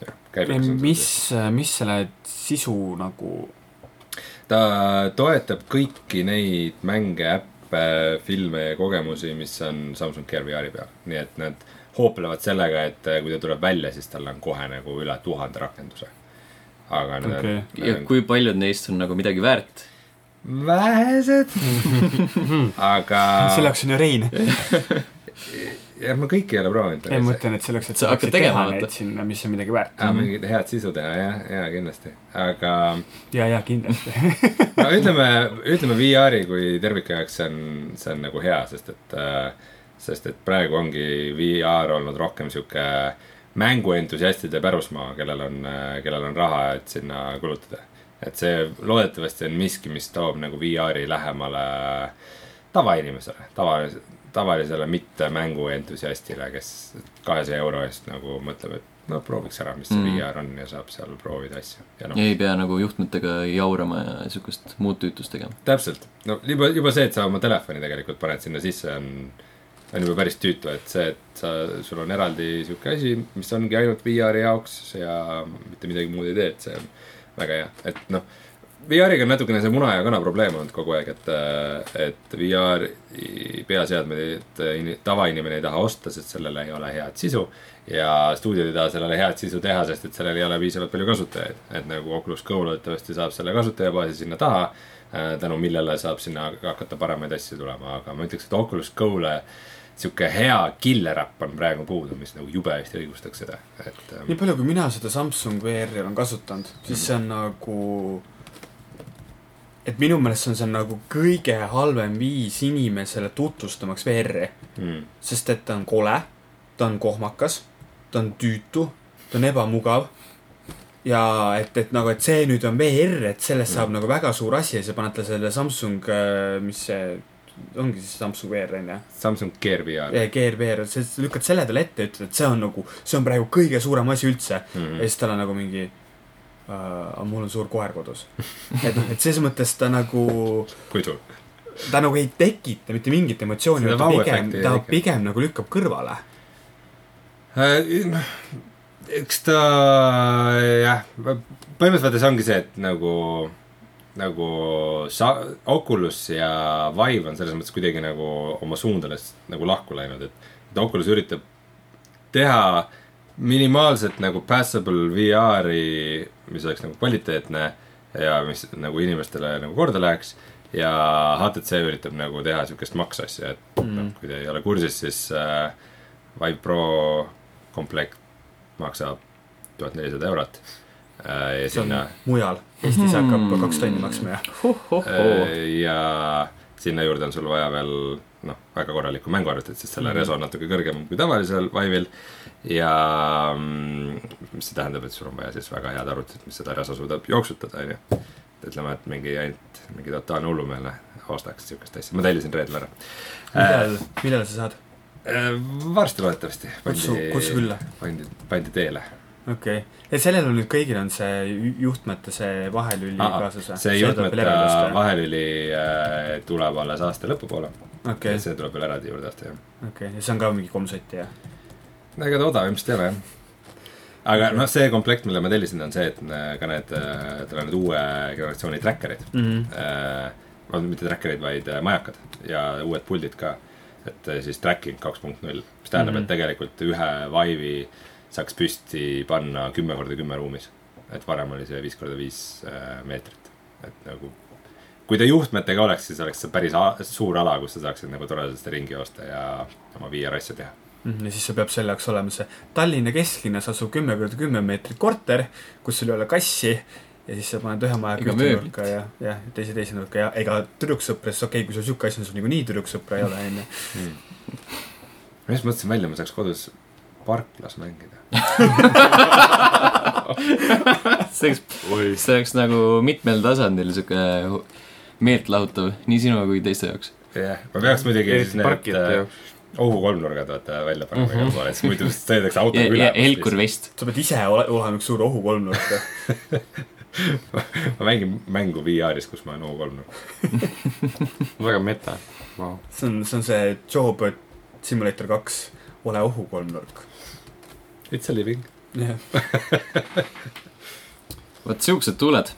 [SPEAKER 1] okay. .
[SPEAKER 2] mis , mis selle sisu nagu ,
[SPEAKER 3] ta toetab kõiki neid mänge , äppe , filme ja kogemusi , mis on Samsung Gear VR-i peal , nii et nad hooplevad sellega , et eh, kui ta tuleb välja , siis tal on kohe nagu üle tuhande rakenduse . aga need
[SPEAKER 2] Okei.
[SPEAKER 1] ja
[SPEAKER 3] on ,
[SPEAKER 1] kui paljud neist on nagu midagi väärt ?
[SPEAKER 3] on vähesed , aga
[SPEAKER 2] selle jaoks on ju Rein .
[SPEAKER 3] jah , ma kõiki ei ole proovinud .
[SPEAKER 2] ei , ma ütlen , et selleks , et
[SPEAKER 1] Sa
[SPEAKER 2] sa
[SPEAKER 1] hakkad
[SPEAKER 2] saaksid teha
[SPEAKER 1] tegema,
[SPEAKER 2] neid
[SPEAKER 1] vaata.
[SPEAKER 2] sinna , mis on midagi väärt .
[SPEAKER 3] aga mingid head sisu teha , jah , ja kindlasti , aga
[SPEAKER 2] ja , ja kindlasti .
[SPEAKER 3] no ütleme , ütleme VR-i kui terviku jaoks see on , see on nagu hea , sest et , sest et praegu ongi VR olnud rohkem sihuke mänguentusiastide pärusmaa , kellel on , kellel on raha , et sinna kulutada . et see loodetavasti on miski , mis toob nagu VR-i lähemale tavainimesele , tavalisele , tavalisele mittemänguentusiastile , kes kahesaja euro eest nagu mõtleb , et no prooviks ära , mis see
[SPEAKER 1] Mm.
[SPEAKER 3] VR on ja saab seal proovida asju ja noh .
[SPEAKER 1] ja ei pea nagu juhtmetega jaurama ja siukest muud tüütust tegema .
[SPEAKER 3] täpselt , no juba , juba see , et sa oma telefoni tegelikult paned sinna sisse , on , on juba päris tüütu , et see , et sa , sul on eraldi sihuke asi , mis ongi ainult VR-i jaoks ja mitte midagi muud ei tee , et see on väga hea , et noh . VR-iga on natukene see muna ja kana probleem olnud kogu aeg , et , et VR-i peaseadmeid in- tavainimene ei taha osta , sest sellel ei ole head sisu . ja stuudiod ei taha sellele head sisu teha , sest et sellel ei ole piisavalt palju kasutajaid , et nagu Oculus Go loodetavasti saab selle kasutajabaasi sinna taha äh, tänu millele saab sinna hakata paremaid asju tulema , aga ma ütleks , et Oculus Go-le sihuke hea killer äpp on praegu puudu , mis nagu jube hästi õigustaks seda , et ähm,
[SPEAKER 2] nii palju , kui mina seda Samsung VR-i olen kasutanud , siis see on nagu , et minu meelest see on see nagu kõige halvem viis inimesele tutvustamaks VR-i ,
[SPEAKER 3] mm,
[SPEAKER 2] sest et ta on kole , ta on kohmakas , ta on tüütu , ta on ebamugav . ja et , et nagu , et see nüüd on VR , et sellest saab nagu väga suur asi ja sa paned talle selle Samsung , mis see ongi siis Samsung VR onju .
[SPEAKER 3] Samsung Gear VR .
[SPEAKER 2] Eh, GRBR , sa sa lükkad selle talle ette , ütled , et see on nagu , see on praegu kõige suurem asi üldse mm .
[SPEAKER 3] Mhm.
[SPEAKER 2] -hmm. ja siis tal on nagu mingi uh, , mul on suur koer kodus . et noh , et ses mõttes ta nagu ,
[SPEAKER 3] kui suur ?
[SPEAKER 2] ta nagu ei tekita mitte mingit emotsiooni
[SPEAKER 3] Seda ,
[SPEAKER 2] ta pigem
[SPEAKER 3] vau-efekti , ei
[SPEAKER 2] ta
[SPEAKER 3] tekita.
[SPEAKER 2] pigem nagu lükkab kõrvale .
[SPEAKER 3] noh , eks ta jah , põhimõtteliselt vaadates ongi see , et nagu , nagu sa- , Oculus ja Vive on selles mõttes kuidagi nagu oma suundades nagu lahku läinud , et , et Oculus üritab teha minimaalselt nagu passable VR-i , mis oleks nagu kvaliteetne ja mis nagu inimestele nagu korda läheks ja HTC üritab nagu teha siukest maksasja , et mm. noh , kui te ei ole kursis , siis äh, Vive Pro komplekt maksab tuhat nelisada eurot . ja
[SPEAKER 2] see on
[SPEAKER 3] sinna ,
[SPEAKER 2] mujal , Eestis hakkab kaks tonni maksma ja
[SPEAKER 1] oh-oh-oo .
[SPEAKER 3] ja sinna juurde on sul vaja veel noh , väga korralikku mänguarvutit , sest
[SPEAKER 2] Mhm.
[SPEAKER 3] selle mm. reso on natuke kõrgem kui tavalisel Vive'il . ja mm, mis see tähendab , et sul on vaja siis väga head arvutit , mis seda reso suudab jooksutada , onju . ütleme , et mingi ainult mingi totaalne hullumeelne ostaks siukest asja , ma tellisin reedel ära . Äh.
[SPEAKER 2] millal , millal sa saad ?
[SPEAKER 3] varsti loodetavasti .
[SPEAKER 2] kutsu , kutsu külla .
[SPEAKER 3] pandi , pandi teele .
[SPEAKER 2] okei okay. , et sellel on nüüd kõigil on see ju- juhtmete see vahelüli
[SPEAKER 3] Aa,
[SPEAKER 2] kaasas või ?
[SPEAKER 3] see juhtmete . vahelüli äh, tuleb alles aasta lõpupoole
[SPEAKER 2] okei
[SPEAKER 3] okay. ,, see tuleb veel eraldi juurde osta jah .
[SPEAKER 2] okei , ja see on ka mingi kolm sotti jah ?
[SPEAKER 3] no ega ta odavam vist ei ole jah . aga noh , see komplekt , mille ma tellisin , on see , et äh, ka need , tal on need uue generatsiooni tracker'id
[SPEAKER 2] mm . -hmm.
[SPEAKER 3] äh, . mitte tracker'id , vaid äh, majakad ja uued puldid ka . et äh, siis tracking kaks punkt null , mis tähendab mm , -hmm.
[SPEAKER 2] Mhm.
[SPEAKER 3] et tegelikult ühe Vive'i saaks püsti panna kümme korda kümme ruumis . et varem oli see viis korda viis äh, meetrit , et nagu . kui ta juhtmetega oleks , siis oleks see päris a- suur ala , kus sa saaksid nagu toredasti ringi joosta ja oma VR asja teha .
[SPEAKER 2] Mhm, ja siis sul peab selle jaoks olema see Tallinna kesklinnas asuv kümme korda kümme meetrit korter , kus sul ei ole kassi ja siis sa paned ühe maja
[SPEAKER 1] Ega
[SPEAKER 2] ühte
[SPEAKER 1] mööblit.
[SPEAKER 2] nurka ja , ja teise teise nurka ja ega tüdruksõpra , siis okei okay, , kui sul siuke asi on , sul niikuinii tüdruksõpra ei ole , onju .
[SPEAKER 3] ma just mõtlesin välja , ma saaks kodus parklas mängida .
[SPEAKER 1] see oleks ,
[SPEAKER 4] oi ,
[SPEAKER 1] see oleks nagu mitmel tasandil sihuke meeltlahutav nii sinu kui teiste jaoks .
[SPEAKER 3] jah , ma peaks muidugi siis
[SPEAKER 4] eriti
[SPEAKER 3] need
[SPEAKER 4] parkijate
[SPEAKER 3] äh,
[SPEAKER 4] jaoks .
[SPEAKER 3] ohu kolmnurgad vaata välja panema mm -hmm. igale poole , siis muidu
[SPEAKER 1] Mhm.
[SPEAKER 3] sõidetakse
[SPEAKER 1] ja ,
[SPEAKER 3] autoga
[SPEAKER 1] ja
[SPEAKER 3] üle .
[SPEAKER 1] Helkur . vest .
[SPEAKER 2] sa pead ise ole- olema üks suur ohukolmnurk .
[SPEAKER 3] ma mängin mängu VR-is , kus ma olen ohu kolmnurk .
[SPEAKER 4] väga meta wow. .
[SPEAKER 2] see on , see on see Job Simulator kaks , ole ohukolmnurk .
[SPEAKER 3] It's a living .
[SPEAKER 2] jah ,
[SPEAKER 1] vot siuksed tuuled .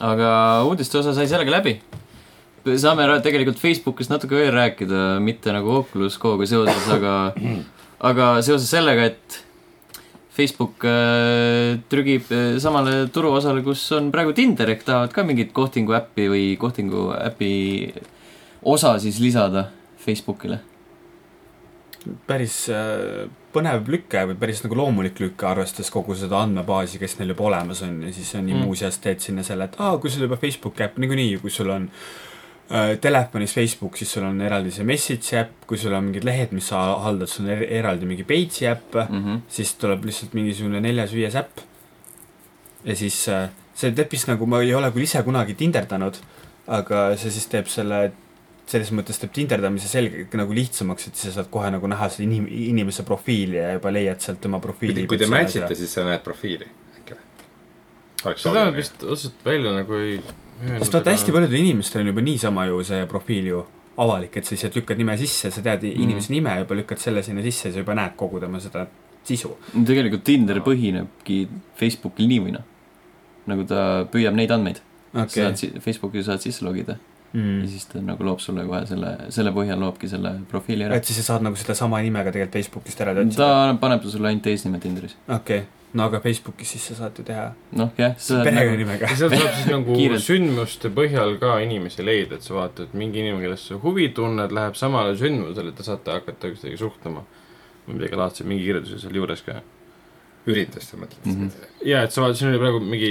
[SPEAKER 1] aga uudiste osa sai sellega läbi . saame ra- tegelikult Facebookis natuke veel rääkida , mitte nagu Oculus Go-ga seoses , aga , aga seoses sellega , et Facebook äh, trügib äh, samale turuosale , kus on praegu Tinder , ehk tahavad ka mingit kohtingu äppi või kohtingu äpi osa siis lisada Facebookile .
[SPEAKER 2] päris äh, põnev lüke või päris nagu loomulik lüke , arvestades kogu seda andmebaasi , kes neil juba olemas on ja siis on nii
[SPEAKER 1] Mm.
[SPEAKER 2] mm. muuseas teed sinna selle , et aa , kui sul juba Facebooki äpp niikuinii , kui sul on äh, telefonis Facebook , siis sul on eraldi see Message'i äpp , kui sul on mingid lehed , mis sa haldad , sul on er eraldi mingi Page'i äpp mm. ,
[SPEAKER 1] Mm -hmm.
[SPEAKER 2] siis tuleb lihtsalt mingisugune neljas-viies äpp . ja siis äh, see teeb vist nagu , ma ei ole küll ise kunagi tinderdanud , aga see siis teeb selle , selles mõttes teeb tinderdamise selge nagu lihtsamaks , et sa saad kohe nagu näha seda inim- , inimese profiili ja juba leiad sealt tema profiili .
[SPEAKER 3] kui te match ite , siis sa näed profiili äkki või ? oleks
[SPEAKER 4] seda
[SPEAKER 3] sobiv .
[SPEAKER 4] vist otseselt välja nagu ei .
[SPEAKER 2] sest vaata , hästi .
[SPEAKER 4] nagu.
[SPEAKER 2] paljudel inimestel on juba niisama ju see profiil ju avalik , et sa lihtsalt lükkad nime sisse , sa tead mm. inimese nime , juba lükkad selle sinna sisse , sa juba näed kogu tema seda sisu .
[SPEAKER 1] tegelikult Tinder põhinebki Facebookil nii või naa . nagu ta püüab neid andmeid okay. , saad si- , Facebooki saad sisse logida mm. ja siis ta nagu loob sulle kohe selle , selle põhjal loobki selle profiili ära .
[SPEAKER 2] et siis sa saad nagu sedasama nimega tegelikult Facebookist ära
[SPEAKER 1] ta paneb sulle ainult eesnime Tinderis .
[SPEAKER 2] okei okay. , no aga Facebookis siis sa saad ju teha
[SPEAKER 1] noh , jah , sa saad nagu,
[SPEAKER 2] perekonnanimega
[SPEAKER 4] ja . seal saab siis nagu
[SPEAKER 1] Kiirelt.
[SPEAKER 4] sündmuste põhjal ka inimesi leida , et sa vaatad , mingi inimene , kellest sa huvi tunned , läheb samale sündmusele , te saate hakata üksteisega suhtlema . või midagi laadset , mingi kirjeldus on seal juures ka .
[SPEAKER 3] üritus , sa mõtled mm ?
[SPEAKER 1] Mhm.
[SPEAKER 3] -hmm.
[SPEAKER 4] ja , et sa vaatad , siin oli praegu mingi ,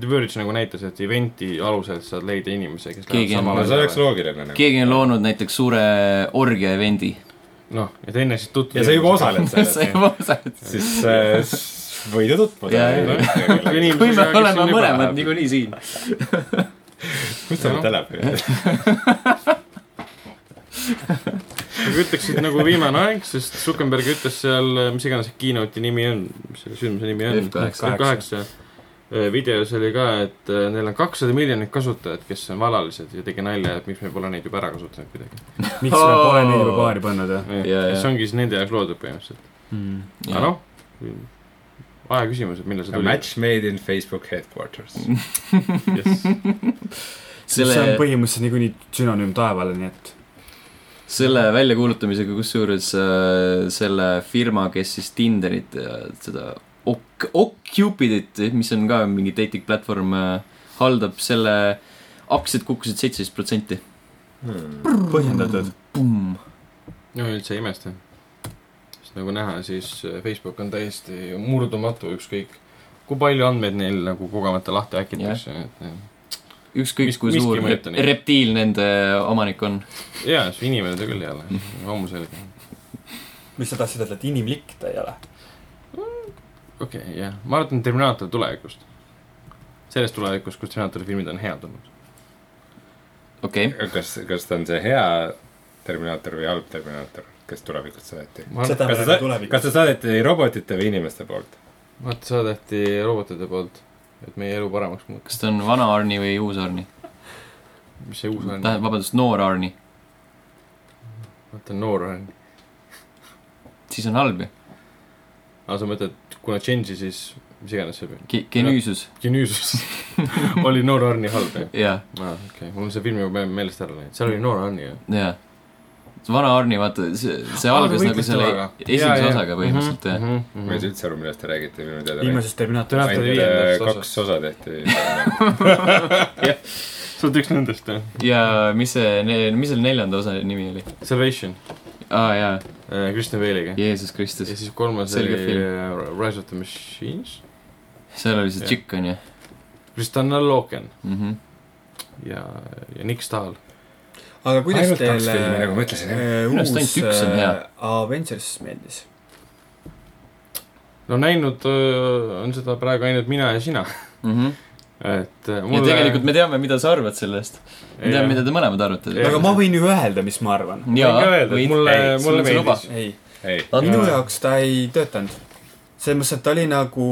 [SPEAKER 4] The Verge nagu näitas , et event'i alusel saad leida inimese , kes
[SPEAKER 1] Keegi on-
[SPEAKER 4] läheb
[SPEAKER 3] no
[SPEAKER 4] samale
[SPEAKER 3] see oleks loogiline nagu .
[SPEAKER 1] keegi on loonud näiteks suure orgia event'i
[SPEAKER 4] noh , ja teine siis tutvus .
[SPEAKER 3] ja sa juba . osaled
[SPEAKER 1] sa
[SPEAKER 3] selles ,
[SPEAKER 1] juba osaled .
[SPEAKER 3] siis äh, s- võid ju tutvuda
[SPEAKER 1] Jaa, . kui me oleme mõlemad . niikuinii siin .
[SPEAKER 3] kus sa oled telefoni ?
[SPEAKER 4] aga ütleksid nagu viimane aeg , sest Zuckerberg ütles seal , mis iganes see keynote'i nimi on , mis selle sündmuse nimi on ,
[SPEAKER 1] F8.
[SPEAKER 4] kaheksa . videos oli ka , et äh, neil on kakssada miljonit kasutajat , kes on valalised ja tegi nalja , et miks me pole neid juba ära kasutanud kuidagi .
[SPEAKER 2] miks me pole neid juba paari pannud , jah ?
[SPEAKER 1] Jaa, jaa.
[SPEAKER 4] see ongi siis nende jaoks loodud põhimõtteliselt .
[SPEAKER 3] Hmm.
[SPEAKER 4] aga noh , aja küsimus , et millal see
[SPEAKER 3] A
[SPEAKER 4] tuli .
[SPEAKER 3] match made in Facebook headquarters .
[SPEAKER 2] see on
[SPEAKER 1] selle ,
[SPEAKER 2] põhimõtteliselt niikuinii sünonüüm taevale , nii et
[SPEAKER 1] selle väljakuulutamisega , kusjuures äh, selle firma , kes siis Tinderit ja seda Ok- , Occupidit , mis on ka mingi dating platvorm , haldab selle , aktsiad kukkusid seitseteist protsenti .
[SPEAKER 3] Hmm.
[SPEAKER 2] põhjendatud .
[SPEAKER 1] Pumm .
[SPEAKER 4] no üldse ei imesta . sest nagu näha , siis äh, Facebook on täiesti murdumatu , ükskõik kui palju andmeid neil nagu kogemata lahti häkitakse äh, yeah. .
[SPEAKER 1] ükskõik
[SPEAKER 4] Mis-
[SPEAKER 1] kui
[SPEAKER 4] miski
[SPEAKER 1] suur
[SPEAKER 4] ei mõjuta
[SPEAKER 1] rep-
[SPEAKER 4] neid.
[SPEAKER 1] reptiil nende omanik on .
[SPEAKER 4] jaa , see inimene ta küll ei ole , ammu selge .
[SPEAKER 2] mis sa tahtsid öelda , et inimlik ta ei ole ?
[SPEAKER 4] okei okay, , jah , ma arvan , et Terminaator tulevikust . sellest tulevikust , kus Terminaatori filmid on head olnud .
[SPEAKER 1] okei okay. ,
[SPEAKER 3] kas , kas ta on see hea Terminaator või halb Terminaator , kes tulevikus saadeti ?
[SPEAKER 4] vaata ,
[SPEAKER 3] kas
[SPEAKER 2] nagu
[SPEAKER 3] ta , kas ta saadeti robotite või inimeste poolt ?
[SPEAKER 4] saadeti robotite poolt , et meie elu paremaks muuta .
[SPEAKER 1] kas ta on vana Arni või uus Arni ?
[SPEAKER 4] mis see uus on ?
[SPEAKER 1] tähendab , vabandust , noor Arni .
[SPEAKER 4] vaata , noor on .
[SPEAKER 1] siis on halb ju
[SPEAKER 4] aga sa mõtled , kuna Change'i siis , mis iganes see oli ,
[SPEAKER 1] Ge . Genüüsus ,
[SPEAKER 4] genüüsus oli noor Arni halb , jah ?
[SPEAKER 1] jaa ,
[SPEAKER 4] aa , Ah, okei okay. , mul on see film juba me- meelest ära läinud , seal oli Noora Anni ju .
[SPEAKER 1] jaa . vana Arni , vaata , see , see
[SPEAKER 4] Aa,
[SPEAKER 1] algas
[SPEAKER 4] ta
[SPEAKER 1] nagu
[SPEAKER 4] võitles
[SPEAKER 1] selle
[SPEAKER 4] temaga. Jaa, Mhm.
[SPEAKER 1] esimese
[SPEAKER 4] jaa.
[SPEAKER 1] osaga põhimõtteliselt , jah .
[SPEAKER 4] Mm.
[SPEAKER 3] ma ei saa üldse aru , millest te räägite , minu teada .
[SPEAKER 2] viimasest Terminaatorist .
[SPEAKER 4] Terminaator
[SPEAKER 3] ainult äh,
[SPEAKER 4] viiendast
[SPEAKER 3] kaks
[SPEAKER 4] osast .
[SPEAKER 3] osa tehti .
[SPEAKER 4] sa oled üks nendest jah ?
[SPEAKER 1] ja mis see , mis selle neljanda osa nimi oli ?
[SPEAKER 4] Salvation ,
[SPEAKER 1] aa , jaa ,
[SPEAKER 4] Kristen Bale'iga .
[SPEAKER 1] Jeesus
[SPEAKER 4] ja
[SPEAKER 1] Kristus .
[SPEAKER 4] siis kolmas
[SPEAKER 1] Selge
[SPEAKER 4] oli
[SPEAKER 1] film.
[SPEAKER 4] äh, Rise of the Machines ,
[SPEAKER 1] seal oli see
[SPEAKER 4] Jah.
[SPEAKER 1] tšikk , on ju
[SPEAKER 4] Kristanna Loken
[SPEAKER 1] mm -hmm. ?
[SPEAKER 4] ja , ja Nick Stahl .
[SPEAKER 2] aga kuidas
[SPEAKER 3] ainult kaks
[SPEAKER 2] teile
[SPEAKER 3] filmi , nagu ma ütlesin , jah .
[SPEAKER 2] äh,
[SPEAKER 1] Minu arust
[SPEAKER 2] uus
[SPEAKER 1] ainult üks on hea.
[SPEAKER 2] äh, Avengers meeldis ?
[SPEAKER 4] no näinud öö, on seda praegu ainult mina ja sina ,
[SPEAKER 1] Mm -hmm.
[SPEAKER 4] et äh,
[SPEAKER 1] ja tegelikult me teame , mida sa arvad sellest . me teame , mida te mõlemad arvate .
[SPEAKER 4] Jah.
[SPEAKER 2] aga ma võin ju öelda , mis ma arvan .
[SPEAKER 1] jaa
[SPEAKER 4] ka , öelda , et
[SPEAKER 1] võid .
[SPEAKER 4] mulle
[SPEAKER 3] Ei, ,
[SPEAKER 1] sul on
[SPEAKER 4] mulle
[SPEAKER 1] see luba.
[SPEAKER 4] meeldis .
[SPEAKER 2] ei ,
[SPEAKER 3] ei ,
[SPEAKER 2] minu jaoks ta ei töötanud . selles mõttes , et ta oli nagu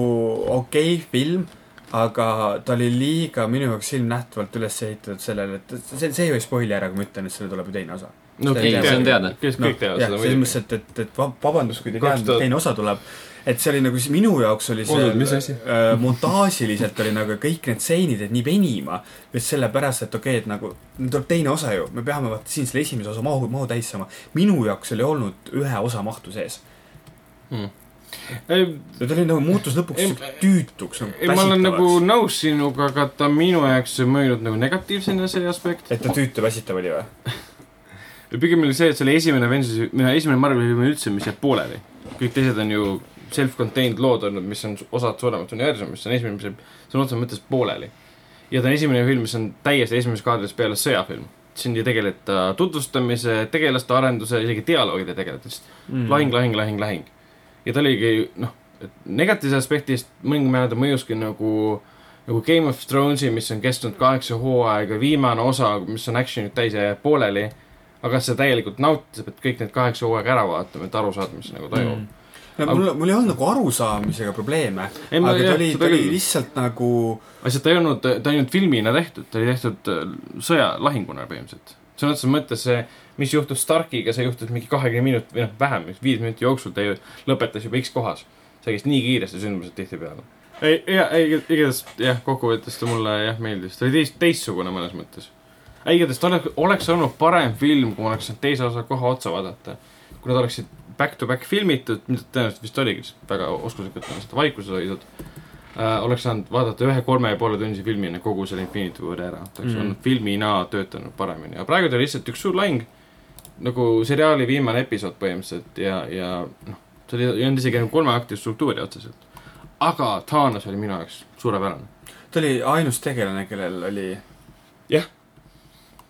[SPEAKER 2] okei okay film , aga ta oli liiga minu jaoks silmnähtavalt üles ehitatud sellele , et see , see ei või spoil'i ära , kui ma ütlen , et sellel tuleb ju teine osa .
[SPEAKER 4] no
[SPEAKER 2] Ei, see on
[SPEAKER 1] teada.
[SPEAKER 4] kes
[SPEAKER 2] noh ,
[SPEAKER 4] kõik teavad
[SPEAKER 2] jah ,
[SPEAKER 4] seda
[SPEAKER 2] selles mõttes , et , et , et vab- vabandust , kui te ei teadnud ,
[SPEAKER 4] Kaks tuhat-
[SPEAKER 2] et teine osa tuleb . et see oli nagu , minu jaoks oli see
[SPEAKER 3] Oodad, mis asi?
[SPEAKER 2] äh, montaažiliselt oli nagu kõik need stseenid jäid nii venima , just sellepärast , et okei okay, , et nagu nüüd tuleb teine osa ju , me peame vaata siin selle esimese osa mahu , mahu täis saama . minu jaoks oli olnud ühe osa mahtu sees .
[SPEAKER 4] Hmm. Ei,
[SPEAKER 2] ta oli nagu muutus lõpuks
[SPEAKER 4] Ei,
[SPEAKER 2] sihuke tüütuks nagu
[SPEAKER 4] ei , ma olen nagu
[SPEAKER 2] väsitavaks .
[SPEAKER 4] nõus sinuga , aga ta minu jaoks on mõjunud nagu negatiivsena see aspekt .
[SPEAKER 2] et ta tüütu väsitav oli või ?
[SPEAKER 4] ja pigem oli see , et see oli esimene Avengersi , esimene Marveli film üldse , mis jääb pooleli . kõik teised on ju self-contained lood olnud , mis on osad suuremat universumist , see on esimene , mis jääb sõna otseses mõttes pooleli . ja ta on esimene film , mis on täiesti esimesest kaadrist peale sõjafilm . siin ei tegeleta tutvustamise , tegelaste arenduse , isegi dialoogide tegeleda , sest mm.
[SPEAKER 2] Mhm.
[SPEAKER 4] lahing , lahing , lahing , lahing . ja ta oligi noh , negatiivse aspektist mõningad määrad mõjuski nagu nagu Game of Thronesi , mis on kestnud kaheksa hooaega , viimane osa , mis on action'it täis ja jääb pooleli aga kas sa täielikult nautid , sa pead kõik need kaheksa hooaega ära vaatama , et aru saada , mis nagu toimub
[SPEAKER 2] Mhm.
[SPEAKER 4] mm. .
[SPEAKER 2] no mul , mul ei olnud nagu arusaamisega probleeme ,
[SPEAKER 4] Ei, ma-
[SPEAKER 2] aga ta
[SPEAKER 4] jah,
[SPEAKER 2] oli ,
[SPEAKER 4] seda
[SPEAKER 2] ta oli
[SPEAKER 4] küll.
[SPEAKER 2] lihtsalt nagu
[SPEAKER 4] asjad ta ei olnud , ta ei olnud filmina tehtud , ta oli tehtud äh, sõjalahinguna põhimõtteliselt . sõna otseses mõttes see , mis juhtus Starkiga , see juhtus mingi kahekümne minuti või noh , vähem , viis minuti jooksul ta ju lõpetas juba X kohas . see käis nii kiiresti , sündmused tihtipeale . ei , ja , ei , igatahes jah , kokkuvõttes ta mulle jah meeldis , ta oli teist , teistsugune mõnes mõttes . ei , igatahes ta oleks , oleks olnud parem film , kui ma oleks saanud teise osa kohe otsa vaadata . kui nad oleksid back-to-back filmitud , mida tõenäoliselt vist oligi , sest väga oskuslikult on seda vaikuses hoidnud . äh, oleks saanud vaadata ühe kolme ja poole tunnise filmina kogu selle Infinity War'i ära , ta oleks
[SPEAKER 2] Mhm.
[SPEAKER 4] mm. olnud filmina töötanud paremini , aga praegu ta oli lihtsalt üks suur lahing . nagu seriaali viimane episood põhimõtteliselt ja , ja noh , see oli , ei olnud isegi nagu kolmeaktilist struktuuri otseselt . aga Thanos oli minu jaoks suurepärane .
[SPEAKER 2] ta oli ainus tegelane , kellel oli .
[SPEAKER 4] Jah. .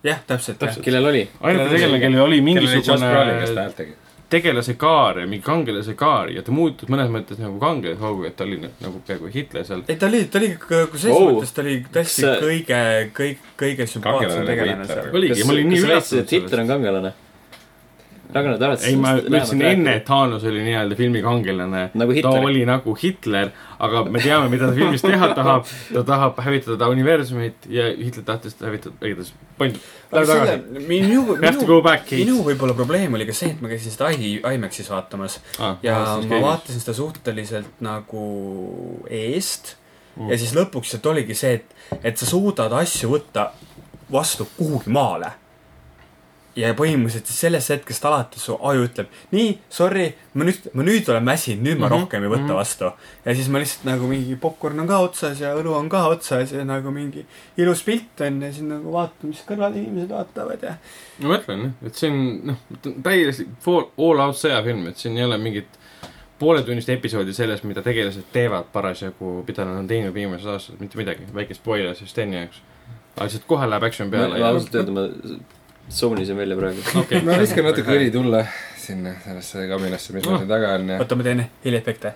[SPEAKER 2] jah , täpselt , jah .
[SPEAKER 1] kellel oli ?
[SPEAKER 4] ainuke tegelane , kellel oli
[SPEAKER 3] kellel oli Josh Brolin , kes ta
[SPEAKER 4] mingisugune
[SPEAKER 3] häält tegi .
[SPEAKER 4] tegelase kaar ja mingi kangelase kaar ja ta muutus mõnes mõttes nagu kangelase hoogu , et ta oli nagu- nagu peaaegu Hitler seal .
[SPEAKER 2] ei , ta oli , ta oli , kui selles
[SPEAKER 1] Wow.
[SPEAKER 2] wow. mõttes ta oli täiesti
[SPEAKER 1] Kas sa-
[SPEAKER 2] kõige , kõige , kõige sümpaatsem
[SPEAKER 3] Kangelane
[SPEAKER 2] tegelane
[SPEAKER 3] võitleja.
[SPEAKER 2] seal .
[SPEAKER 4] oligi , ma olin nii
[SPEAKER 1] sellest .
[SPEAKER 4] üllatunud
[SPEAKER 1] Hitler on
[SPEAKER 4] sellest .
[SPEAKER 1] kangelane . Ragnar , te olete
[SPEAKER 4] ei , ma ütlesin enne , et Haanus oli nii-öelda filmi kangelane .
[SPEAKER 1] Nagu
[SPEAKER 4] ta
[SPEAKER 1] Hitler.
[SPEAKER 4] oli nagu Hitler , aga me teame , mida ta filmis teha tahab . ta tahab hävitada universumit ja Hitler tahtis teda hävitada , igatahes . Läheb tagasi .
[SPEAKER 2] minu ,
[SPEAKER 4] We have to go
[SPEAKER 2] minu ,
[SPEAKER 4] back , Keit
[SPEAKER 2] minu . võib-olla probleem oli ka see , et ma käisin seda I- IMAX-is vaatamas
[SPEAKER 4] Ah,
[SPEAKER 2] ja ma . vaatasin seda suhteliselt nagu eest mm. ja siis lõpuks sealt oligi see , et , et sa suudad asju võtta vastu kuhugi maale . ja põhimõtteliselt siis sellest hetkest alates su aju ütleb nii , sorry , ma nüüd , ma nüüd olen väsinud , nüüd ma mm
[SPEAKER 4] Mhm,
[SPEAKER 2] -hmm. rohkem ei võta mm
[SPEAKER 4] mhm.
[SPEAKER 2] -hmm. vastu . ja siis ma lihtsalt nagu mingi popkorn on ka otsas ja õlu on ka otsas ja nagu mingi ilus pilt on ja siis nagu vaatad , mis kõrval inimesed vaatavad ja
[SPEAKER 4] ma mõtlen jah , et see on noh , täiesti full all out sõjafilm , et siin ei ole mingit pooletunnist episoodi sellest , mida tegelased teevad parasjagu , mida nad on teinud viimased aastad , mitte midagi , väike spoiler siis Steni jaoks . aga lihtsalt kohe läheb action peale
[SPEAKER 1] ma ausalt öelda , ma tsoonisin välja praegu .
[SPEAKER 4] okei
[SPEAKER 3] ma viskan natuke õli tulle sinna sellesse kabinasse , mis meil siin taga on ja
[SPEAKER 2] oota , ma teen heliefekte .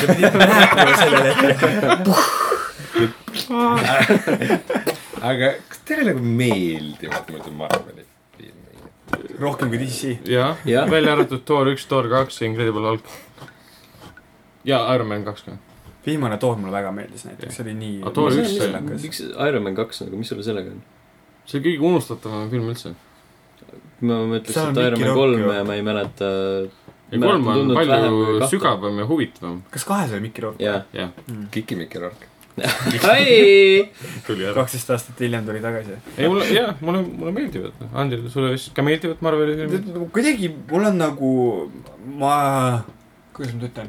[SPEAKER 2] Te pidite rääkima sellel hetkel .
[SPEAKER 3] aga kas teile nagu meeldivad muidu Marveli filmid ?
[SPEAKER 2] rohkem kui DC .
[SPEAKER 4] jah ja. ,
[SPEAKER 1] Jah.
[SPEAKER 4] välja arvatud Thor üks , Thor kaks , Incredible Hulk . ja Iron Man kaks ka .
[SPEAKER 2] viimane Thor mulle väga meeldis näiteks , see oli nii .
[SPEAKER 4] Aga Thor üks sai-
[SPEAKER 2] naljakas .
[SPEAKER 1] miks Iron Man kaks nagu , mis sul sellega on ?
[SPEAKER 4] see on kõige unustatavam film üldse .
[SPEAKER 1] ma mõtleks ,
[SPEAKER 2] Seal on
[SPEAKER 1] et Iron
[SPEAKER 2] Mickey
[SPEAKER 1] Man
[SPEAKER 2] Rourke
[SPEAKER 1] kolm
[SPEAKER 2] ju.
[SPEAKER 1] ja ma ei mäleta .
[SPEAKER 4] ja kolm on palju . sügavam ja huvitavam .
[SPEAKER 2] kas kahes oli Hmm. Mikki Rourke ?
[SPEAKER 1] jah .
[SPEAKER 4] jah ,
[SPEAKER 3] kikimikki rohkem .
[SPEAKER 1] ai ,
[SPEAKER 4] tuli ära .
[SPEAKER 2] kaksteist aastat hiljem tuli tagasi .
[SPEAKER 4] ei , mulle , jah , mulle , mulle meeldivad . Andrei , sulle vist ka meeldivad Marveli filmid ?
[SPEAKER 2] nagu kuidagi mul on nagu , ma , kuidas ma nüüd ütlen ,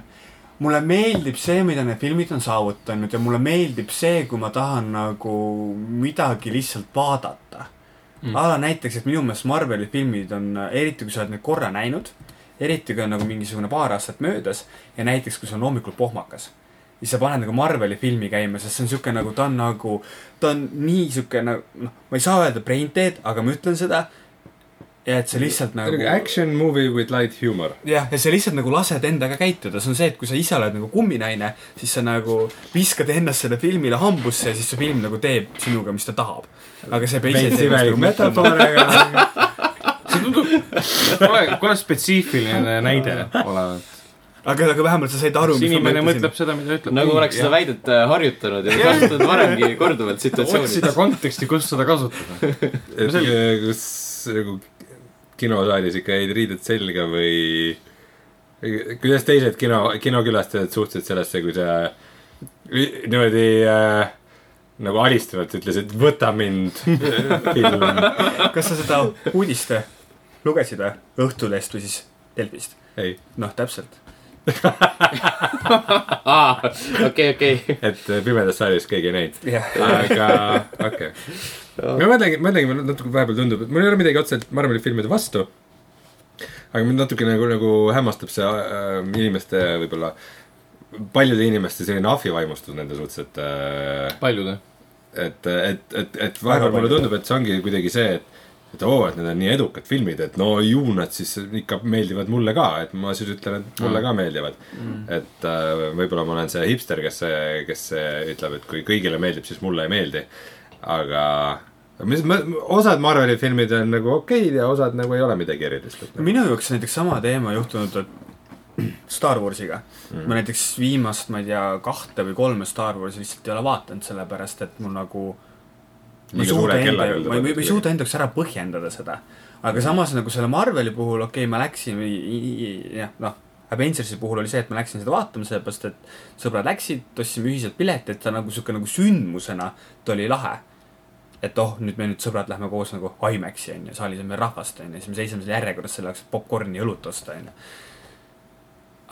[SPEAKER 2] mulle meeldib see , mida need filmid on saavutanud ja mulle meeldib see , kui ma tahan nagu midagi lihtsalt vaadata mm. .
[SPEAKER 4] Mm.
[SPEAKER 2] a la näiteks , et minu meelest Marveli filmid on , eriti kui sa oled neid korra näinud , eriti kui on nagu mingisugune paar aastat möödas ja näiteks , kui see on hommikul pohmakas , siis sa paned nagu Marveli filmi käima , sest see on siuke nagu , ta on nagu , ta on nii siuke nagu , noh , ma ei saa öelda brain dead , aga ma ütlen seda , ja et see lihtsalt
[SPEAKER 3] see on
[SPEAKER 2] nagu
[SPEAKER 3] nagu action movie with light humor .
[SPEAKER 2] jah , ja sa lihtsalt nagu lased endaga käituda , see on see , et kui sa ise oled nagu kumminaine , siis sa nagu viskad ennast selle filmile hambusse ja siis see film nagu teeb sinuga , mis ta tahab . aga see peab ise
[SPEAKER 3] Veits
[SPEAKER 2] tegema
[SPEAKER 3] imelik
[SPEAKER 2] nagu metafoore , aga
[SPEAKER 4] see tundub , kuule , kuule spetsiifiline näide olevat .
[SPEAKER 2] aga , aga vähemalt sa said aru ,
[SPEAKER 4] kas inimene mõtleb . seda , mida ütleb ?
[SPEAKER 1] nagu oleks seda väidet äh, harjutanud ja kasutanud varemgi korduvalt
[SPEAKER 4] otsida
[SPEAKER 1] situatsioonides .
[SPEAKER 4] konteksti , kus seda kasutada .
[SPEAKER 3] et
[SPEAKER 4] selge.
[SPEAKER 3] äh, kus nagu kinosaalis ikka jäid riided selga või kuidas teised kino , kinokülastajad suhtusid sellesse , kui sa li- niimoodi äh, nagu alistavalt ütlesid , võta mind film .
[SPEAKER 2] kas sa seda uudist lugesid või ? Õhtulehest või siis Delfist ?
[SPEAKER 3] ei ,
[SPEAKER 2] noh , täpselt .
[SPEAKER 1] okei , okei .
[SPEAKER 3] et äh, pimedas saalis keegi ei näinud ,
[SPEAKER 2] jah ,
[SPEAKER 3] aga okei okay. . ma mõtlengi , mõtlengi , mul natuke vahepeal tundub , et mul ei ole midagi otseselt Marveli filmide vastu . aga mind natuke nagu , nagu hämmastab see äh, inimeste võib-olla , paljude inimeste selline ahvivaimustus nende suhtes , et äh,
[SPEAKER 4] paljude .
[SPEAKER 3] et , et , et , et vahepeal
[SPEAKER 2] Väga
[SPEAKER 3] mulle
[SPEAKER 2] palju.
[SPEAKER 3] tundub , et see ongi kuidagi see , et , et oo , et need on nii edukad filmid , et no ju nad siis ikka meeldivad mulle ka , et ma siis ütlen , et mulle ka meeldivad mm. . et äh, võib-olla ma olen see hipster , kes , kes ütleb , et kui kõigile meeldib , siis mulle ei meeldi . aga mis , osad Marveli filmid on nagu okeid ja osad nagu ei ole midagi erilist . nagu-
[SPEAKER 2] minu jaoks näiteks sama teema juhtunud et Star Warsiga mm. . ma näiteks viimast , ma ei tea , kahte või kolme Star Warsi lihtsalt ei ole vaatanud , sellepärast et mul nagu ma ei suuda enda , ma ei , ma ei suuda enda jaoks ära põhjendada seda . aga samas nagu selle Marveli puhul , okei okay, , ma läksin , jah , noh , Avengersi puhul oli see , et ma läksin seda vaatama , sellepärast et sõbrad läksid , ostsime ühiselt pileti , et ta nagu sihuke nagu sündmusena , ta oli lahe . et oh , nüüd me nüüd sõbrad lähme koos nagu IMAX-i onju , saalis on meil rahvast onju , siis me seisame seal järjekorras selle jaoks , et popkorni ja õlut osta onju .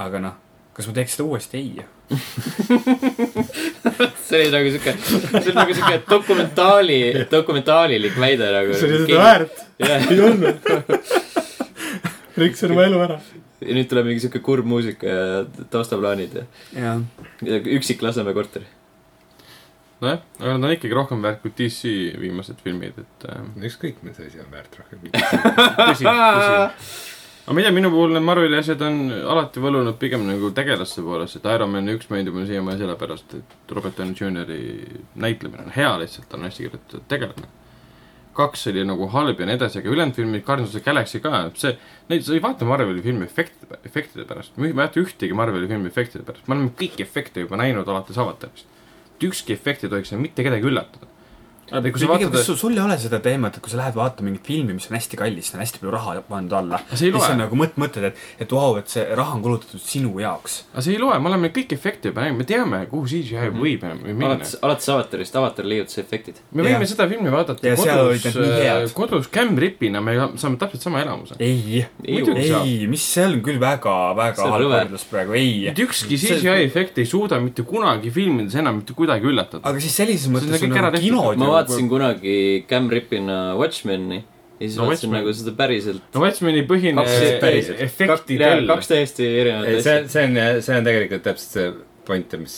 [SPEAKER 2] aga noh , kas ma teeks seda uuesti ? ei .
[SPEAKER 1] see oli nagu siuke , see oli nagu siuke dokumentaali , dokumentaalilik väide nagu .
[SPEAKER 3] väärt ,
[SPEAKER 1] Jah.
[SPEAKER 3] ei olnud . rikkusin oma elu ära .
[SPEAKER 1] ja nüüd tuleb mingi siuke kurb muusika ja taustaplaanid ja
[SPEAKER 2] jah ,
[SPEAKER 1] ja üksik Lasnamäe korter .
[SPEAKER 4] nojah , aga nad on ikkagi rohkem väärt kui DC viimased filmid , et äh,
[SPEAKER 3] ükskõik , mis asi on väärt rohkem .
[SPEAKER 4] tõsi , tõsi . aga ma ei tea , minu puhul need Marveli asjad on alati võlunud pigem nagu tegelaste poolest , et Iron Man üks meeldib mulle siiamaani sellepärast , et Robert Downey Jr.'i näitlemine on hea lihtsalt , ta on hästi kirjutatud tegelane . kaks oli nagu halb ja nii edasi , aga ülejäänud filmid , Guardians of the Galaxy ka , see , neid sa ei vaata Marveli filmi efektide , efektide pärast , ma ei mäleta ühtegi Marveli filmi efektide pärast , me oleme kõiki efekte juba näinud alates avatarist . ükski efekt ei tohiks enam mitte kedagi üllatada .
[SPEAKER 2] kui sa vaatad , kas sul , sul ei ole seda teemat , et kui sa lähed vaatama mingit filmi , mis on hästi kallis , sinna on hästi palju raha pandud alla .
[SPEAKER 4] see ei
[SPEAKER 2] siis
[SPEAKER 4] loe.
[SPEAKER 2] on nagu mõt- , mõtled , et , et vau , et see raha on kulutatud sinu jaoks .
[SPEAKER 4] aga see ei loe , me oleme kõik efekte juba näinud , me teame , kuhu CGI mm -hmm. võib enam- või minna
[SPEAKER 1] alates ,. alates avatarist , avatar leiutas efektid .
[SPEAKER 4] me võime
[SPEAKER 2] Jah.
[SPEAKER 4] seda filmi vaadata
[SPEAKER 2] Ja seal olid
[SPEAKER 4] kodus äh,
[SPEAKER 2] need nii , head.
[SPEAKER 4] kodus cam-ripina , me saame täpselt sama elamuse .
[SPEAKER 2] ei ,
[SPEAKER 1] Muidugi
[SPEAKER 4] saab.
[SPEAKER 2] ei , mis see on küll väga ,
[SPEAKER 1] See
[SPEAKER 2] väga
[SPEAKER 1] on
[SPEAKER 2] halb
[SPEAKER 1] rõve.
[SPEAKER 2] võrdlus praegu , ei .
[SPEAKER 4] et ükski
[SPEAKER 1] See-
[SPEAKER 4] CGI efekt ei suuda mitte kunagi filmides enam mitte kuidagi üllatada .
[SPEAKER 2] aga siis sellises
[SPEAKER 4] on
[SPEAKER 2] mõttes
[SPEAKER 4] kõik
[SPEAKER 2] on
[SPEAKER 4] ära
[SPEAKER 2] nagu
[SPEAKER 4] tehtud.
[SPEAKER 2] kinod
[SPEAKER 1] ma
[SPEAKER 2] ju-
[SPEAKER 1] vaatasin kunagi Cam Rippina Watchmeni ja siis
[SPEAKER 4] No
[SPEAKER 1] no, vaatasin
[SPEAKER 4] Watchmen-
[SPEAKER 1] nagu seda päriselt .
[SPEAKER 4] no Watchmeni põhine e-
[SPEAKER 1] Kaks siis päriselt.
[SPEAKER 4] efekti tell .
[SPEAKER 1] kaks täiesti erinevat
[SPEAKER 3] ei , see
[SPEAKER 1] asja
[SPEAKER 3] on , see on , see on tegelikult täpselt see point , mis ,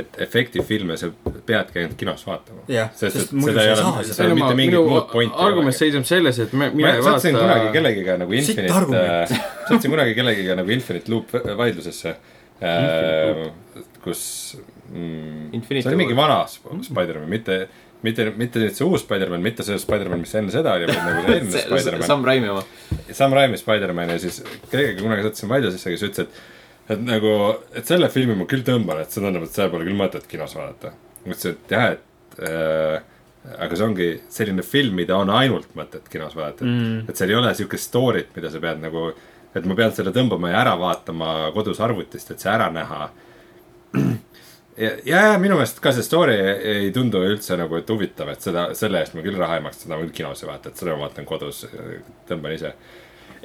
[SPEAKER 3] et efektifilme sa peadki ainult kinos vaatama .
[SPEAKER 2] Jah,
[SPEAKER 3] sest ,
[SPEAKER 2] sest
[SPEAKER 3] et
[SPEAKER 2] muidu
[SPEAKER 3] seda ei
[SPEAKER 2] sa ei saa
[SPEAKER 3] ole ,
[SPEAKER 2] seda.
[SPEAKER 3] seal mitte mingit muud pointi ei
[SPEAKER 4] argument
[SPEAKER 3] olegi .
[SPEAKER 4] seisneb selles , et me ,
[SPEAKER 3] ma
[SPEAKER 4] mina ei
[SPEAKER 3] sattusin kunagi
[SPEAKER 4] vaata .
[SPEAKER 3] kellegiga nagu
[SPEAKER 2] Sitt
[SPEAKER 3] Infinite
[SPEAKER 2] argument. ,
[SPEAKER 3] sattusin kunagi kellegiga nagu Infinite Loop vaidlusesse , kus mm, ,
[SPEAKER 1] Infinite
[SPEAKER 3] see oli mingi
[SPEAKER 1] War.
[SPEAKER 3] vana Sp- Spider-man , mitte , mitte , mitte nüüd see uus Spider-man , mitte see Spider-man , mis enne seda oli , vaid nagu see eelmine
[SPEAKER 1] see ,
[SPEAKER 3] Spider-man .
[SPEAKER 1] Sam Raimi oma .
[SPEAKER 3] Sam Raimi Spider-man ja siis kellegagi kunagi sattusin vaidlusesse , kes ütles , et , et nagu , et selle filmi ma küll tõmban , et see tundub , et seda pole küll mõtet kinos vaadata . ma ütlesin , et jah , et äh, aga see ongi selline film , mida on ainult mõtet kinos vaadata mm. . et seal ei ole siukest story't , mida sa pead nagu , et ma pean selle tõmbama ja ära vaatama kodus arvutist , et see ära näha ja , ja ja minu meelest ka see story ei tundu üldse nagu , et huvitav , et seda , selle eest ma küll raha ei maksa , seda ma küll kinos ei vaata , et seda ma vaatan kodus , tõmban ise .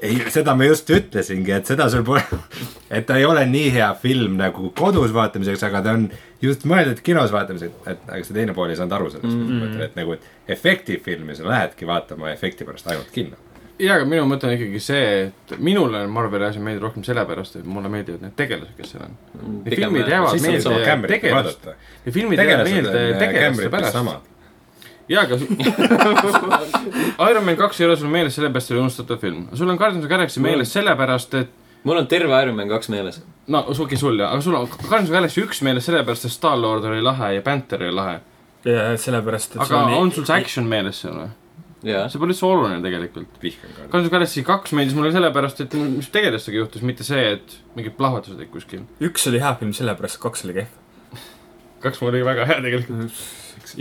[SPEAKER 3] ei , seda ma just ütlesingi , et seda sul pole , et ta ei ole nii hea film nagu kodus vaatamiseks , aga ta on just mõeldud kinos vaatamiseks , et aga see teine pool ei saanud aru sellest mm ,
[SPEAKER 4] Mm-hmm.
[SPEAKER 3] -hmm. et nagu , et efektifilmi sa lähedki vaatama efekti pärast ainult kinno .
[SPEAKER 4] jaa , aga minu mõte on ikkagi see , et minule Marveli asi meeldib rohkem sellepärast , et mulle meeldivad need tegelased , kes seal on . Need
[SPEAKER 1] pigem
[SPEAKER 4] filmid
[SPEAKER 1] jah.
[SPEAKER 4] jäävad
[SPEAKER 1] Siis
[SPEAKER 3] saad
[SPEAKER 4] meelde
[SPEAKER 3] sama Cameronit
[SPEAKER 4] tegelast-
[SPEAKER 3] vaadata.
[SPEAKER 4] ja filmid jäävad
[SPEAKER 3] tegelased
[SPEAKER 4] meelde
[SPEAKER 3] on äh,
[SPEAKER 4] tegelaste
[SPEAKER 3] Cameron'is
[SPEAKER 4] pärast .
[SPEAKER 3] samad .
[SPEAKER 4] jaa , aga su- Iron Man kaks ei ole sul meeles sellepärast , et see oli unustatav film . sul on Guardians of the Galaxy meeles sellepärast , et
[SPEAKER 1] mul on terve Iron Man kaks meeles .
[SPEAKER 4] no okei okay, , sul jah , aga sul on Guardians of the Galaxy üks meeles sellepärast , et Star-Lord oli lahe ja Panther oli lahe .
[SPEAKER 2] Ja sellepärast , et
[SPEAKER 4] aga on sul see action meeles seal või ?
[SPEAKER 1] jaa .
[SPEAKER 4] see pole üldse oluline tegelikult .
[SPEAKER 3] vihkan ka .
[SPEAKER 4] Guardians of the Galaxy kaks meeldis mulle sellepärast , et mis tegelastega juhtus , mitte see , et mingid plahvatused olid kuskil .
[SPEAKER 2] üks oli hea film sellepärast , et kaks oli kehv .
[SPEAKER 4] kaks mul oli väga hea tegelikult .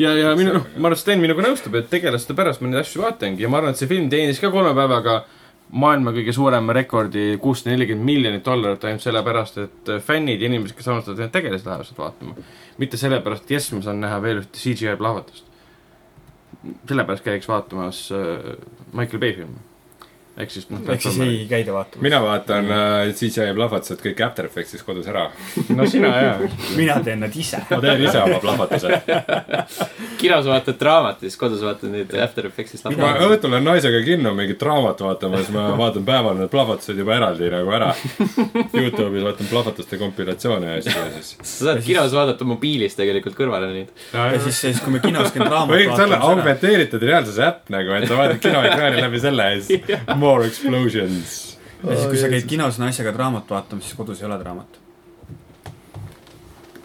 [SPEAKER 4] ja , ja minu , noh , ma arvan , et Sten minuga nõustub , et tegelaste pärast ma neid asju vaatangi ja ma arvan , et see film teenis ka kolme päevaga maailma kõige suurema rekordi , kuussada nelikümmend miljonit dollarit ainult sellepärast , et fännid ja inimesed , kes armastavad neid tegelasi , lähevad seda vaatama . mitte sellepärast , et jess , ma saan näha veel ühte CGI plahvatust . sellepärast käiks vaatamas äh, Michael Bay filmi . ehk siis noh .
[SPEAKER 2] ehk siis ei käida vaatamas .
[SPEAKER 3] mina vaatan
[SPEAKER 4] Mm.
[SPEAKER 3] äh, CGI plahvatused kõik After Effectsis kodus ära .
[SPEAKER 4] no sina jaa .
[SPEAKER 2] mina teen nad ise .
[SPEAKER 3] ma teen ise oma plahvatuse .
[SPEAKER 1] kinos vaatad draamat ja siis kodus vaatad neid After Effects'ist
[SPEAKER 3] kui ma
[SPEAKER 1] lahti .
[SPEAKER 3] õhtul lähen naisega kinno mingit draamat vaatama , siis ma vaatan päeval need plahvatused juba eraldi nagu ära . Youtube'is vaatan plahvatuste kompilatsioone ja asju ja siis .
[SPEAKER 1] sa saad kinos vaadata mobiilis tegelikult kõrvale neid .
[SPEAKER 2] ja siis , siis kui me kinos käime
[SPEAKER 3] või
[SPEAKER 2] raamat
[SPEAKER 3] selle
[SPEAKER 2] vaatamas .
[SPEAKER 3] augmenteeritud reaalsuse äpp nagu , et sa vaatad kinoekraani läbi selle ja siis more explosions .
[SPEAKER 2] ja siis , kui sa käid kinos naisega raamat vaatamas , siis kodus ei ole raamat .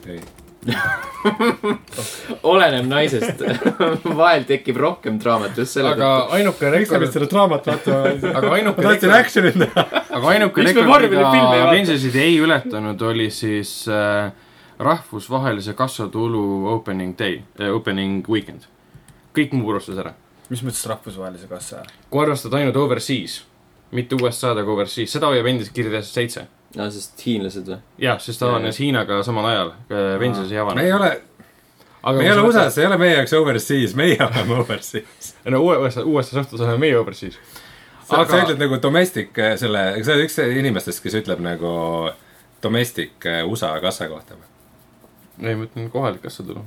[SPEAKER 3] ei ,
[SPEAKER 1] oleneb naisest . vahel tekib rohkem draamat just selle
[SPEAKER 4] aga
[SPEAKER 1] tõttu .
[SPEAKER 4] ainuke
[SPEAKER 3] miks sa
[SPEAKER 4] rekord
[SPEAKER 3] pead , seda draamat vaatama ?
[SPEAKER 4] aga ainuke
[SPEAKER 3] ma tahtsin action'it näha .
[SPEAKER 4] aga ainuke
[SPEAKER 1] Miks me
[SPEAKER 4] rekord ,
[SPEAKER 1] Marveli filme ei
[SPEAKER 4] mida
[SPEAKER 1] vaata?
[SPEAKER 4] Avengersid ei ületanud , oli siis äh, rahvusvahelise kassatulu opening day äh, , opening weekend . kõik muu purustas ära .
[SPEAKER 2] mis mõttes rahvusvahelise kassa ?
[SPEAKER 4] kui arvestada ainult overseas , mitte USA-d , aga overseas , seda hoiab endiselt kirjas seitse .
[SPEAKER 1] no sest hiinlased või ?
[SPEAKER 4] jah , sest ta avanes Hiinaga samal ajal , Avengers
[SPEAKER 3] me
[SPEAKER 4] ei
[SPEAKER 3] ei
[SPEAKER 4] avanenud .
[SPEAKER 3] ole , me ei ole USA-s , ei ole meie jaoks overseas , meie oleme overseas .
[SPEAKER 4] no USA , USA suhtes oleme meie overseas .
[SPEAKER 3] sa aga... , sa
[SPEAKER 4] Aga-
[SPEAKER 3] ütled nagu domestic äh, selle , sa oled üks inimestest , kes ütleb nagu domestic äh, USA kassa kohta või ?
[SPEAKER 4] ei , ma ütlen kohalik kassatulu .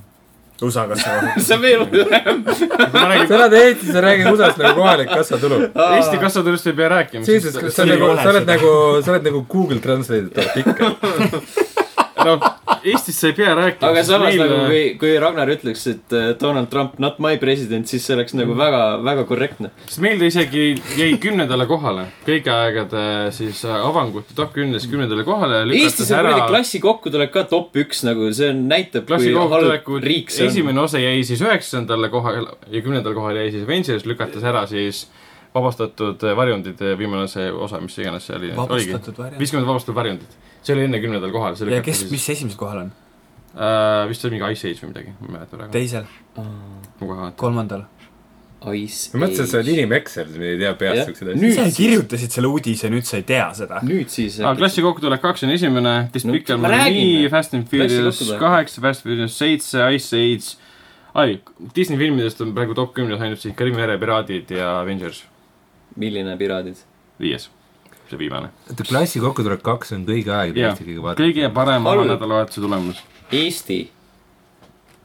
[SPEAKER 2] USA kassa kohta .
[SPEAKER 1] see on veel hullem .
[SPEAKER 4] ma räägin , Ah,
[SPEAKER 3] sa elad Eestis , sa räägid USA-st nagu kohalik kassatulu .
[SPEAKER 4] Eesti kassatulust ei pea rääkima .
[SPEAKER 3] Jesus , sa
[SPEAKER 2] ei
[SPEAKER 3] nagu ,
[SPEAKER 2] ole
[SPEAKER 3] sa oled
[SPEAKER 2] seda.
[SPEAKER 3] nagu , sa oled nagu Google Translate'i artikkel .
[SPEAKER 4] noh , Eestis sa ei pea rääkima .
[SPEAKER 1] aga samas meil... nagu kui , kui Ragnar ütleks , et äh, Donald Trump not my president , siis see oleks
[SPEAKER 4] Mm.
[SPEAKER 1] nagu väga , väga korrektne .
[SPEAKER 4] sest meil ta isegi jäi kümnendale kohale , kõigi aegade siis avangute top kümnes kümnendale kohale .
[SPEAKER 1] Eestis on muidugi . klassi kokkutulek ka top üks nagu , see on- näitab , kui
[SPEAKER 4] klassi
[SPEAKER 1] halb
[SPEAKER 4] kohtulekud ,
[SPEAKER 1] riik see on .
[SPEAKER 4] esimene osa jäi siis üheksandale kohale ja kümnendale kohale jäi siis Avengers , lükates ära siis vabastatud varjundite viimane see osa , mis iganes see oli .
[SPEAKER 2] vabastatud variant .
[SPEAKER 4] viiskümmend vabastatud varjundit , see oli enne kümnendal kohal , see
[SPEAKER 2] ja
[SPEAKER 4] lükati
[SPEAKER 2] kes ,
[SPEAKER 4] siis
[SPEAKER 2] mis esimesel kohal on ?
[SPEAKER 4] äh, vist oli mingi Ice Age või midagi , ma ei mäleta praegu ,
[SPEAKER 2] teisel ,
[SPEAKER 4] ma kohe vaatan .
[SPEAKER 2] kolmandal ?
[SPEAKER 1] Ice
[SPEAKER 3] ma mõtlesin , et sa oled
[SPEAKER 1] Age .
[SPEAKER 3] inimeksel , sa ei tea peast
[SPEAKER 1] Jah.
[SPEAKER 3] siukseid
[SPEAKER 1] Nüüd
[SPEAKER 2] sa
[SPEAKER 1] siis-
[SPEAKER 2] kirjutasid selle uudise , nüüd sa ei tea seda .
[SPEAKER 1] nüüd siis
[SPEAKER 4] aga . klassi kokkutulek kaks on esimene , Despicable
[SPEAKER 1] ma
[SPEAKER 4] no,
[SPEAKER 1] räägin,
[SPEAKER 4] Me ,
[SPEAKER 1] noh.
[SPEAKER 4] Fast and
[SPEAKER 1] Klassi
[SPEAKER 4] Furious
[SPEAKER 1] kokkutulek.
[SPEAKER 4] kaheksa , Fast and Furious seitse , Ice Age . ai , Disney filmidest on praegu top kümnes ainult siis Krimmi mere piraadid ja Avengers ,
[SPEAKER 1] milline Piraadid ?
[SPEAKER 4] viies , see viimane .
[SPEAKER 5] oota , klassi kokkutulek kaks on kõige aeglasem
[SPEAKER 4] Jah.
[SPEAKER 5] Eesti kõige vaadatum .
[SPEAKER 4] kõige parem
[SPEAKER 1] Halb.
[SPEAKER 4] nädalavahetuse tulemus .
[SPEAKER 1] Eesti .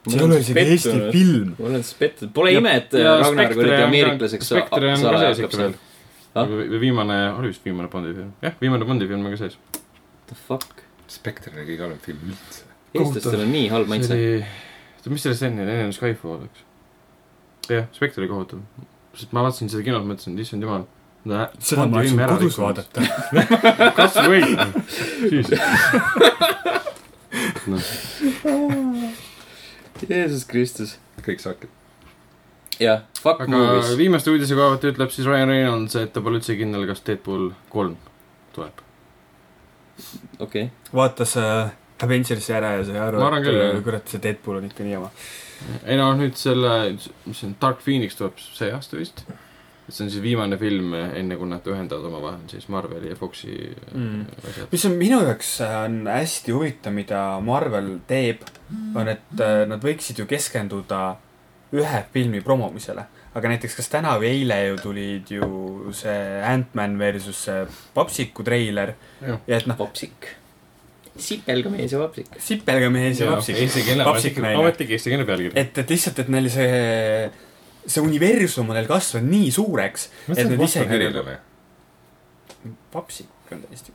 [SPEAKER 2] see ei ole isegi Eesti film .
[SPEAKER 1] ma olen siis pettunud , pole
[SPEAKER 4] Ja-
[SPEAKER 1] ime , et äh,
[SPEAKER 4] ja
[SPEAKER 1] Ragnar
[SPEAKER 4] Spectre
[SPEAKER 1] kuradi
[SPEAKER 4] on ka-
[SPEAKER 1] ameeriklaseks sa-
[SPEAKER 4] Spectre on ka
[SPEAKER 1] saama
[SPEAKER 4] sees
[SPEAKER 1] hakkab
[SPEAKER 4] ikka veel.
[SPEAKER 1] seal. Ah?
[SPEAKER 4] või viimane , oli vist viimane Bondi film , jah , viimane Bondi film on ka sees .
[SPEAKER 1] What the fuck ?
[SPEAKER 3] Spekter on kõige halvem film üldse .
[SPEAKER 1] eestlastel on nii halb
[SPEAKER 4] see
[SPEAKER 1] maitse .
[SPEAKER 4] oli , oota , mis sellest enne , enne oli Skyfall , eks . jah , Spectre oli kohutav , sest ma vaatasin seda kinos , mõtlesin , et issand jumal .
[SPEAKER 2] seda ma võin kodus . vaadata .
[SPEAKER 4] kas või ? noh ,
[SPEAKER 1] Jeesus Kristus .
[SPEAKER 3] kõik saakid .
[SPEAKER 1] jah , fuck
[SPEAKER 4] aga
[SPEAKER 1] movies .
[SPEAKER 4] viimaste uudise koha pealt ütleb siis Ryan Reynolds , et ta pole üldse kindel , kas Deadpool kolm tuleb .
[SPEAKER 1] okei .
[SPEAKER 2] vaatas äh, Avengersi ära ja sai aru
[SPEAKER 4] Ma , arvan
[SPEAKER 2] et
[SPEAKER 4] küll,
[SPEAKER 2] äh,
[SPEAKER 4] jah.
[SPEAKER 2] kurat , see Deadpool on ikka nii jama .
[SPEAKER 4] ei no nüüd selle , mis see on , Dark Phoenix tuleb see aasta vist . see on siis viimane film , enne kui nad ühendavad omavahel siis Marveli ja Foxi
[SPEAKER 2] Mm.
[SPEAKER 4] mm. asjad .
[SPEAKER 2] mis on minu jaoks äh, on hästi huvitav , mida Marvel teeb , on , et äh, nad võiksid ju keskenduda ühe filmi promomisele . aga näiteks kas täna või eile ju tulid ju see Ant-Man versus see Papsiku treiler
[SPEAKER 4] Jah.
[SPEAKER 2] ja et noh ,
[SPEAKER 1] vapsik . sipelga mees ja vapsik .
[SPEAKER 2] sipelga mees ja Papsik . Papsik naine .
[SPEAKER 4] ometigi eestikeelne pealkiri .
[SPEAKER 2] et , et lihtsalt , et neil see , see universum on neil kasvanud nii suureks , et nad isegi , Papsik on täiesti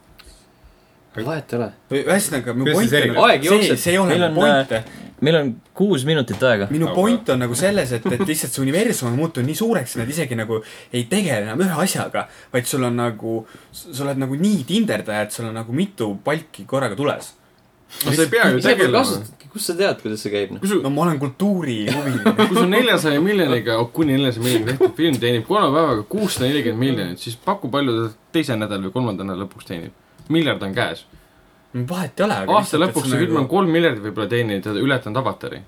[SPEAKER 1] vahet ei ole .
[SPEAKER 2] või ühesõnaga , mu
[SPEAKER 3] Kuidas
[SPEAKER 2] point
[SPEAKER 3] siis
[SPEAKER 2] on ,
[SPEAKER 3] erineb?
[SPEAKER 1] Aeg
[SPEAKER 2] see
[SPEAKER 1] jookseb. ,
[SPEAKER 2] see ei ole
[SPEAKER 1] Meil
[SPEAKER 2] mu
[SPEAKER 1] on, äh,
[SPEAKER 2] point ,
[SPEAKER 1] meil on kuus minutit aega .
[SPEAKER 2] minu
[SPEAKER 3] Aga-
[SPEAKER 2] point on nagu selles , et , et lihtsalt see universum on muutunud nii suureks , et nad isegi nagu ei tegele enam ühe asjaga , vaid sul on nagu , sa oled nagu nii tinderdaja , et sul on nagu mitu palki korraga tules .
[SPEAKER 4] no sa ei pea ju
[SPEAKER 1] sa pole
[SPEAKER 4] tegelema .
[SPEAKER 1] kasutadki , kust sa tead , kuidas see käib ? noh?
[SPEAKER 4] kui su ,
[SPEAKER 2] no ma olen kultuurihuviline .
[SPEAKER 4] kui su neljasaja miljoniga , kuni neljasaja miljoniga tehtud film teenib kolme päevaga kuussada nelikümmend miljonit , siis paku palju ta teise nädala või kolmanda nädala lõpuks teenib . miljard on käes .
[SPEAKER 2] vahet ei ole .
[SPEAKER 4] aasta lõpuks see film
[SPEAKER 2] nagu
[SPEAKER 4] on . kolm miljardit võib-olla teeninud ja ületanud avatari .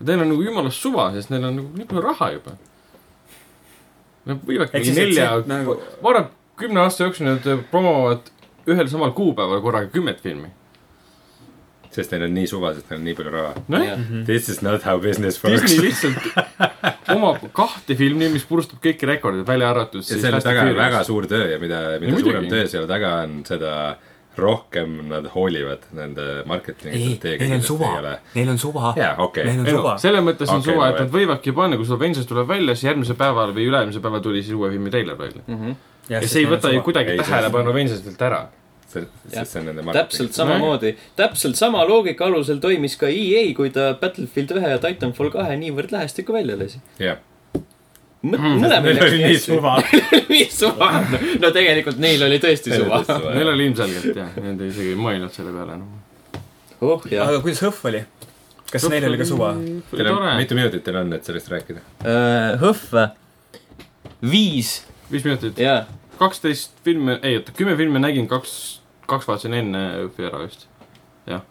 [SPEAKER 4] Neil on nagu jumala suva , sest neil on nagu nii palju raha juba . Nad võivadki
[SPEAKER 2] ehk
[SPEAKER 4] mingi
[SPEAKER 2] siis , et
[SPEAKER 4] nelja
[SPEAKER 2] see , nagu ,
[SPEAKER 4] ma arvan , kümne aasta jooksul nad promovad ühel samal kuupäeval korraga kümmet filmi .
[SPEAKER 3] sest neil on nii suva , sest neil on nii palju raha .
[SPEAKER 4] nojah ,
[SPEAKER 2] Mhm.
[SPEAKER 3] This is not how business works .
[SPEAKER 4] Disney lihtsalt omab kahte filmi , mis purustab kõiki rekordeid , välja arvatud
[SPEAKER 3] ja
[SPEAKER 4] siis
[SPEAKER 3] selle
[SPEAKER 4] Fast and
[SPEAKER 3] taga on
[SPEAKER 4] Furious.
[SPEAKER 3] väga suur töö ja mida , mida
[SPEAKER 4] muidugi.
[SPEAKER 3] suurem töö selle taga on , seda rohkem nad hoolivad nende marketingi
[SPEAKER 2] ei , neil on suva , neil on suva .
[SPEAKER 3] jaa , okei
[SPEAKER 2] Neil on
[SPEAKER 4] ei no
[SPEAKER 2] suva. ,
[SPEAKER 4] selles mõttes on
[SPEAKER 3] Okei,
[SPEAKER 4] okay, suva , et
[SPEAKER 3] davai.
[SPEAKER 4] nad võivadki panna , kui sul Avengers tuleb välja , siis järgmisel päeval või üle-eelmisel päeval tuli siis uue filmi treiler välja . ja see ei võta ju . kuidagi
[SPEAKER 3] Ei, Mm. see-
[SPEAKER 4] tähelepanu Avengersilt ära .
[SPEAKER 3] see ,
[SPEAKER 1] Jah.
[SPEAKER 3] see on nende
[SPEAKER 1] täpselt
[SPEAKER 3] marketing .
[SPEAKER 1] samamoodi , täpselt sama loogika alusel toimis ka EA , kui ta Battlefield ühe ja Titanfall kahe niivõrd lähestikku välja lasi .
[SPEAKER 3] jah ,
[SPEAKER 1] mõlemal
[SPEAKER 3] neil
[SPEAKER 1] läks
[SPEAKER 3] oli nii . suva .
[SPEAKER 1] nii suva , no tegelikult neil oli tõesti suva .
[SPEAKER 4] Neil oli ilmselgelt jah , nad isegi ei mõelnud selle peale noh. enam no. .
[SPEAKER 1] oh jah ,
[SPEAKER 2] aga kuidas Hõhv oli ? kas neil oli ka suva ?
[SPEAKER 3] Teil on ,
[SPEAKER 4] tore ,
[SPEAKER 3] mitu minutit teil on , et sellest rääkida ?
[SPEAKER 1] Äh, Hõhv , viis
[SPEAKER 4] viis minutit ,
[SPEAKER 1] ja
[SPEAKER 4] kaksteist filme , ei oota , kümme filme nägin , kaks , kaks vaatasin enne õhtul ära vist . jah ,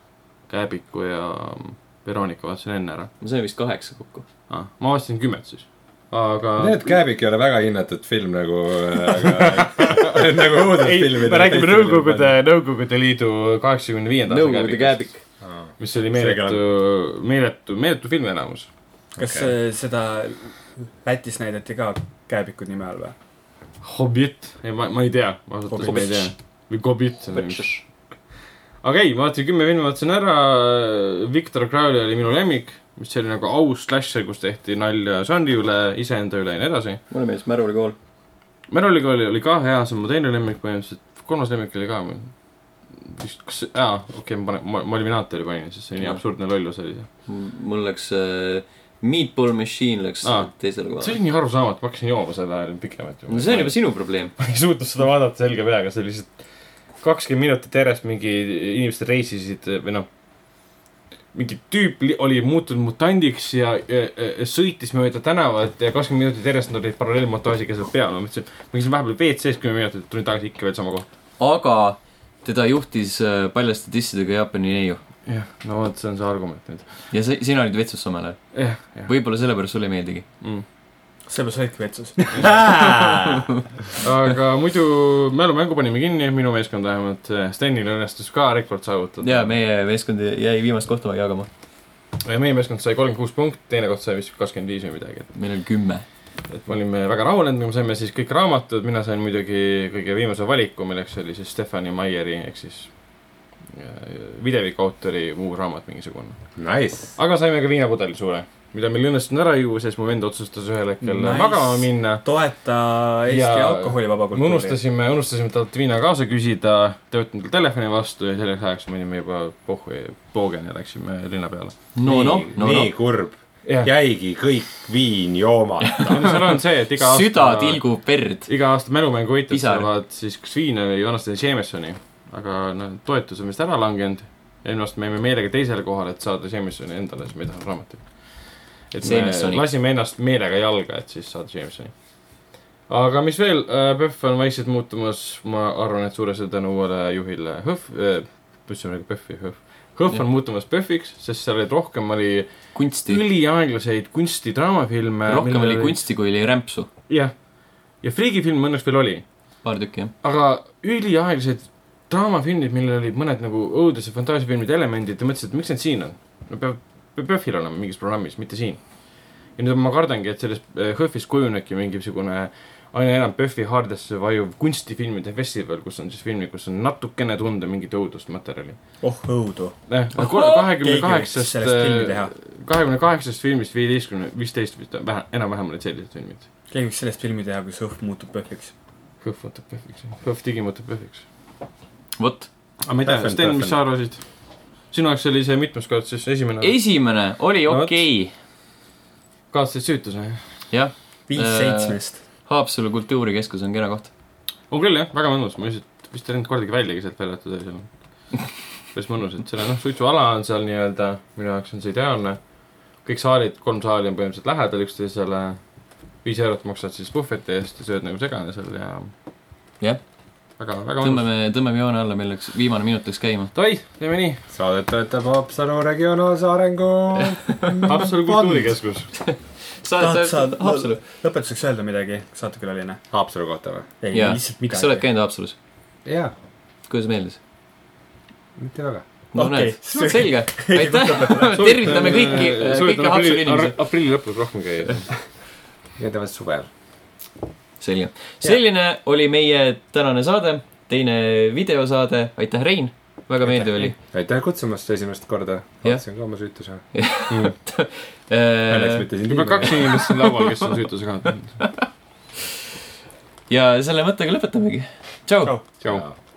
[SPEAKER 4] Kääbiku ja mm, Veronika vaatasin enne ära
[SPEAKER 1] ma sain vist kaheksa kokku .
[SPEAKER 4] ah, . ma vaatasin kümmet siis , aga .
[SPEAKER 3] Need Kääbik ei ole väga hinnatud film nagu , aga nagu õudus film .
[SPEAKER 4] me räägime Nõukogude , Nõukogude Liidu kaheksakümne viienda
[SPEAKER 1] Nõukogude kääbik .
[SPEAKER 4] mis oli
[SPEAKER 3] Seega-
[SPEAKER 4] meeletu , meeletu , meeletu film enamus .
[SPEAKER 2] kas
[SPEAKER 3] Okei.
[SPEAKER 2] äh, seda Lätis näidati ka Kääbikud nime all või ?
[SPEAKER 4] Hobbit , ei ma , ma ei tea , ma ausalt öeldes ma ei tea . või Gobbit . aga ei , ma vaatasin kümme filmi , vaatasin ära , Victor Crowley oli minu lemmik , mis oli nagu aus slasher , kus tehti nalja žanri üle , iseenda üle ja nii edasi .
[SPEAKER 1] mulle meeldis Märuli kool .
[SPEAKER 4] Merolikooli oli ka hea , see on mu teine lemmik põhimõtteliselt , kolmas lemmik oli ka mul . vist , kas , aa , okei okay, , ma panen , ma , ma Eliminaatori panin , sest see oli nii
[SPEAKER 1] Jah.
[SPEAKER 4] absurdne lollus oli see .
[SPEAKER 1] mul läks äh, Meatball Machine läks
[SPEAKER 4] Aa.
[SPEAKER 1] teisele
[SPEAKER 4] see
[SPEAKER 1] kohale .
[SPEAKER 4] oli nii arusaamatu , ma hakkasin jooma seda pikemalt .
[SPEAKER 1] no see on juba sinu probleem .
[SPEAKER 4] ma ei suutnud seda vaadata selge peaga , see oli lihtsalt kakskümmend minutit järjest mingi inimesed reisisid või noh , mingi tüüp li- oli muutunud mutandiks ja, ja, ja sõitis mööda tänavat ja kakskümmend minutit järjest nad olid paralleelmontaažiga seal peal , ma mõtlesin , ma käisin vahepeal WC-s kümme minutit , tulin tagasi ikka veel sama kohta .
[SPEAKER 1] aga teda juhtis äh, paljaste dissidega Jaapani neiu .
[SPEAKER 4] jah , no vot , see on see argument nüüd .
[SPEAKER 1] ja sa , sina olid vetsus samal ajal .
[SPEAKER 4] jah , jah .
[SPEAKER 1] võib-olla sellepärast sulle ei meeldigi .
[SPEAKER 4] Mm.
[SPEAKER 2] selle saidki vetsus .
[SPEAKER 4] aga muidu mälumängu panime kinni , minu meeskond vähemalt , Stenil õnnestus ka rekord saavutada .
[SPEAKER 1] ja meie meeskond jäi viimast kohta jagama .
[SPEAKER 4] ja meie meeskond sai kolmkümmend kuus punkti , teine koht sai vist kakskümmend viis või midagi , et ,
[SPEAKER 1] meil oli kümme .
[SPEAKER 4] et me olime väga rahunenud , me saime siis kõik raamatud , mina sain muidugi kõige viimase valiku , milleks oli siis Stefani Maieri ehk siis äh, videviku autori muu raamat mingisugune .
[SPEAKER 3] Nice .
[SPEAKER 4] aga saime ka viinapudeli suure , mida meil ei õnnestunud ära juua , sest mu vend otsustas ühel hetkel
[SPEAKER 2] Nice.
[SPEAKER 4] nice. magama minna .
[SPEAKER 2] toeta Eesti
[SPEAKER 4] Ja
[SPEAKER 2] alkoholivaba
[SPEAKER 4] me
[SPEAKER 2] kultuuri .
[SPEAKER 4] unustasime , unustasime talt viina kaasa küsida , ta ei võtnud veel telefoni vastu ja selleks ajaks me olime juba pohhu , poogeni ja läksime linna peale .
[SPEAKER 1] no noh , no
[SPEAKER 3] nii
[SPEAKER 1] noh .
[SPEAKER 3] kurb .
[SPEAKER 4] jah ,
[SPEAKER 3] jäigi kõik viin joomata .
[SPEAKER 4] seal on see , et iga aasta
[SPEAKER 1] süda tilgub verd .
[SPEAKER 4] iga aasta mälumängu võitjad
[SPEAKER 1] Pisar.
[SPEAKER 4] saavad siis kas viina või vanasti oli Jamesoni , aga noh , toetus on vist ära langenud . eelmine aasta me jäime meelega teisele kohale , et saada Jamesoni endale , siis me ei tahtnud raamatut . et me
[SPEAKER 1] Jamesoni.
[SPEAKER 4] lasime ennast meelega jalga , et siis saada Jamesoni . aga mis veel , PÖFF on vaikselt muutumas , ma arvan , et suure sõja tänu uuele juhile äh, HÖFF , ütlesime nagu PÖFFi , HÖFF . HÖFF
[SPEAKER 1] Jah.
[SPEAKER 4] on muutumas PÖFFiks , sest seal olid rohkem , oli
[SPEAKER 1] kunsti .
[SPEAKER 4] üliaeglaseid kunstidraamafilme .
[SPEAKER 1] rohkem oli . kunsti , kui oli rämpsu .
[SPEAKER 4] jah , ja friigifilm õnneks veel oli
[SPEAKER 1] paar tükki , jah .
[SPEAKER 4] aga üliaeglased draamafilmid , millel olid mõned nagu õuduse fantaasiafilmide elemendid ja mõtlesin , et miks need siin on . no peab , peab PÖFFil olema mingis programmis , mitte siin . ja nüüd ma kardangi , et sellest eh, HÖFFist kujunebki mingisugune aina enam PÖFFi haardesse vajuv kunstifilmide festival , kus on siis filmid , kus on natukene tunda mingit õudust materjali .
[SPEAKER 2] oh õudu .
[SPEAKER 4] kahekümne
[SPEAKER 2] Keegi võiks
[SPEAKER 4] kaheksast ,
[SPEAKER 2] sellest
[SPEAKER 1] äh,
[SPEAKER 2] filmi teha.
[SPEAKER 4] kahekümne kaheksast filmist viieteistkümne , viisteist vist on vähe , enam-vähem olid sellised filmid .
[SPEAKER 2] keegi võiks sellest filmi teha , kus õhk muutub PÖFFiks .
[SPEAKER 4] HÖFF muutub PÖFFiks , HÖFF digi muutub PÖFFiks .
[SPEAKER 1] vot .
[SPEAKER 4] aga ma ei tea ,
[SPEAKER 3] Täpselt,
[SPEAKER 4] Sten , mis
[SPEAKER 3] täpselt.
[SPEAKER 4] sa arvasid ? sinu jaoks oli see mitmes kord siis esimene Ei...
[SPEAKER 1] esimene oli
[SPEAKER 4] No vot.
[SPEAKER 1] okei okay. ,
[SPEAKER 4] kaaslased süütus või ?
[SPEAKER 1] jah .
[SPEAKER 2] viis
[SPEAKER 1] Äh,
[SPEAKER 2] seitsmest .
[SPEAKER 1] Haapsalu kultuurikeskus on kena koht .
[SPEAKER 4] on küll jah , väga mõnus , ma lihtsalt vist ei läinud kordagi väljagi sealt välja , et seal on päris mõnus , et seal on noh , suitsuala on seal nii-öelda , minu jaoks on see ideaalne . kõik saalid , kolm saali on põhimõtteliselt lähedal üksteisele . viis eurot maksad siis puhveti eest ja sööd nagu segane seal ja .
[SPEAKER 1] Jah. .
[SPEAKER 4] väga , väga mõnus .
[SPEAKER 1] tõmbame , tõmbame joone alla , meil läks , viimane minut läks käima .
[SPEAKER 4] Davai , teeme nii .
[SPEAKER 3] saadet toetab Haapsalu regionaalse arengu .
[SPEAKER 4] Haapsalu kultuurikeskus .
[SPEAKER 1] saadet toetab Haapsalu .
[SPEAKER 2] lõpetuseks öelda midagi , saatekülaline ?
[SPEAKER 3] Haapsalu kohta või ?
[SPEAKER 2] ei ,
[SPEAKER 1] Jaa.
[SPEAKER 2] lihtsalt
[SPEAKER 1] kas sa oled
[SPEAKER 2] midagi .
[SPEAKER 1] käinud Haapsalus ?
[SPEAKER 3] jaa ,
[SPEAKER 1] kuidas meeldis ?
[SPEAKER 3] mitte väga .
[SPEAKER 1] no
[SPEAKER 2] Okei.
[SPEAKER 1] näed , selge , aitäh , tervitame kõiki , kõiki Haapsalu inimesi .
[SPEAKER 4] aprilli lõpus rohkem käia .
[SPEAKER 3] igatahes suvel .
[SPEAKER 1] selge , selline oli meie tänane saade , teine videosaade , aitäh , Rein , väga meeldiv oli .
[SPEAKER 3] aitäh kutsumast esimest korda .
[SPEAKER 1] Jah.
[SPEAKER 3] vaatasin ka oma süütuse . Õnneks
[SPEAKER 1] ja
[SPEAKER 3] mitte sind
[SPEAKER 4] juba kaks . inimest siin laual , kes on süütuse kaotanud .
[SPEAKER 1] selle mõttega lõpetamegi , tšau .
[SPEAKER 2] Tšau.
[SPEAKER 4] tšau .